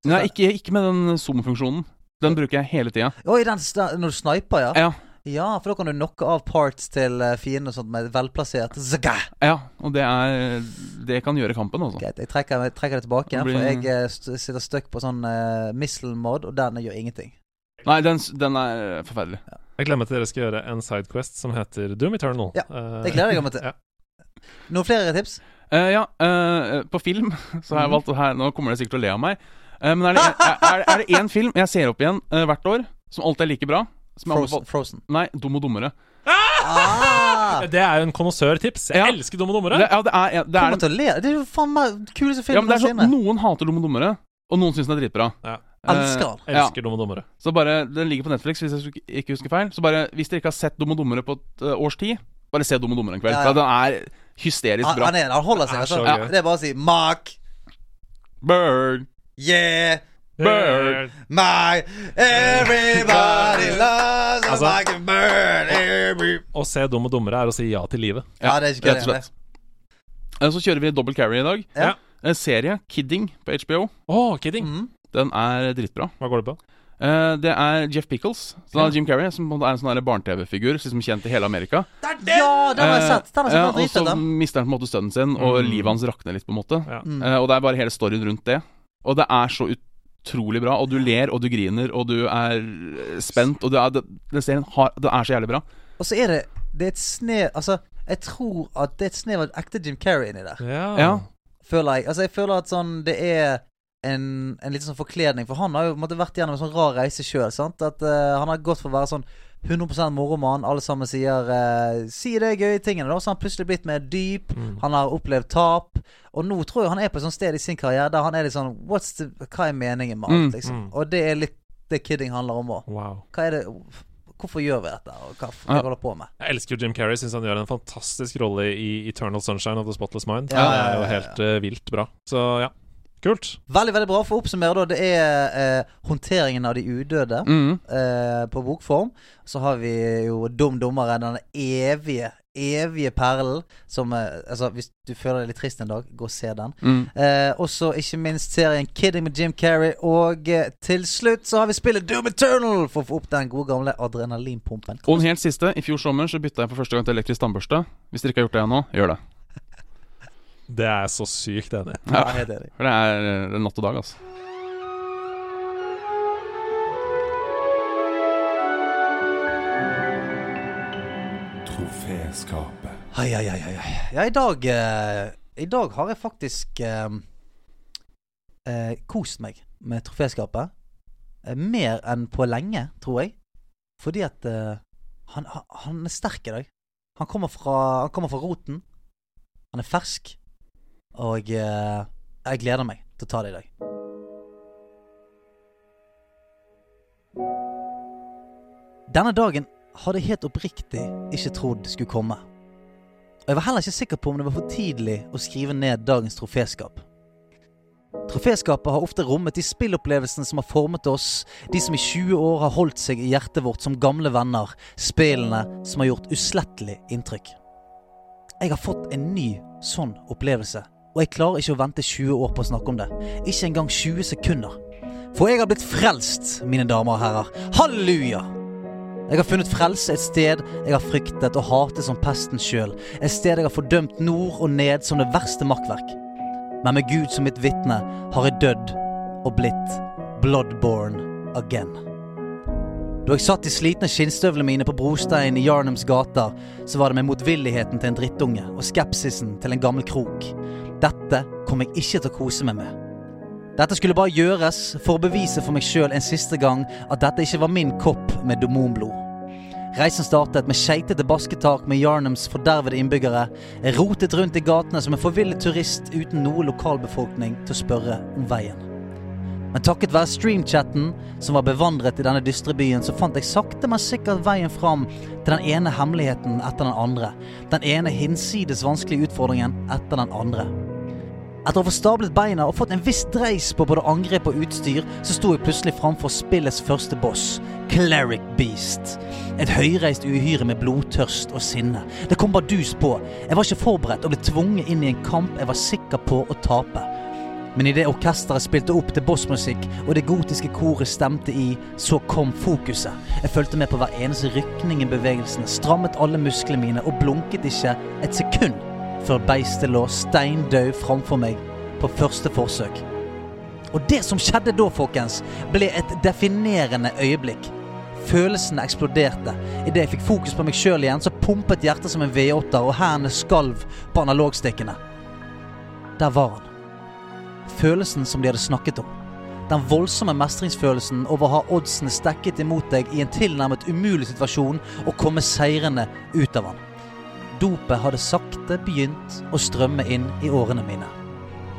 Nei, ikke, ikke med den zoom-funksjonen. Den bruker jeg hele tida.
Oi, den sta- når du sniper, ja?
Ja.
Ja, for da kan du knocke av parts til eh, fienden og sånt med velplassert Zaga!
Ja, og det er Det kan gjøre kampen, altså.
Greit, jeg trekker, jeg trekker det tilbake,
Da blir-
for jeg eh, st sitter stuck på sånn eh, missile mod, og den gjør ingenting.
Nei, den, s- den er forferdelig.
Jeg glemmer at dere skal gjøre en sidequest som heter Doom Eternal.
Ja,
Eh,
det gleder jeg meg til.
ja.
Noen flere tips?
Eh, ja, eh, på film
Mhm.
så har jeg valgt her, Nå kommer dere sikkert til å le av meg. Eh, men er det, en, er, er det én film jeg ser opp igjen eh, hvert år, som alltid er like bra som jeg
Frozen.
anbefaler-
Frozen.
Nei, Dum og dummere.
Ah!
Det er jo en konnoissørtips. Jeg
Ja.
elsker dumme
Det,
dommere.
ja, det er, en- det er,
Kommer
en,
til å le. Det er jo faen meg kuleste
ja, men
filmen
det er sånn
noensinne.
Noen hater Dum og dummere, og noen syns den er dritbra.
Ja.
Eh,
Elsker den.
ja.
Elsker dumme dommere.
Så bare, Den ligger på Netflix, hvis jeg suk- ikke husker feil. Så bare, Hvis dere ikke har sett Dum og dummere på et eh, års tid, bare se Dum og dummere en kveld.
Ja, ja.
For Den er hysterisk
Han,
bra.
han, er, han
Ah,
holder seg.
Det er
Altså.
så
Ja,
gøy.
det er bare å si Mark,
Bird,
yeah,
bird
my Everybody loves
Altså-
a like a bird every...
Å se dum og dummere er å si ja til livet.
Ja, det er ikke gøy,
rett og slett. Eh, Så kjører vi double carry i dag.
Ja.
Eh, Serie Kidding på HBO.
Å, kidding!
Den er dritbra.
Mm. Hva går det på?
Eh, det er Jeff Pickles, som er Jim Carrey, som på en måte er en sånn der barne-TV-figur Som er kjent i hele Amerika.
Ja, den har jeg
Eh,
sett. Den har jeg sett. Den
ja,
er
og så
dritfett, den.
mister han på en måte stønnen sin, og
Mm.
livet hans rakner litt, på en måte.
Ja.
Mm.
Eh, og det er bare hele storyen rundt det. Og det er så utrolig bra, og du ler, og du griner, og du er eh, spent, og det er, det, den serien har, det er så jævlig bra.
Og så er det Det er et snev Altså, jeg tror at det er et snev av ekte Jim Carrey inni der.
Ja.
Føler jeg. Altså, jeg føler at sånn Det er en, en liten sånn forkledning, for han har jo på en måte vært gjennom en sånn rar reise sjøl. At eh, han har gått for å være sånn 100 moromann. Alle sammen sier eh, 'si de gøye tingene', da. Så har han plutselig blitt mer dyp.
Mm.
Han har opplevd tap. Og nå tror jeg han er på et sånt sted i sin karriere der han er litt sånn What's the, Hva er meningen med alt,
Mm.
liksom? Og det er litt det kidding handler om òg.
Wow.
Hva er det Hvorfor gjør vi dette, og hva f-
Ja.
holder vi på med?
Jeg elsker jo Jim Carrey. Syns han gjør en fantastisk rolle i Eternal Sunshine of the Spotless Mind.
Ja,
det
ja,
er
ja,
jo
ja.
helt eh, vilt bra. Så ja, kult.
Veldig veldig bra. For å oppsummere, da. Det er eh, håndteringen av de udøde
Mm.
eh, på bokform. Så har vi jo Dum dummere, den evige, evige perlen som eh, Altså, hvis du føler deg litt trist en dag, gå og se den.
Mm.
Eh, også ikke minst serien Kidding med Jim Carrey. Og eh, til slutt så har vi spillet Doom Eternal for å få opp den gode gamle adrenalinpumpen.
Og en helt siste. I fjor sommer så bytta jeg for første gang til elektrisk tannbørste. Hvis dere ikke har gjort det ennå, gjør det.
Det er så sykt enig.
Ja, helt enig.
For det er eh, natt og dag, altså.
Troféskapet.
Ai, ai, ai, ai. ai. Ja, i dag eh, I dag har jeg faktisk eh, eh, kost meg med troféskapet. Eh, mer enn på lenge, tror jeg. Fordi at eh, han, han- han er sterk i dag. Han kommer fra, han kommer fra roten. Han er fersk. Og eh, jeg gleder meg til å ta det i dag. Denne dagen hadde jeg helt oppriktig ikke trodd skulle komme. Og jeg var heller ikke sikker på om det var for tidlig å skrive ned dagens troféskap. Troféskapet har ofte rommet de spillopplevelsene som har formet oss, de som i 20 år har holdt seg i hjertet vårt som gamle venner, spillene som har gjort uslettelig inntrykk. Jeg har fått en ny sånn opplevelse, og jeg klarer ikke å vente 20 år på å snakke om det. Ikke engang 20 sekunder. For jeg har blitt frelst, mine damer og herrer. Halleluja! Jeg har funnet frelse et sted jeg har fryktet og hatet som pesten sjøl. Et sted jeg har fordømt nord og ned som det verste makkverk. Men med Gud som mitt vitne har jeg dødd og blitt bloodborn again. Da jeg satt i slitne skinnstøvlene mine på brosteinen i Yarnums gater, så var det med motvilligheten til en drittunge og skepsisen til en gammel krok. Dette kom jeg ikke til å kose meg med. Dette skulle bare gjøres for å bevise for meg sjøl en siste gang at dette ikke var min kopp med demonblod. Reisen startet med skeitete basketak med Yarnums fordervede innbyggere. Jeg rotet rundt i gatene som en forvillet turist uten noe lokalbefolkning til å spørre om veien. Men takket være streamchatten, som var bevandret i denne dystre byen, så fant jeg sakte, men sikkert veien fram til den ene hemmeligheten etter den andre. Den ene hinsides vanskelige utfordringen etter den andre. Etter å få stablet beina og fått en viss dreis på både angrep og utstyr, så sto jeg plutselig framfor spillets første boss, Cleric Beast. Et høyreist uhyre med blodtørst og sinne. Det kom bardus på. Jeg var ikke forberedt og ble tvunget inn i en kamp jeg var sikker på å tape. Men idet orkesteret spilte opp til bossmusikk og det gotiske koret stemte i, så kom fokuset. Jeg fulgte med på hver eneste rykning i bevegelsene, strammet alle musklene mine og blunket ikke et sekund før beistet lå steindau framfor meg på første forsøk. Og det som skjedde da, folkens, ble et definerende øyeblikk. Følelsene eksploderte. Idet jeg fikk fokus på meg sjøl igjen, så pumpet hjertet som en V8-er, og hendene skalv på analogstikkene. Der var han. Følelsen som de hadde snakket om. Den voldsomme mestringsfølelsen over å ha oddsene stekket imot deg i en tilnærmet umulig situasjon og komme seirende ut av han. Dopet hadde sakte begynt å strømme inn i årene mine.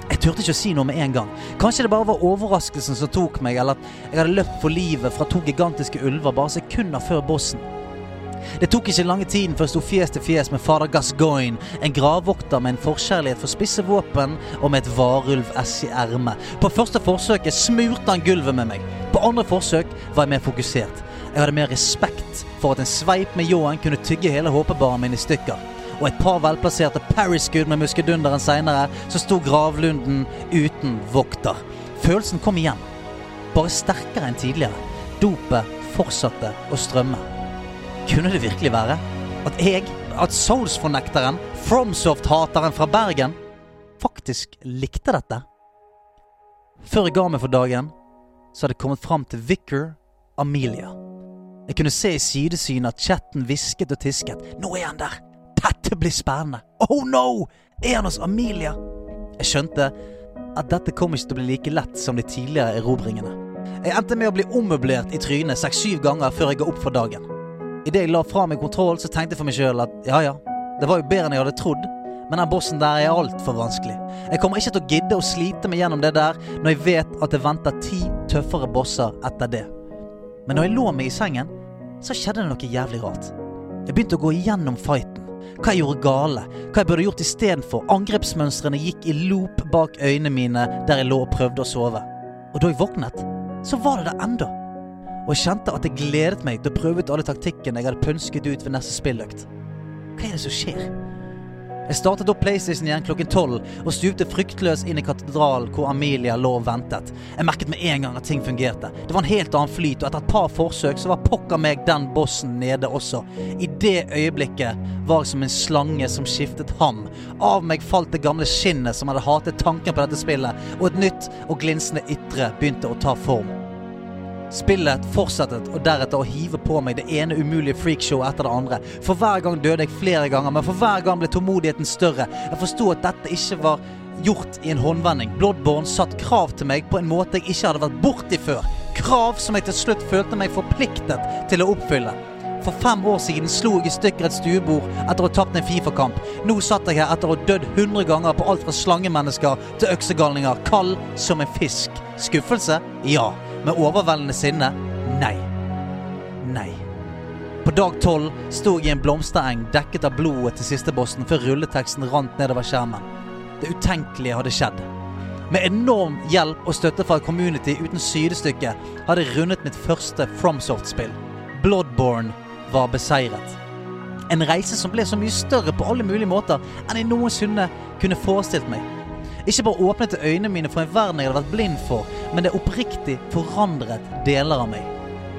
Jeg turte ikke å si noe med en gang. Kanskje det bare var overraskelsen som tok meg, eller at jeg hadde løpt for livet fra to gigantiske ulver bare sekunder før bossen. Det tok ikke lange tiden før jeg sto fjes til fjes med fader Gascoigne, en gravvokter med en forkjærlighet for spisse våpen og med et varulv-ess i ermet. På første forsøket smurte han gulvet med meg. På andre forsøk var jeg mer fokusert. Jeg hadde mer respekt for at en sveip med ljåen kunne tygge hele håpebaren min i stykker. Og et par velplasserte parryskudd med muskedunderen seinere, så sto gravlunden uten vokter. Følelsen kom igjen. Bare sterkere enn tidligere. Dopet fortsatte å strømme. Kunne det virkelig være at jeg, at Souls-fornekteren, Fromsoft-hateren fra Bergen, faktisk likte dette? Før jeg ga meg for dagen, så hadde jeg kommet fram til Vicar Amelia. Jeg kunne se i sidesynet at chatten hvisket og tisket. Nå er han der! Dette blir spennende! Oh no! Er han hos Amelia? Jeg skjønte at dette kom ikke til å bli like lett som de tidligere erobringene. Jeg endte med å bli ommøblert i trynet seks-syv ganger før jeg ga opp for dagen. Idet jeg la fra meg kontroll, så tenkte jeg for meg sjøl at ja ja, det var jo bedre enn jeg hadde trodd, men den bossen der er altfor vanskelig. Jeg kommer ikke til å gidde å slite meg gjennom det der når jeg vet at det venter ti tøffere bosser etter det. Men når jeg lå meg i sengen, så skjedde det noe jævlig rart. Jeg begynte å gå igjennom fighten. Hva jeg gjorde gale, hva jeg burde gjort istedenfor. Angrepsmønstrene gikk i loop bak øynene mine der jeg lå og prøvde å sove. Og da jeg våknet, så var det det enda. Og jeg kjente at jeg gledet meg til å prøve ut alle taktikkene jeg hadde pønsket ut ved neste spilløkt. Hva er det som skjer? Jeg startet opp PlayStation igjen klokken tolv og stupte fryktløs inn i katedralen hvor Amelia lå og ventet. Jeg merket med en gang at ting fungerte. Det var en helt annen flyt, og etter et par forsøk så var pokker meg den bossen nede også. I det øyeblikket var jeg som en slange som skiftet ham. Av meg falt det gamle skinnet som hadde hatet tanken på dette spillet, og et nytt og glinsende ytre begynte å ta form. Spillet fortsettet, og deretter å hive på meg det ene umulige freakshowet etter det andre. For hver gang døde jeg flere ganger, men for hver gang ble tålmodigheten større. Jeg forsto at dette ikke var gjort i en håndvending. Bloodborne satt krav til meg på en måte jeg ikke hadde vært borti før. Krav som jeg til slutt følte meg forpliktet til å oppfylle. For fem år siden slo jeg i stykker et stuebord etter å ha tapt en Fifa-kamp. Nå satt jeg her etter å ha dødd 100 ganger på alt fra slangemennesker til øksegalninger, kald som en fisk. Skuffelse? Ja. Med overveldende sinne? Nei. Nei. På dag tolv sto jeg i en blomstereng dekket av blodet til sistebossen før rulleteksten rant nedover skjermen. Det utenkelige hadde skjedd. Med enorm hjelp og støtte fra et community uten sidestykke hadde jeg rundet mitt første Fromsoft-spill. Bloodborne var beseiret. En reise som ble så mye større på alle mulige måter enn jeg noensinne kunne forestilt meg. Ikke bare åpnet det øynene mine for en verden jeg hadde vært blind for, men det oppriktig forandret deler av meg.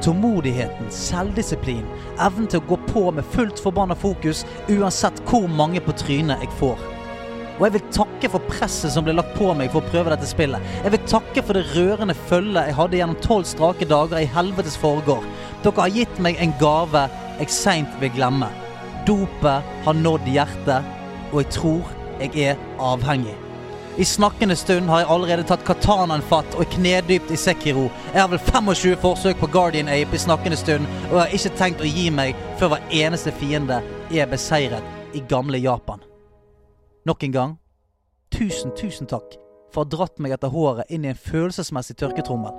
Tålmodigheten, selvdisiplin, evnen til å gå på med fullt forbanna fokus uansett hvor mange på trynet jeg får. Og jeg vil takke for presset som ble lagt på meg for å prøve dette spillet. Jeg vil takke for det rørende følget jeg hadde gjennom tolv strake dager i helvetes forgård. Dere har gitt meg en gave jeg seint vil glemme. Dopet har nådd hjertet, og jeg tror jeg er avhengig. I snakkende stund har jeg allerede tatt katanaen fatt og er knedypt i Sekiro. Jeg har vel 25 forsøk på Guardian Ape i snakkende stund, og jeg har ikke tenkt å gi meg før hver eneste fiende er beseiret i gamle Japan. Nok en gang, tusen, tusen takk for å ha dratt meg etter håret inn i en følelsesmessig tørketrommel.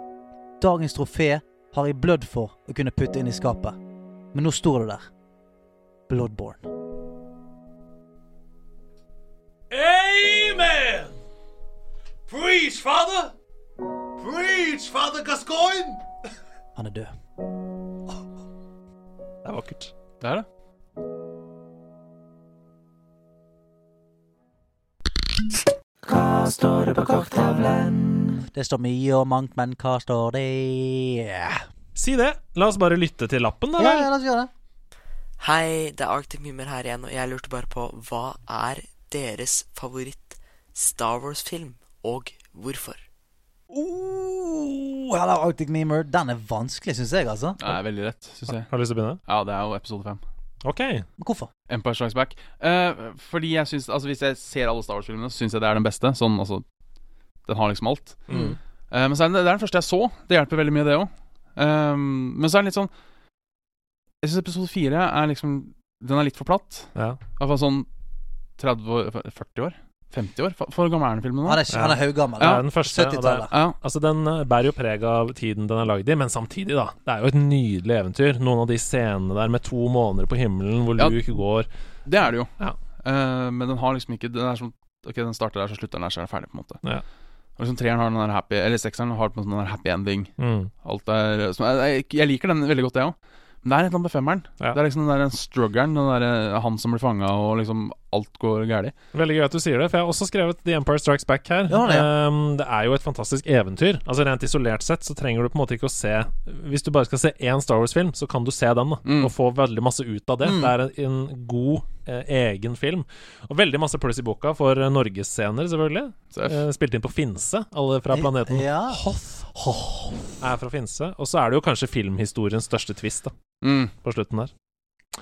Dagens trofé har jeg blødd for å kunne putte inn i skapet, men nå står det der. Bloodborne.
Amen! Preach, Father! Preach, Father Gascoigne!
Han er død.
Det er vakkert.
Det er det.
Det står mye og mangt, men hva står det?
Si det. La oss bare lytte til lappen, da.
Ja,
vel?
ja, la oss gjøre det.
Hei, det er Arctic Mimmer her igjen, og jeg lurte bare på hva er deres favoritt Star Wars-film, og hvorfor?
Oh, hello, Arctic Memer. Den er vanskelig, syns jeg, altså.
Det er veldig lett, syns jeg.
Har du lyst til å begynne?
Ja, det er jo episode fem.
OK.
Men hvorfor?
Empire Strikes Back. Eh, fordi jeg syns Altså, hvis jeg ser alle Star Wars-filmene, så syns jeg det er den beste. Sånn, altså Den har liksom alt. Eh, men så er den, det er den første jeg så. Det hjelper veldig mye, det òg. men så er den litt sånn Jeg syns episode fire er liksom Den er litt for platt.
Ja.
I hvert fall sånn 30 år 40 år? 50 år? For, for gammel er den filmen nå?
Han er, han er haugammel.
Det er den første. Og det er,
70-tallet.
Ja.
Altså Den eh, bærer jo preg av tiden den er lagd i, men samtidig, da. Det er jo et nydelig eventyr. Noen av de scenene der med to måneder på himmelen hvor
Ja.
Luke går
Det er det jo.
Ja.
Eh, men den har liksom ikke Den er som Ok, den starter der, så slutter den der, så er det ferdig, på en måte.
Ja.
Og liksom Treeren har den der happy Eller sekseren har på en måte den der happy ending.
mm.
Alt er eh, som, jeg, jeg- jeg liker den veldig godt, jeg òg. Men det er et eller annet med femmeren.
Ja.
Det er liksom den der struggeren, den der eh, han som blir fanga, og liksom alt går galt.
Veldig gøy at du sier det, for jeg har også skrevet The Empire Strikes Back her.
Ja, det er.
Ehm, det er jo et fantastisk eventyr. Altså Rent isolert sett så trenger du på en måte ikke å se Hvis du bare skal se én Star Wars-film, så kan du se den, da.
Mm.
Og få veldig masse ut av det. Det er en, en god eh, egen film. Og veldig masse pluss i boka for eh, norgesscener, selvfølgelig.
Seff.
Eh, spilt inn på Finse, alle fra planeten
Ja.
Hoth. Er fra Finse. Og så er det jo kanskje filmhistoriens største twist, da,
Mm.
på slutten der.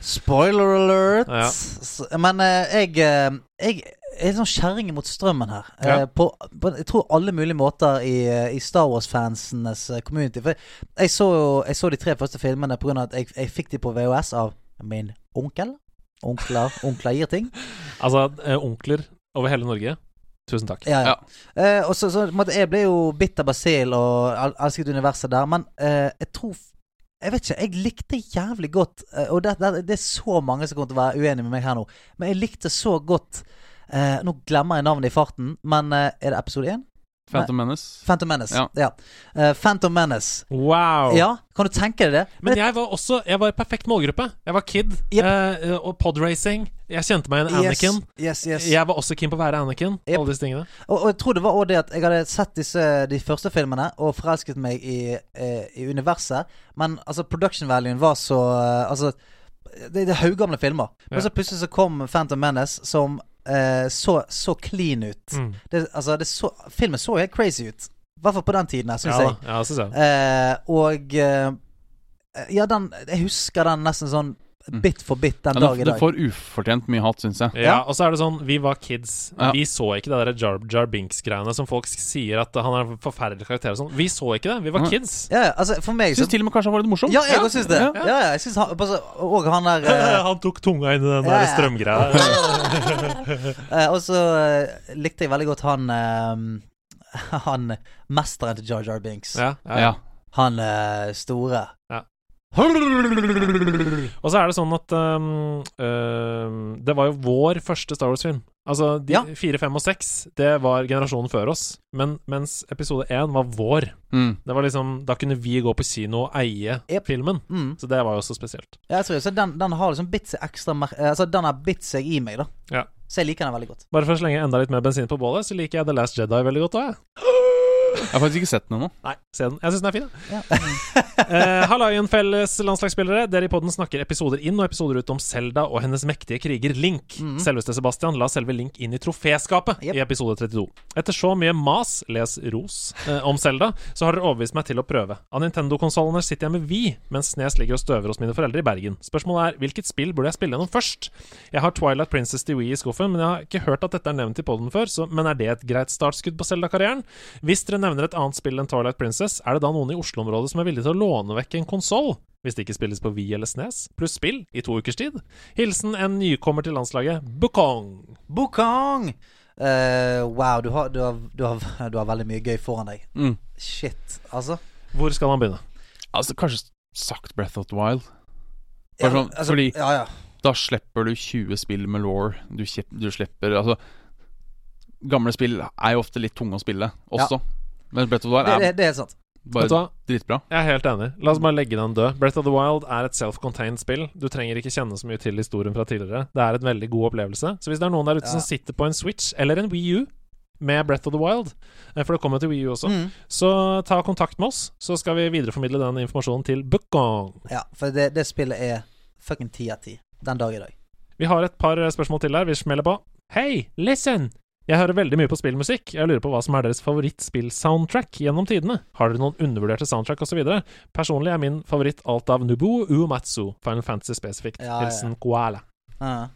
Spoiler alert.
Ja.
S- Men eh, jeg, eh, jeg er litt sånn kjerring mot strømmen her. eh,
Ja.
På, på jeg tror alle mulige måter i, eh, i Star Wars-fansenes eh, community. For jeg, jeg, så, jo- jeg så de tre første filmene pga. at jeg, jeg fikk de på VHS av min onkel. Onkler, onkler gir ting.
Altså, eh, onkler over hele Norge, tusen takk.
Ja, ja. Eh, og så, så på en måte, Jeg ble jo bitter basil og el- elsket universet der, men eh, jeg tror f- Jeg vet ikke. Jeg likte jævlig godt eh, Og det, det, det er så mange som kommer til å være uenige med meg her nå, men jeg likte så godt eh, Nå glemmer jeg navnet i farten, men eh, er det episode én?
Phantom Menace.
Phantom Menace.
Ja.
Eh, Phantom Menace.
Wow!
Ja, kan du tenke deg det?
Men jeg var også Jeg var i perfekt målgruppe. Jeg var kid
Jep.
eh, og podracing. Jeg kjente meg igjen i
Yes,
Anakin.
Yes, yes,
Jeg var også keen på å være Anakin.
Jep.
Alle disse tingene.
Og, og jeg tror det var også det at jeg hadde sett disse, de første filmene og forelsket meg i, eh, i universet. Men altså, production valuen var så eh, Altså, det, det er haugamle filmer. Men
Ja.
så plutselig så kom Phantom Menace, som eh, så, så clean ut.
Mm.
Det, altså, det så, filmen så helt crazy ut. I hvert fall på den tiden, her,
Ja,
syns jeg.
da. ja, synes jeg.
Eh, og eh, Ja, den Jeg husker den nesten sånn bit for bit den
Ja,
dag i
det, det
dag.
får ufortjent mye hat, syns
Eh,
jeg.
Ja, og så er det sånn Vi var kids.
Ja.
Vi så ikke det der Jar, Jar Binks-greiene som folk sier at han er en forferdelig karakter og sånn. Vi så ikke det. Vi var
Nei.
kids.
Ja, ja, altså, for meg
Jeg
så
syns til og med kanskje han var litt morsom.
Ja, jeg òg syns det.
Ja.
Ja, ja, jeg synes han, altså, og han der eh,
han tok tunga inn i
Ja,
den der
ja.
strømgreia.
Eh, og så eh, likte jeg veldig godt han eh, Han mesteren til Jar Jar Binks.
Ja, ja.
Ja.
Han eh, store.
Og så er det sånn at um, um, Det var jo vår første Star Wars-film. Altså de
Ja.
fire, fem og seks, det var generasjonen før oss. Men mens episode én var vår.
Mm.
Det var liksom, Da kunne vi gå på kino og eie
Yep.
filmen.
Mm.
Så det var jo også spesielt.
Ja, jeg tror, så den, den har liksom bitt seg ekstra mer eh, Altså, den har bitt seg i meg, da.
Ja.
Så jeg liker den veldig godt.
Bare for å slenge enda litt mer bensin på bålet, så liker jeg The Last Jedi veldig godt òg, jeg.
Jeg har faktisk ikke sett den ennå.
Nei, se den. Jeg syns den er fin, jeg. Eh, Halløyen, felles landslagsspillere. Dere i podden snakker episoder inn og episoder ut om Selda og hennes mektige kriger Link. Selveste Sebastian la selve Link inn i troféskapet i episode 32. Etter så mye mas, les ros, eh, om Selda, så har dere overbevist meg til å prøve. Av Nintendo-konsollene sitter jeg med Vi, mens Snes ligger og støver hos mine foreldre i Bergen. Spørsmålet er hvilket spill burde jeg spille gjennom først? Jeg har Twilight Princess til Wii i skuffen, men jeg har ikke hørt at dette er nevnt i podden før, så, men er det et greit startskudd på Selda-karrieren? Hvis dere nevner et annet spill enn Twilight Princess, er det da noen i Oslo-området som er villig til å låne vekk en konsoll? Hvis det ikke spilles på Wii eller Snes, pluss spill i to ukers tid. Hilsen en nykommer til landslaget, Bukong.
Bukong! Eh, wow, du har, du, har, du, har, du har veldig mye gøy foran deg.
Mm.
Shit, altså.
Hvor skal han begynne?
Altså, kanskje sagt Breath of the Wild. Bare sånn,
altså,
fordi
ja, ja.
da slipper du 20 spill med law. Du, kjep- du slipper Altså, gamle spill er jo ofte litt tunge å spille også. Men Breath of the Wild
Det,
er
det, det er sant.
Vet du
bare
hva?
dritbra.
Jeg er helt enig. La oss bare legge den død. Breath of the Wild er et self-contained spill. Du trenger ikke kjenne så mye til historien fra tidligere. Det er et veldig god opplevelse. Så hvis det er noen der ute
Ja.
som sitter på en Switch eller en Wii U med Breath of the Wild, eh, for det kommer jo til Wii U også,
Mm.
så ta kontakt med oss, så skal vi videreformidle den informasjonen til Bookong.
Ja, for det, det spillet er fucking ti av ti den dag i dag.
Vi har et par eh, spørsmål til her. Vi smeller på. Hei, listen! Jeg hører veldig mye på spillmusikk. Jeg lurer på hva som er deres favorittspill-soundtrack gjennom tidene. Har dere noen undervurderte soundtrack osv.? Personlig er min favoritt alt av Nubu Uematsu, Final Fantasy spesifikt.
Ja, ja, ja.
Hilsen Koala.
Ja.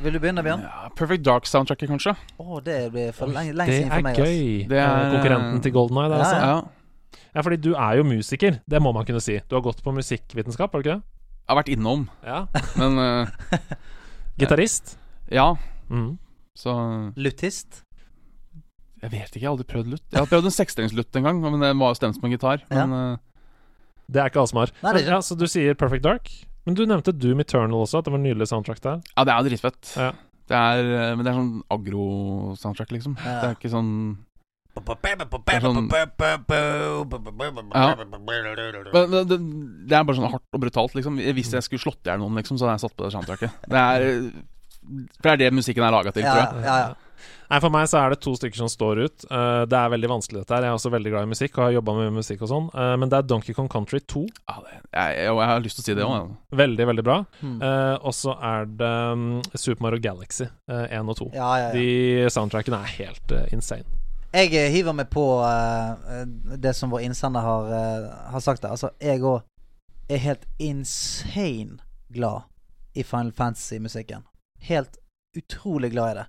Vil du begynne, Bjørn? Å,
Ja, Perfect Dark-soundtracket, kanskje.
det blir for lenge, lenge
Det
siden for
er
meg. ass.
gøy.
Det er-
Eh, Konkurrenten til Golden Eye, det,
Ja,
altså.
Ja.
Ja, fordi du er jo musiker. Det må man kunne si. Du har gått på musikkvitenskap, har du ikke det?
Jeg har vært innom,
Ja.
men eh,
Gitarist.
ja.
Mm.
Så
Lutist.
Jeg vet ikke, jeg har aldri prøvd lutt. Jeg har prøvd en sekstrengslutt en gang, men det var jo stemt som en gitar. Men eh,
Det er ikke alle som har.
Nei, det er ikke-
Ja, så du sier Perfect Dark. Men du nevnte Doom Eternal også, at det var en nydelig soundtrack der.
ja, det er jo dritfett.
Ja.
Det er, eh, men det er sånn agro-soundtrack, liksom.
Ja.
Det er ikke sånn det er sånn- Ja. Men det, det, det er bare sånn hardt og brutalt, liksom. Hvis jeg skulle slått i hjel noen, liksom, så hadde jeg satt på det soundtracket. Det er For det er det musikken er laga til,
Ja,
tror
ja,
jeg.
ja. ja.
Nei, For meg så er det to stykker som står ut. Eh, det er veldig vanskelig, dette her. Jeg er også veldig glad i musikk og har jobba med musikk og sånn. Eh, men det er Donkey Kong Country 2.
Ja, det, jeg, jeg, jeg har lyst til å si det òg.
Veldig, veldig bra.
Mm.
Eh, og så er det mm, Super Mario Galaxy eh, 1 og 2.
ja, ja, ja.
De soundtrackene er helt eh, insane.
Jeg eh, hiver meg på eh, eh, det som vår innsender har, eh, har sagt der. Altså, jeg òg er helt insane glad i Final Fantasy-musikken. Helt utrolig glad i det.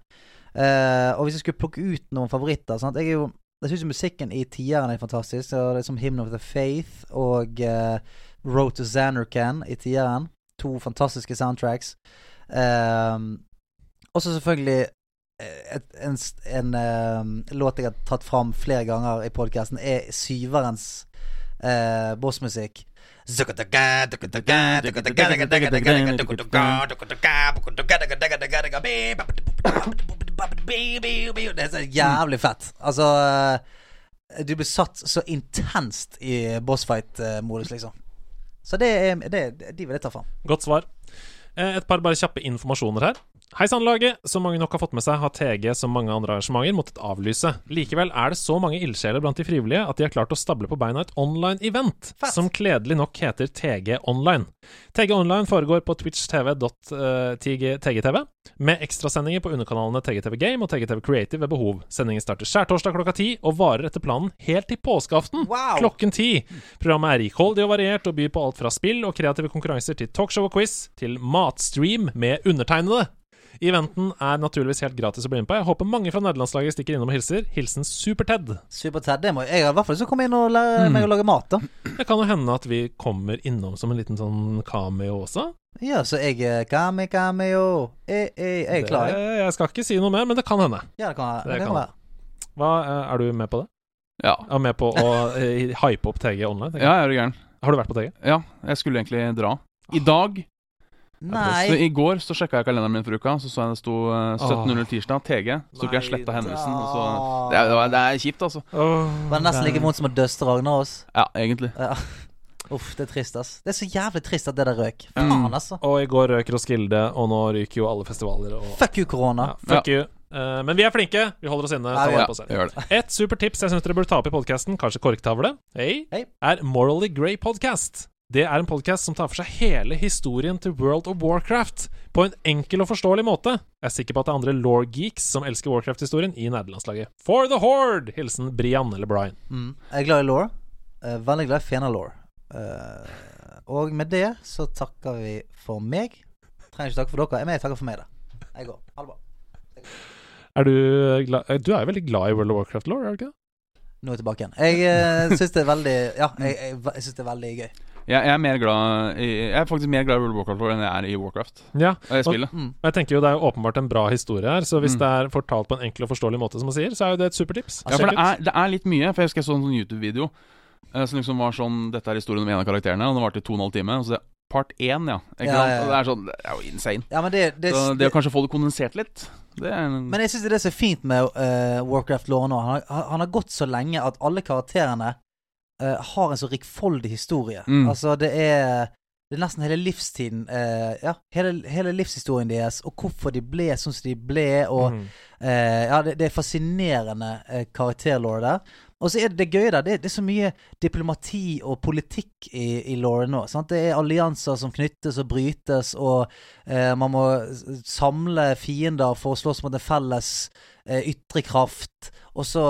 Eh, og hvis jeg skulle plukke ut noen favoritter sant? Jeg, er jo, jeg syns musikken i tieren er fantastisk. Så det er som Hymn of the Faith og eh, Road to Xanarcan i tieren. To fantastiske soundtracks. Um, også selvfølgelig eh, et, en, s- en eh, låt jeg har tatt fram flere ganger i podkasten, er syverens eh, bossmusikk. Det er så jævlig fett. Altså eh, Du blir satt så intenst i bossfight-modus, liksom. Så det er det, De vil jeg ta fram.
Godt svar. Eh, Et par bare kjappe informasjoner her. Hei sann, laget! Som mange nok har fått med seg, har TG som mange andre arrangementer måttet avlyse. Likevel er det så mange ildsjeler blant de frivillige at de har klart å stable på beina et online-event,
Fett.
som kledelig nok heter TG Online. TG Online foregår på eh, twitchtv.tgtv, med ekstrasendinger på underkanalene TGTV Game og TGTV Creative ved behov. Sendingen starter skjærtorsdag klokka ti og varer etter planen helt til påskeaften
Wow.
klokken ti. Programmet er rikholdig og variert og byr på alt fra spill og kreative konkurranser til talkshow og quiz til matstream med undertegnede. Eventen er naturligvis helt gratis å bli med på. Jeg håper mange fra nederlandslaget stikker innom og hilser. Hilsen Super-Ted.
Super-Ted. det må- Jeg har i hvert fall lyst til å komme inn og lære meg å lage mat, da.
Det kan jo hende at vi kommer innom som en liten sånn cameo også.
Ja, så jeg eh, Kami, kami, jo. Jeg, jeg, jeg er klar, jeg.
Det, jeg skal ikke si noe mer, men det kan hende.
Ja, det kan,
det
det
kan
kan være.
Hva, eh, er du med på det?
Ja.
Er du med på å eh, hype opp TG online? tenker jeg?
ja, jeg er du gæren.
Har du vært på TG?
Ja, jeg skulle egentlig dra. I dag så
Nei.
I går så sjekka jeg kalenderen min for uka, så så jeg det sto eh, 17.00 tirsdag, TG. Så tok jeg og sletta hendelsen. Og så, det, er, det var- det er kjipt, altså.
Ah. Det var nesten like vondt som å døste Ragnarås.
Ja, egentlig.
Ja. Uff, det er trist, ass. Det er så jævlig trist at det der røk. Faen, altså.
Og i går røk Roskilde, og nå ryker jo alle festivaler og
Fuck you, korona.
ja, Fuck you. Eh, men vi er flinke. Vi holder oss inne. tar
Ja,
vare på oss selv.
gjør det.
Et super tips jeg syns dere burde ta opp i podkasten, kanskje korktavle, hey, er Morally Grey Podcast. Det er en podkast som tar for seg hele historien til World of Warcraft på en enkel og forståelig måte. Jeg er sikker på at det er andre law geeks som elsker Warcraft-historien i nederlandslaget. For the Horde! Hilsen Brian eller Brian.
Jeg er glad i law. Eh, veldig glad i fenalår. og med det så takker vi for meg. Trenger ikke takke for dere, men jeg takker for meg, da. Jeg går. Ha det bra.
Er du glad eh, Du er jo veldig glad i World of Warcraft-law, er du ikke det?
Nå er jeg tilbake igjen. Jeg uh, syns det er veldig Ja, jeg, jeg, jeg syns det er veldig gøy.
Jeg, jeg er mer glad i, Jeg er faktisk mer glad i World of Warcraft enn jeg er i Warcraft.
Ja.
Eh, spillet.
Mm.
Og, og jeg tenker jo det er jo åpenbart en bra historie her, så hvis
Mm.
det er fortalt på en enkel og forståelig måte, som man sier, så er jo det et supertips.
Ja, for
Sjekk
det
ut.
er, det er litt mye. For jeg husker jeg så en sånn YouTube-video eh, som liksom var sånn Dette er historien om en av karakterene, og den varte i to og en halv time. Og så det er part én, ja. Ikke
Ja, ja,
sant?
ja.
Og det er sånn Det er jo insane.
Ja, men det, det,
så det å kanskje få det kondensert litt, det er en
Men jeg syns det er det som er fint med eh, Warcraft Law nå. Han, har- han har gått så lenge at alle karakterene eh, har en så rikfoldig historie.
Mm.
Altså, det er Det er nesten hele livstiden eh, Ja, hele, hele livshistorien deres, og hvorfor de ble sånn som de ble, og
Mm.
eh, Ja, det, det er fascinerende uh, karakterlaw der. Og så er det det gøye der, det, det er så mye diplomati og politikk i, i lawen nå. Sant? Det er allianser som knyttes og brytes, og eh, man må s- samle fiender for å slåss mot en felles eh, ytre kraft. Og så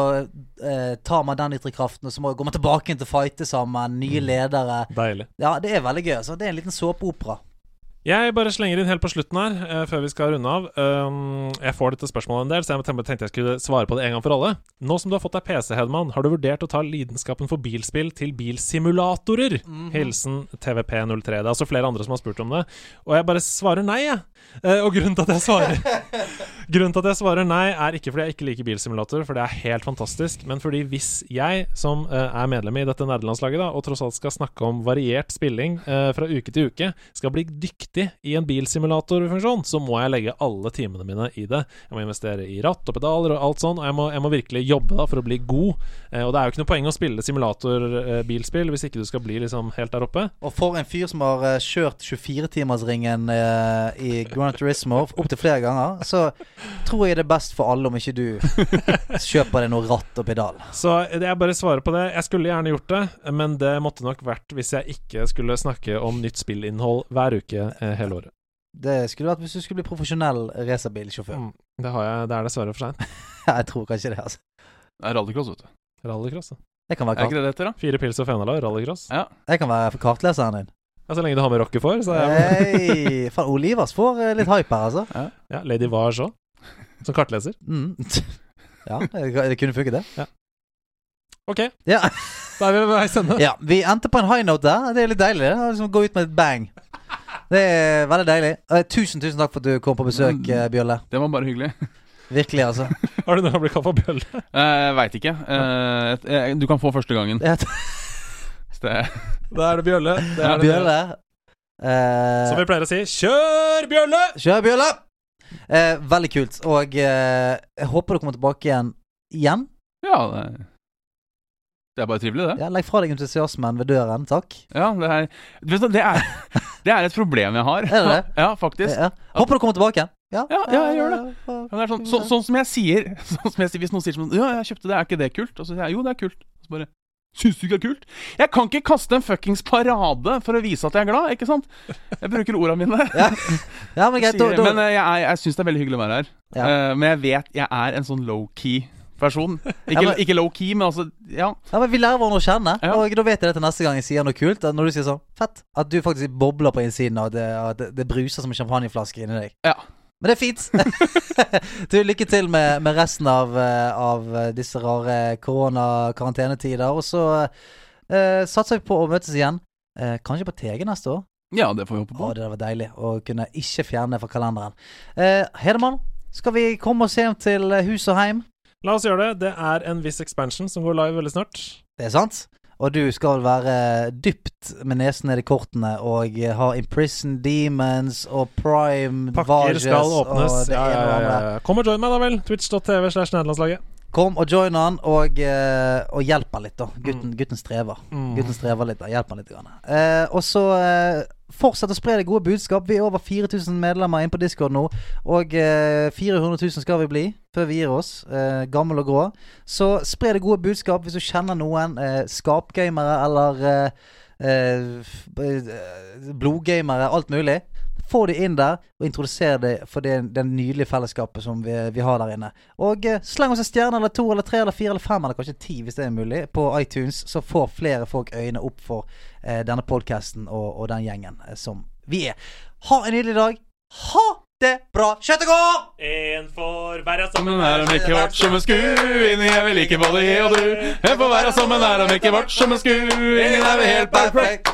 eh, tar man den ytre kraften, og så må, går man tilbake inn til å fighte sammen. Nye ledere.
Deilig.
Ja, det er veldig gøy. Altså. Det er en liten såpeopera.
Jeg bare slenger inn helt på slutten her, eh, før vi skal runde av. Um, jeg får dette spørsmålet en del, så jeg tem- tenkte jeg skulle svare på det en gang for alle. Nå som du har fått deg PC, Hedman, har du vurdert å ta lidenskapen for bilspill til bilsimulatorer? Hilsen TVP03. Det er altså flere andre som har spurt om det, og jeg bare svarer nei, jeg. Eh, og grunnen til at jeg svarer Grunnen til at jeg svarer nei, er ikke fordi jeg ikke liker bilsimulator, for det er helt fantastisk, men fordi hvis jeg, som eh, er medlem i dette nerdelandslaget, da, og tross alt skal snakke om variert spilling eh, fra uke til uke, skal bli dyktig i en bilsimulatorfunksjon, så må jeg legge alle timene mine i det. Jeg må investere i ratt og pedaler og alt sånn, og jeg må, jeg må virkelig jobbe da for å bli god. Eh, og det er jo ikke noe poeng å spille simulator-bilspill hvis ikke du skal bli liksom helt der oppe.
Og for en fyr som har eh, kjørt 24-timersringen uh, i Gran Turismo opptil flere ganger, så tror jeg det er best for alle om ikke du kjøper deg noe ratt og pedal.
Så jeg bare svarer på det. Jeg skulle gjerne gjort det, men det måtte nok vært hvis jeg ikke skulle snakke om nytt spillinnhold hver uke eh, hele året.
Det skulle vært hvis du skulle bli profesjonell racerbilsjåfør.
Mm. Det, har jeg, det er dessverre for seint.
Jeg tror kanskje det, altså.
Det er rallycross, vet du.
Rallycross. da.
Jeg kan
Er
være,
ikke
kart
det det heter, da?
Fire pils og fenala, rallycross.
Ja.
jeg kan være kartleseren din.
Ja, så lenge du har med rocket for, så er jeg
Hei! Faen, Olivas får eh, litt hype her, altså.
ja, Lady Vars òg, som kartleser.
Mm. Ja, det, det kunne funket, det.
OK,
Ja.
da er vi ved veis ende.
ja, vi endte på en high note der. Det er litt deilig. det. Det er Liksom Gå ut med et bang. Det er veldig deilig. Eh, Tusen, tusen takk for at du kom på besøk,
Mm.
eh, Bjølle.
Det var bare hyggelig.
Virkelig, altså.
Har du noe å bli kalt for bjølle?
Uh, Veit ikke. Eh, et- eh, du kan få første gangen.
Ja,
Så Det,
Da er det bjølle. Det er det.
Bjølle. Eh,
Som vi pleier å si, kjør bjølle!
Kjør, Bjølle! Eh, veldig kult. Og eh, jeg håper du kommer tilbake igjen. Igjen?
ja, det, det er bare trivelig, det.
Ja, legg fra deg entusiasmen ved døren, takk.
Ja, det er du vet, hva, det er, det er et problem jeg har.
Er det det?
Ja, faktisk.
Ja. Håper du kommer tilbake igjen.
Ja, ja, jeg gjør
det.
Ja, det er sånn, så, sånn som jeg sier sånn som jeg sier Hvis noen sier sånn Ja, jeg kjøpte det, er ikke det kult? Og så sier jeg jo, det er kult. Og så bare Syns du ikke det er kult? Jeg kan ikke kaste en fuckings parade for å vise at jeg er glad, ikke sant? Jeg bruker orda mine.
Ja, men greit.
Sier,
Da, da,
men eh, jeg, er- jeg syns det er veldig hyggelig å være her.
Ja.
Eh, men jeg vet jeg er en sånn low-key person. Ikke,
men-
ikke low-key, men altså Ja.
ja, men vi lærer hverandre å kjenne,
Ja.
og da vet jeg det til neste gang jeg sier noe kult. At når du sier sånn Fett. At du faktisk bobler på innsiden, og det, at det, det bruser som en champagneflaske inni deg.
Ja.
Men det er fint. du, lykke til med, med resten av, eh, av eh, disse rare koronakarantenetider. Og så eh, satser vi på å møtes igjen. Eh, kanskje på TG neste år.
Ja, det får vi håpe
Å,
på.
det var deilig å kunne ikke fjerne det fra kalenderen. Eh, Hedemann, skal vi komme oss hjem til eh, hus og heim?
La oss gjøre det. Det er en viss expansion som går live veldig snart.
Det er sant. Og du skal være dypt med nesen ned i kortene og eh, ha Imprison Demons og Prime
Pakker skal
Vages og
åpnes.
det
Ja,
ene
ja,
og det
ja,
andre.
ja. Kom og join meg, da vel. Twitch.tv slash nederlandslaget.
Kom og join han, og, eh, og hjelp han litt, da. Gutten, gutten strever.
Mm.
Gutten strever litt, da. Hjelp han litt. Grann. Eh, og så eh, fortsett å spre det gode budskap. Vi er over 4000 medlemmer inne på Discord nå, og eh, 400 000 skal vi bli før vi gir oss. Eh, gammel og grå. Så spre det gode budskap hvis du kjenner noen eh, skapgamere eller eh, eh, f- eh, blodgamere, alt mulig. Få de inn der, og introdusere de for det, det nydelige fellesskapet som vi, vi har der inne. Og eh, sleng oss en stjerne eller to eller tre eller fire eller fem eller kanskje ti, hvis det er mulig, på iTunes, så får flere folk øyne opp for eh, denne podkasten og, og den gjengen eh, som vi er. Ha en nydelig dag. Ha det bra. Kjøttet går!
En for hver av
sammen er om ikke vart som en sku. Inni er vi like både jeg og du. En får være sammen er om ikke vart som en sku. Ingen er vi helt perfekt.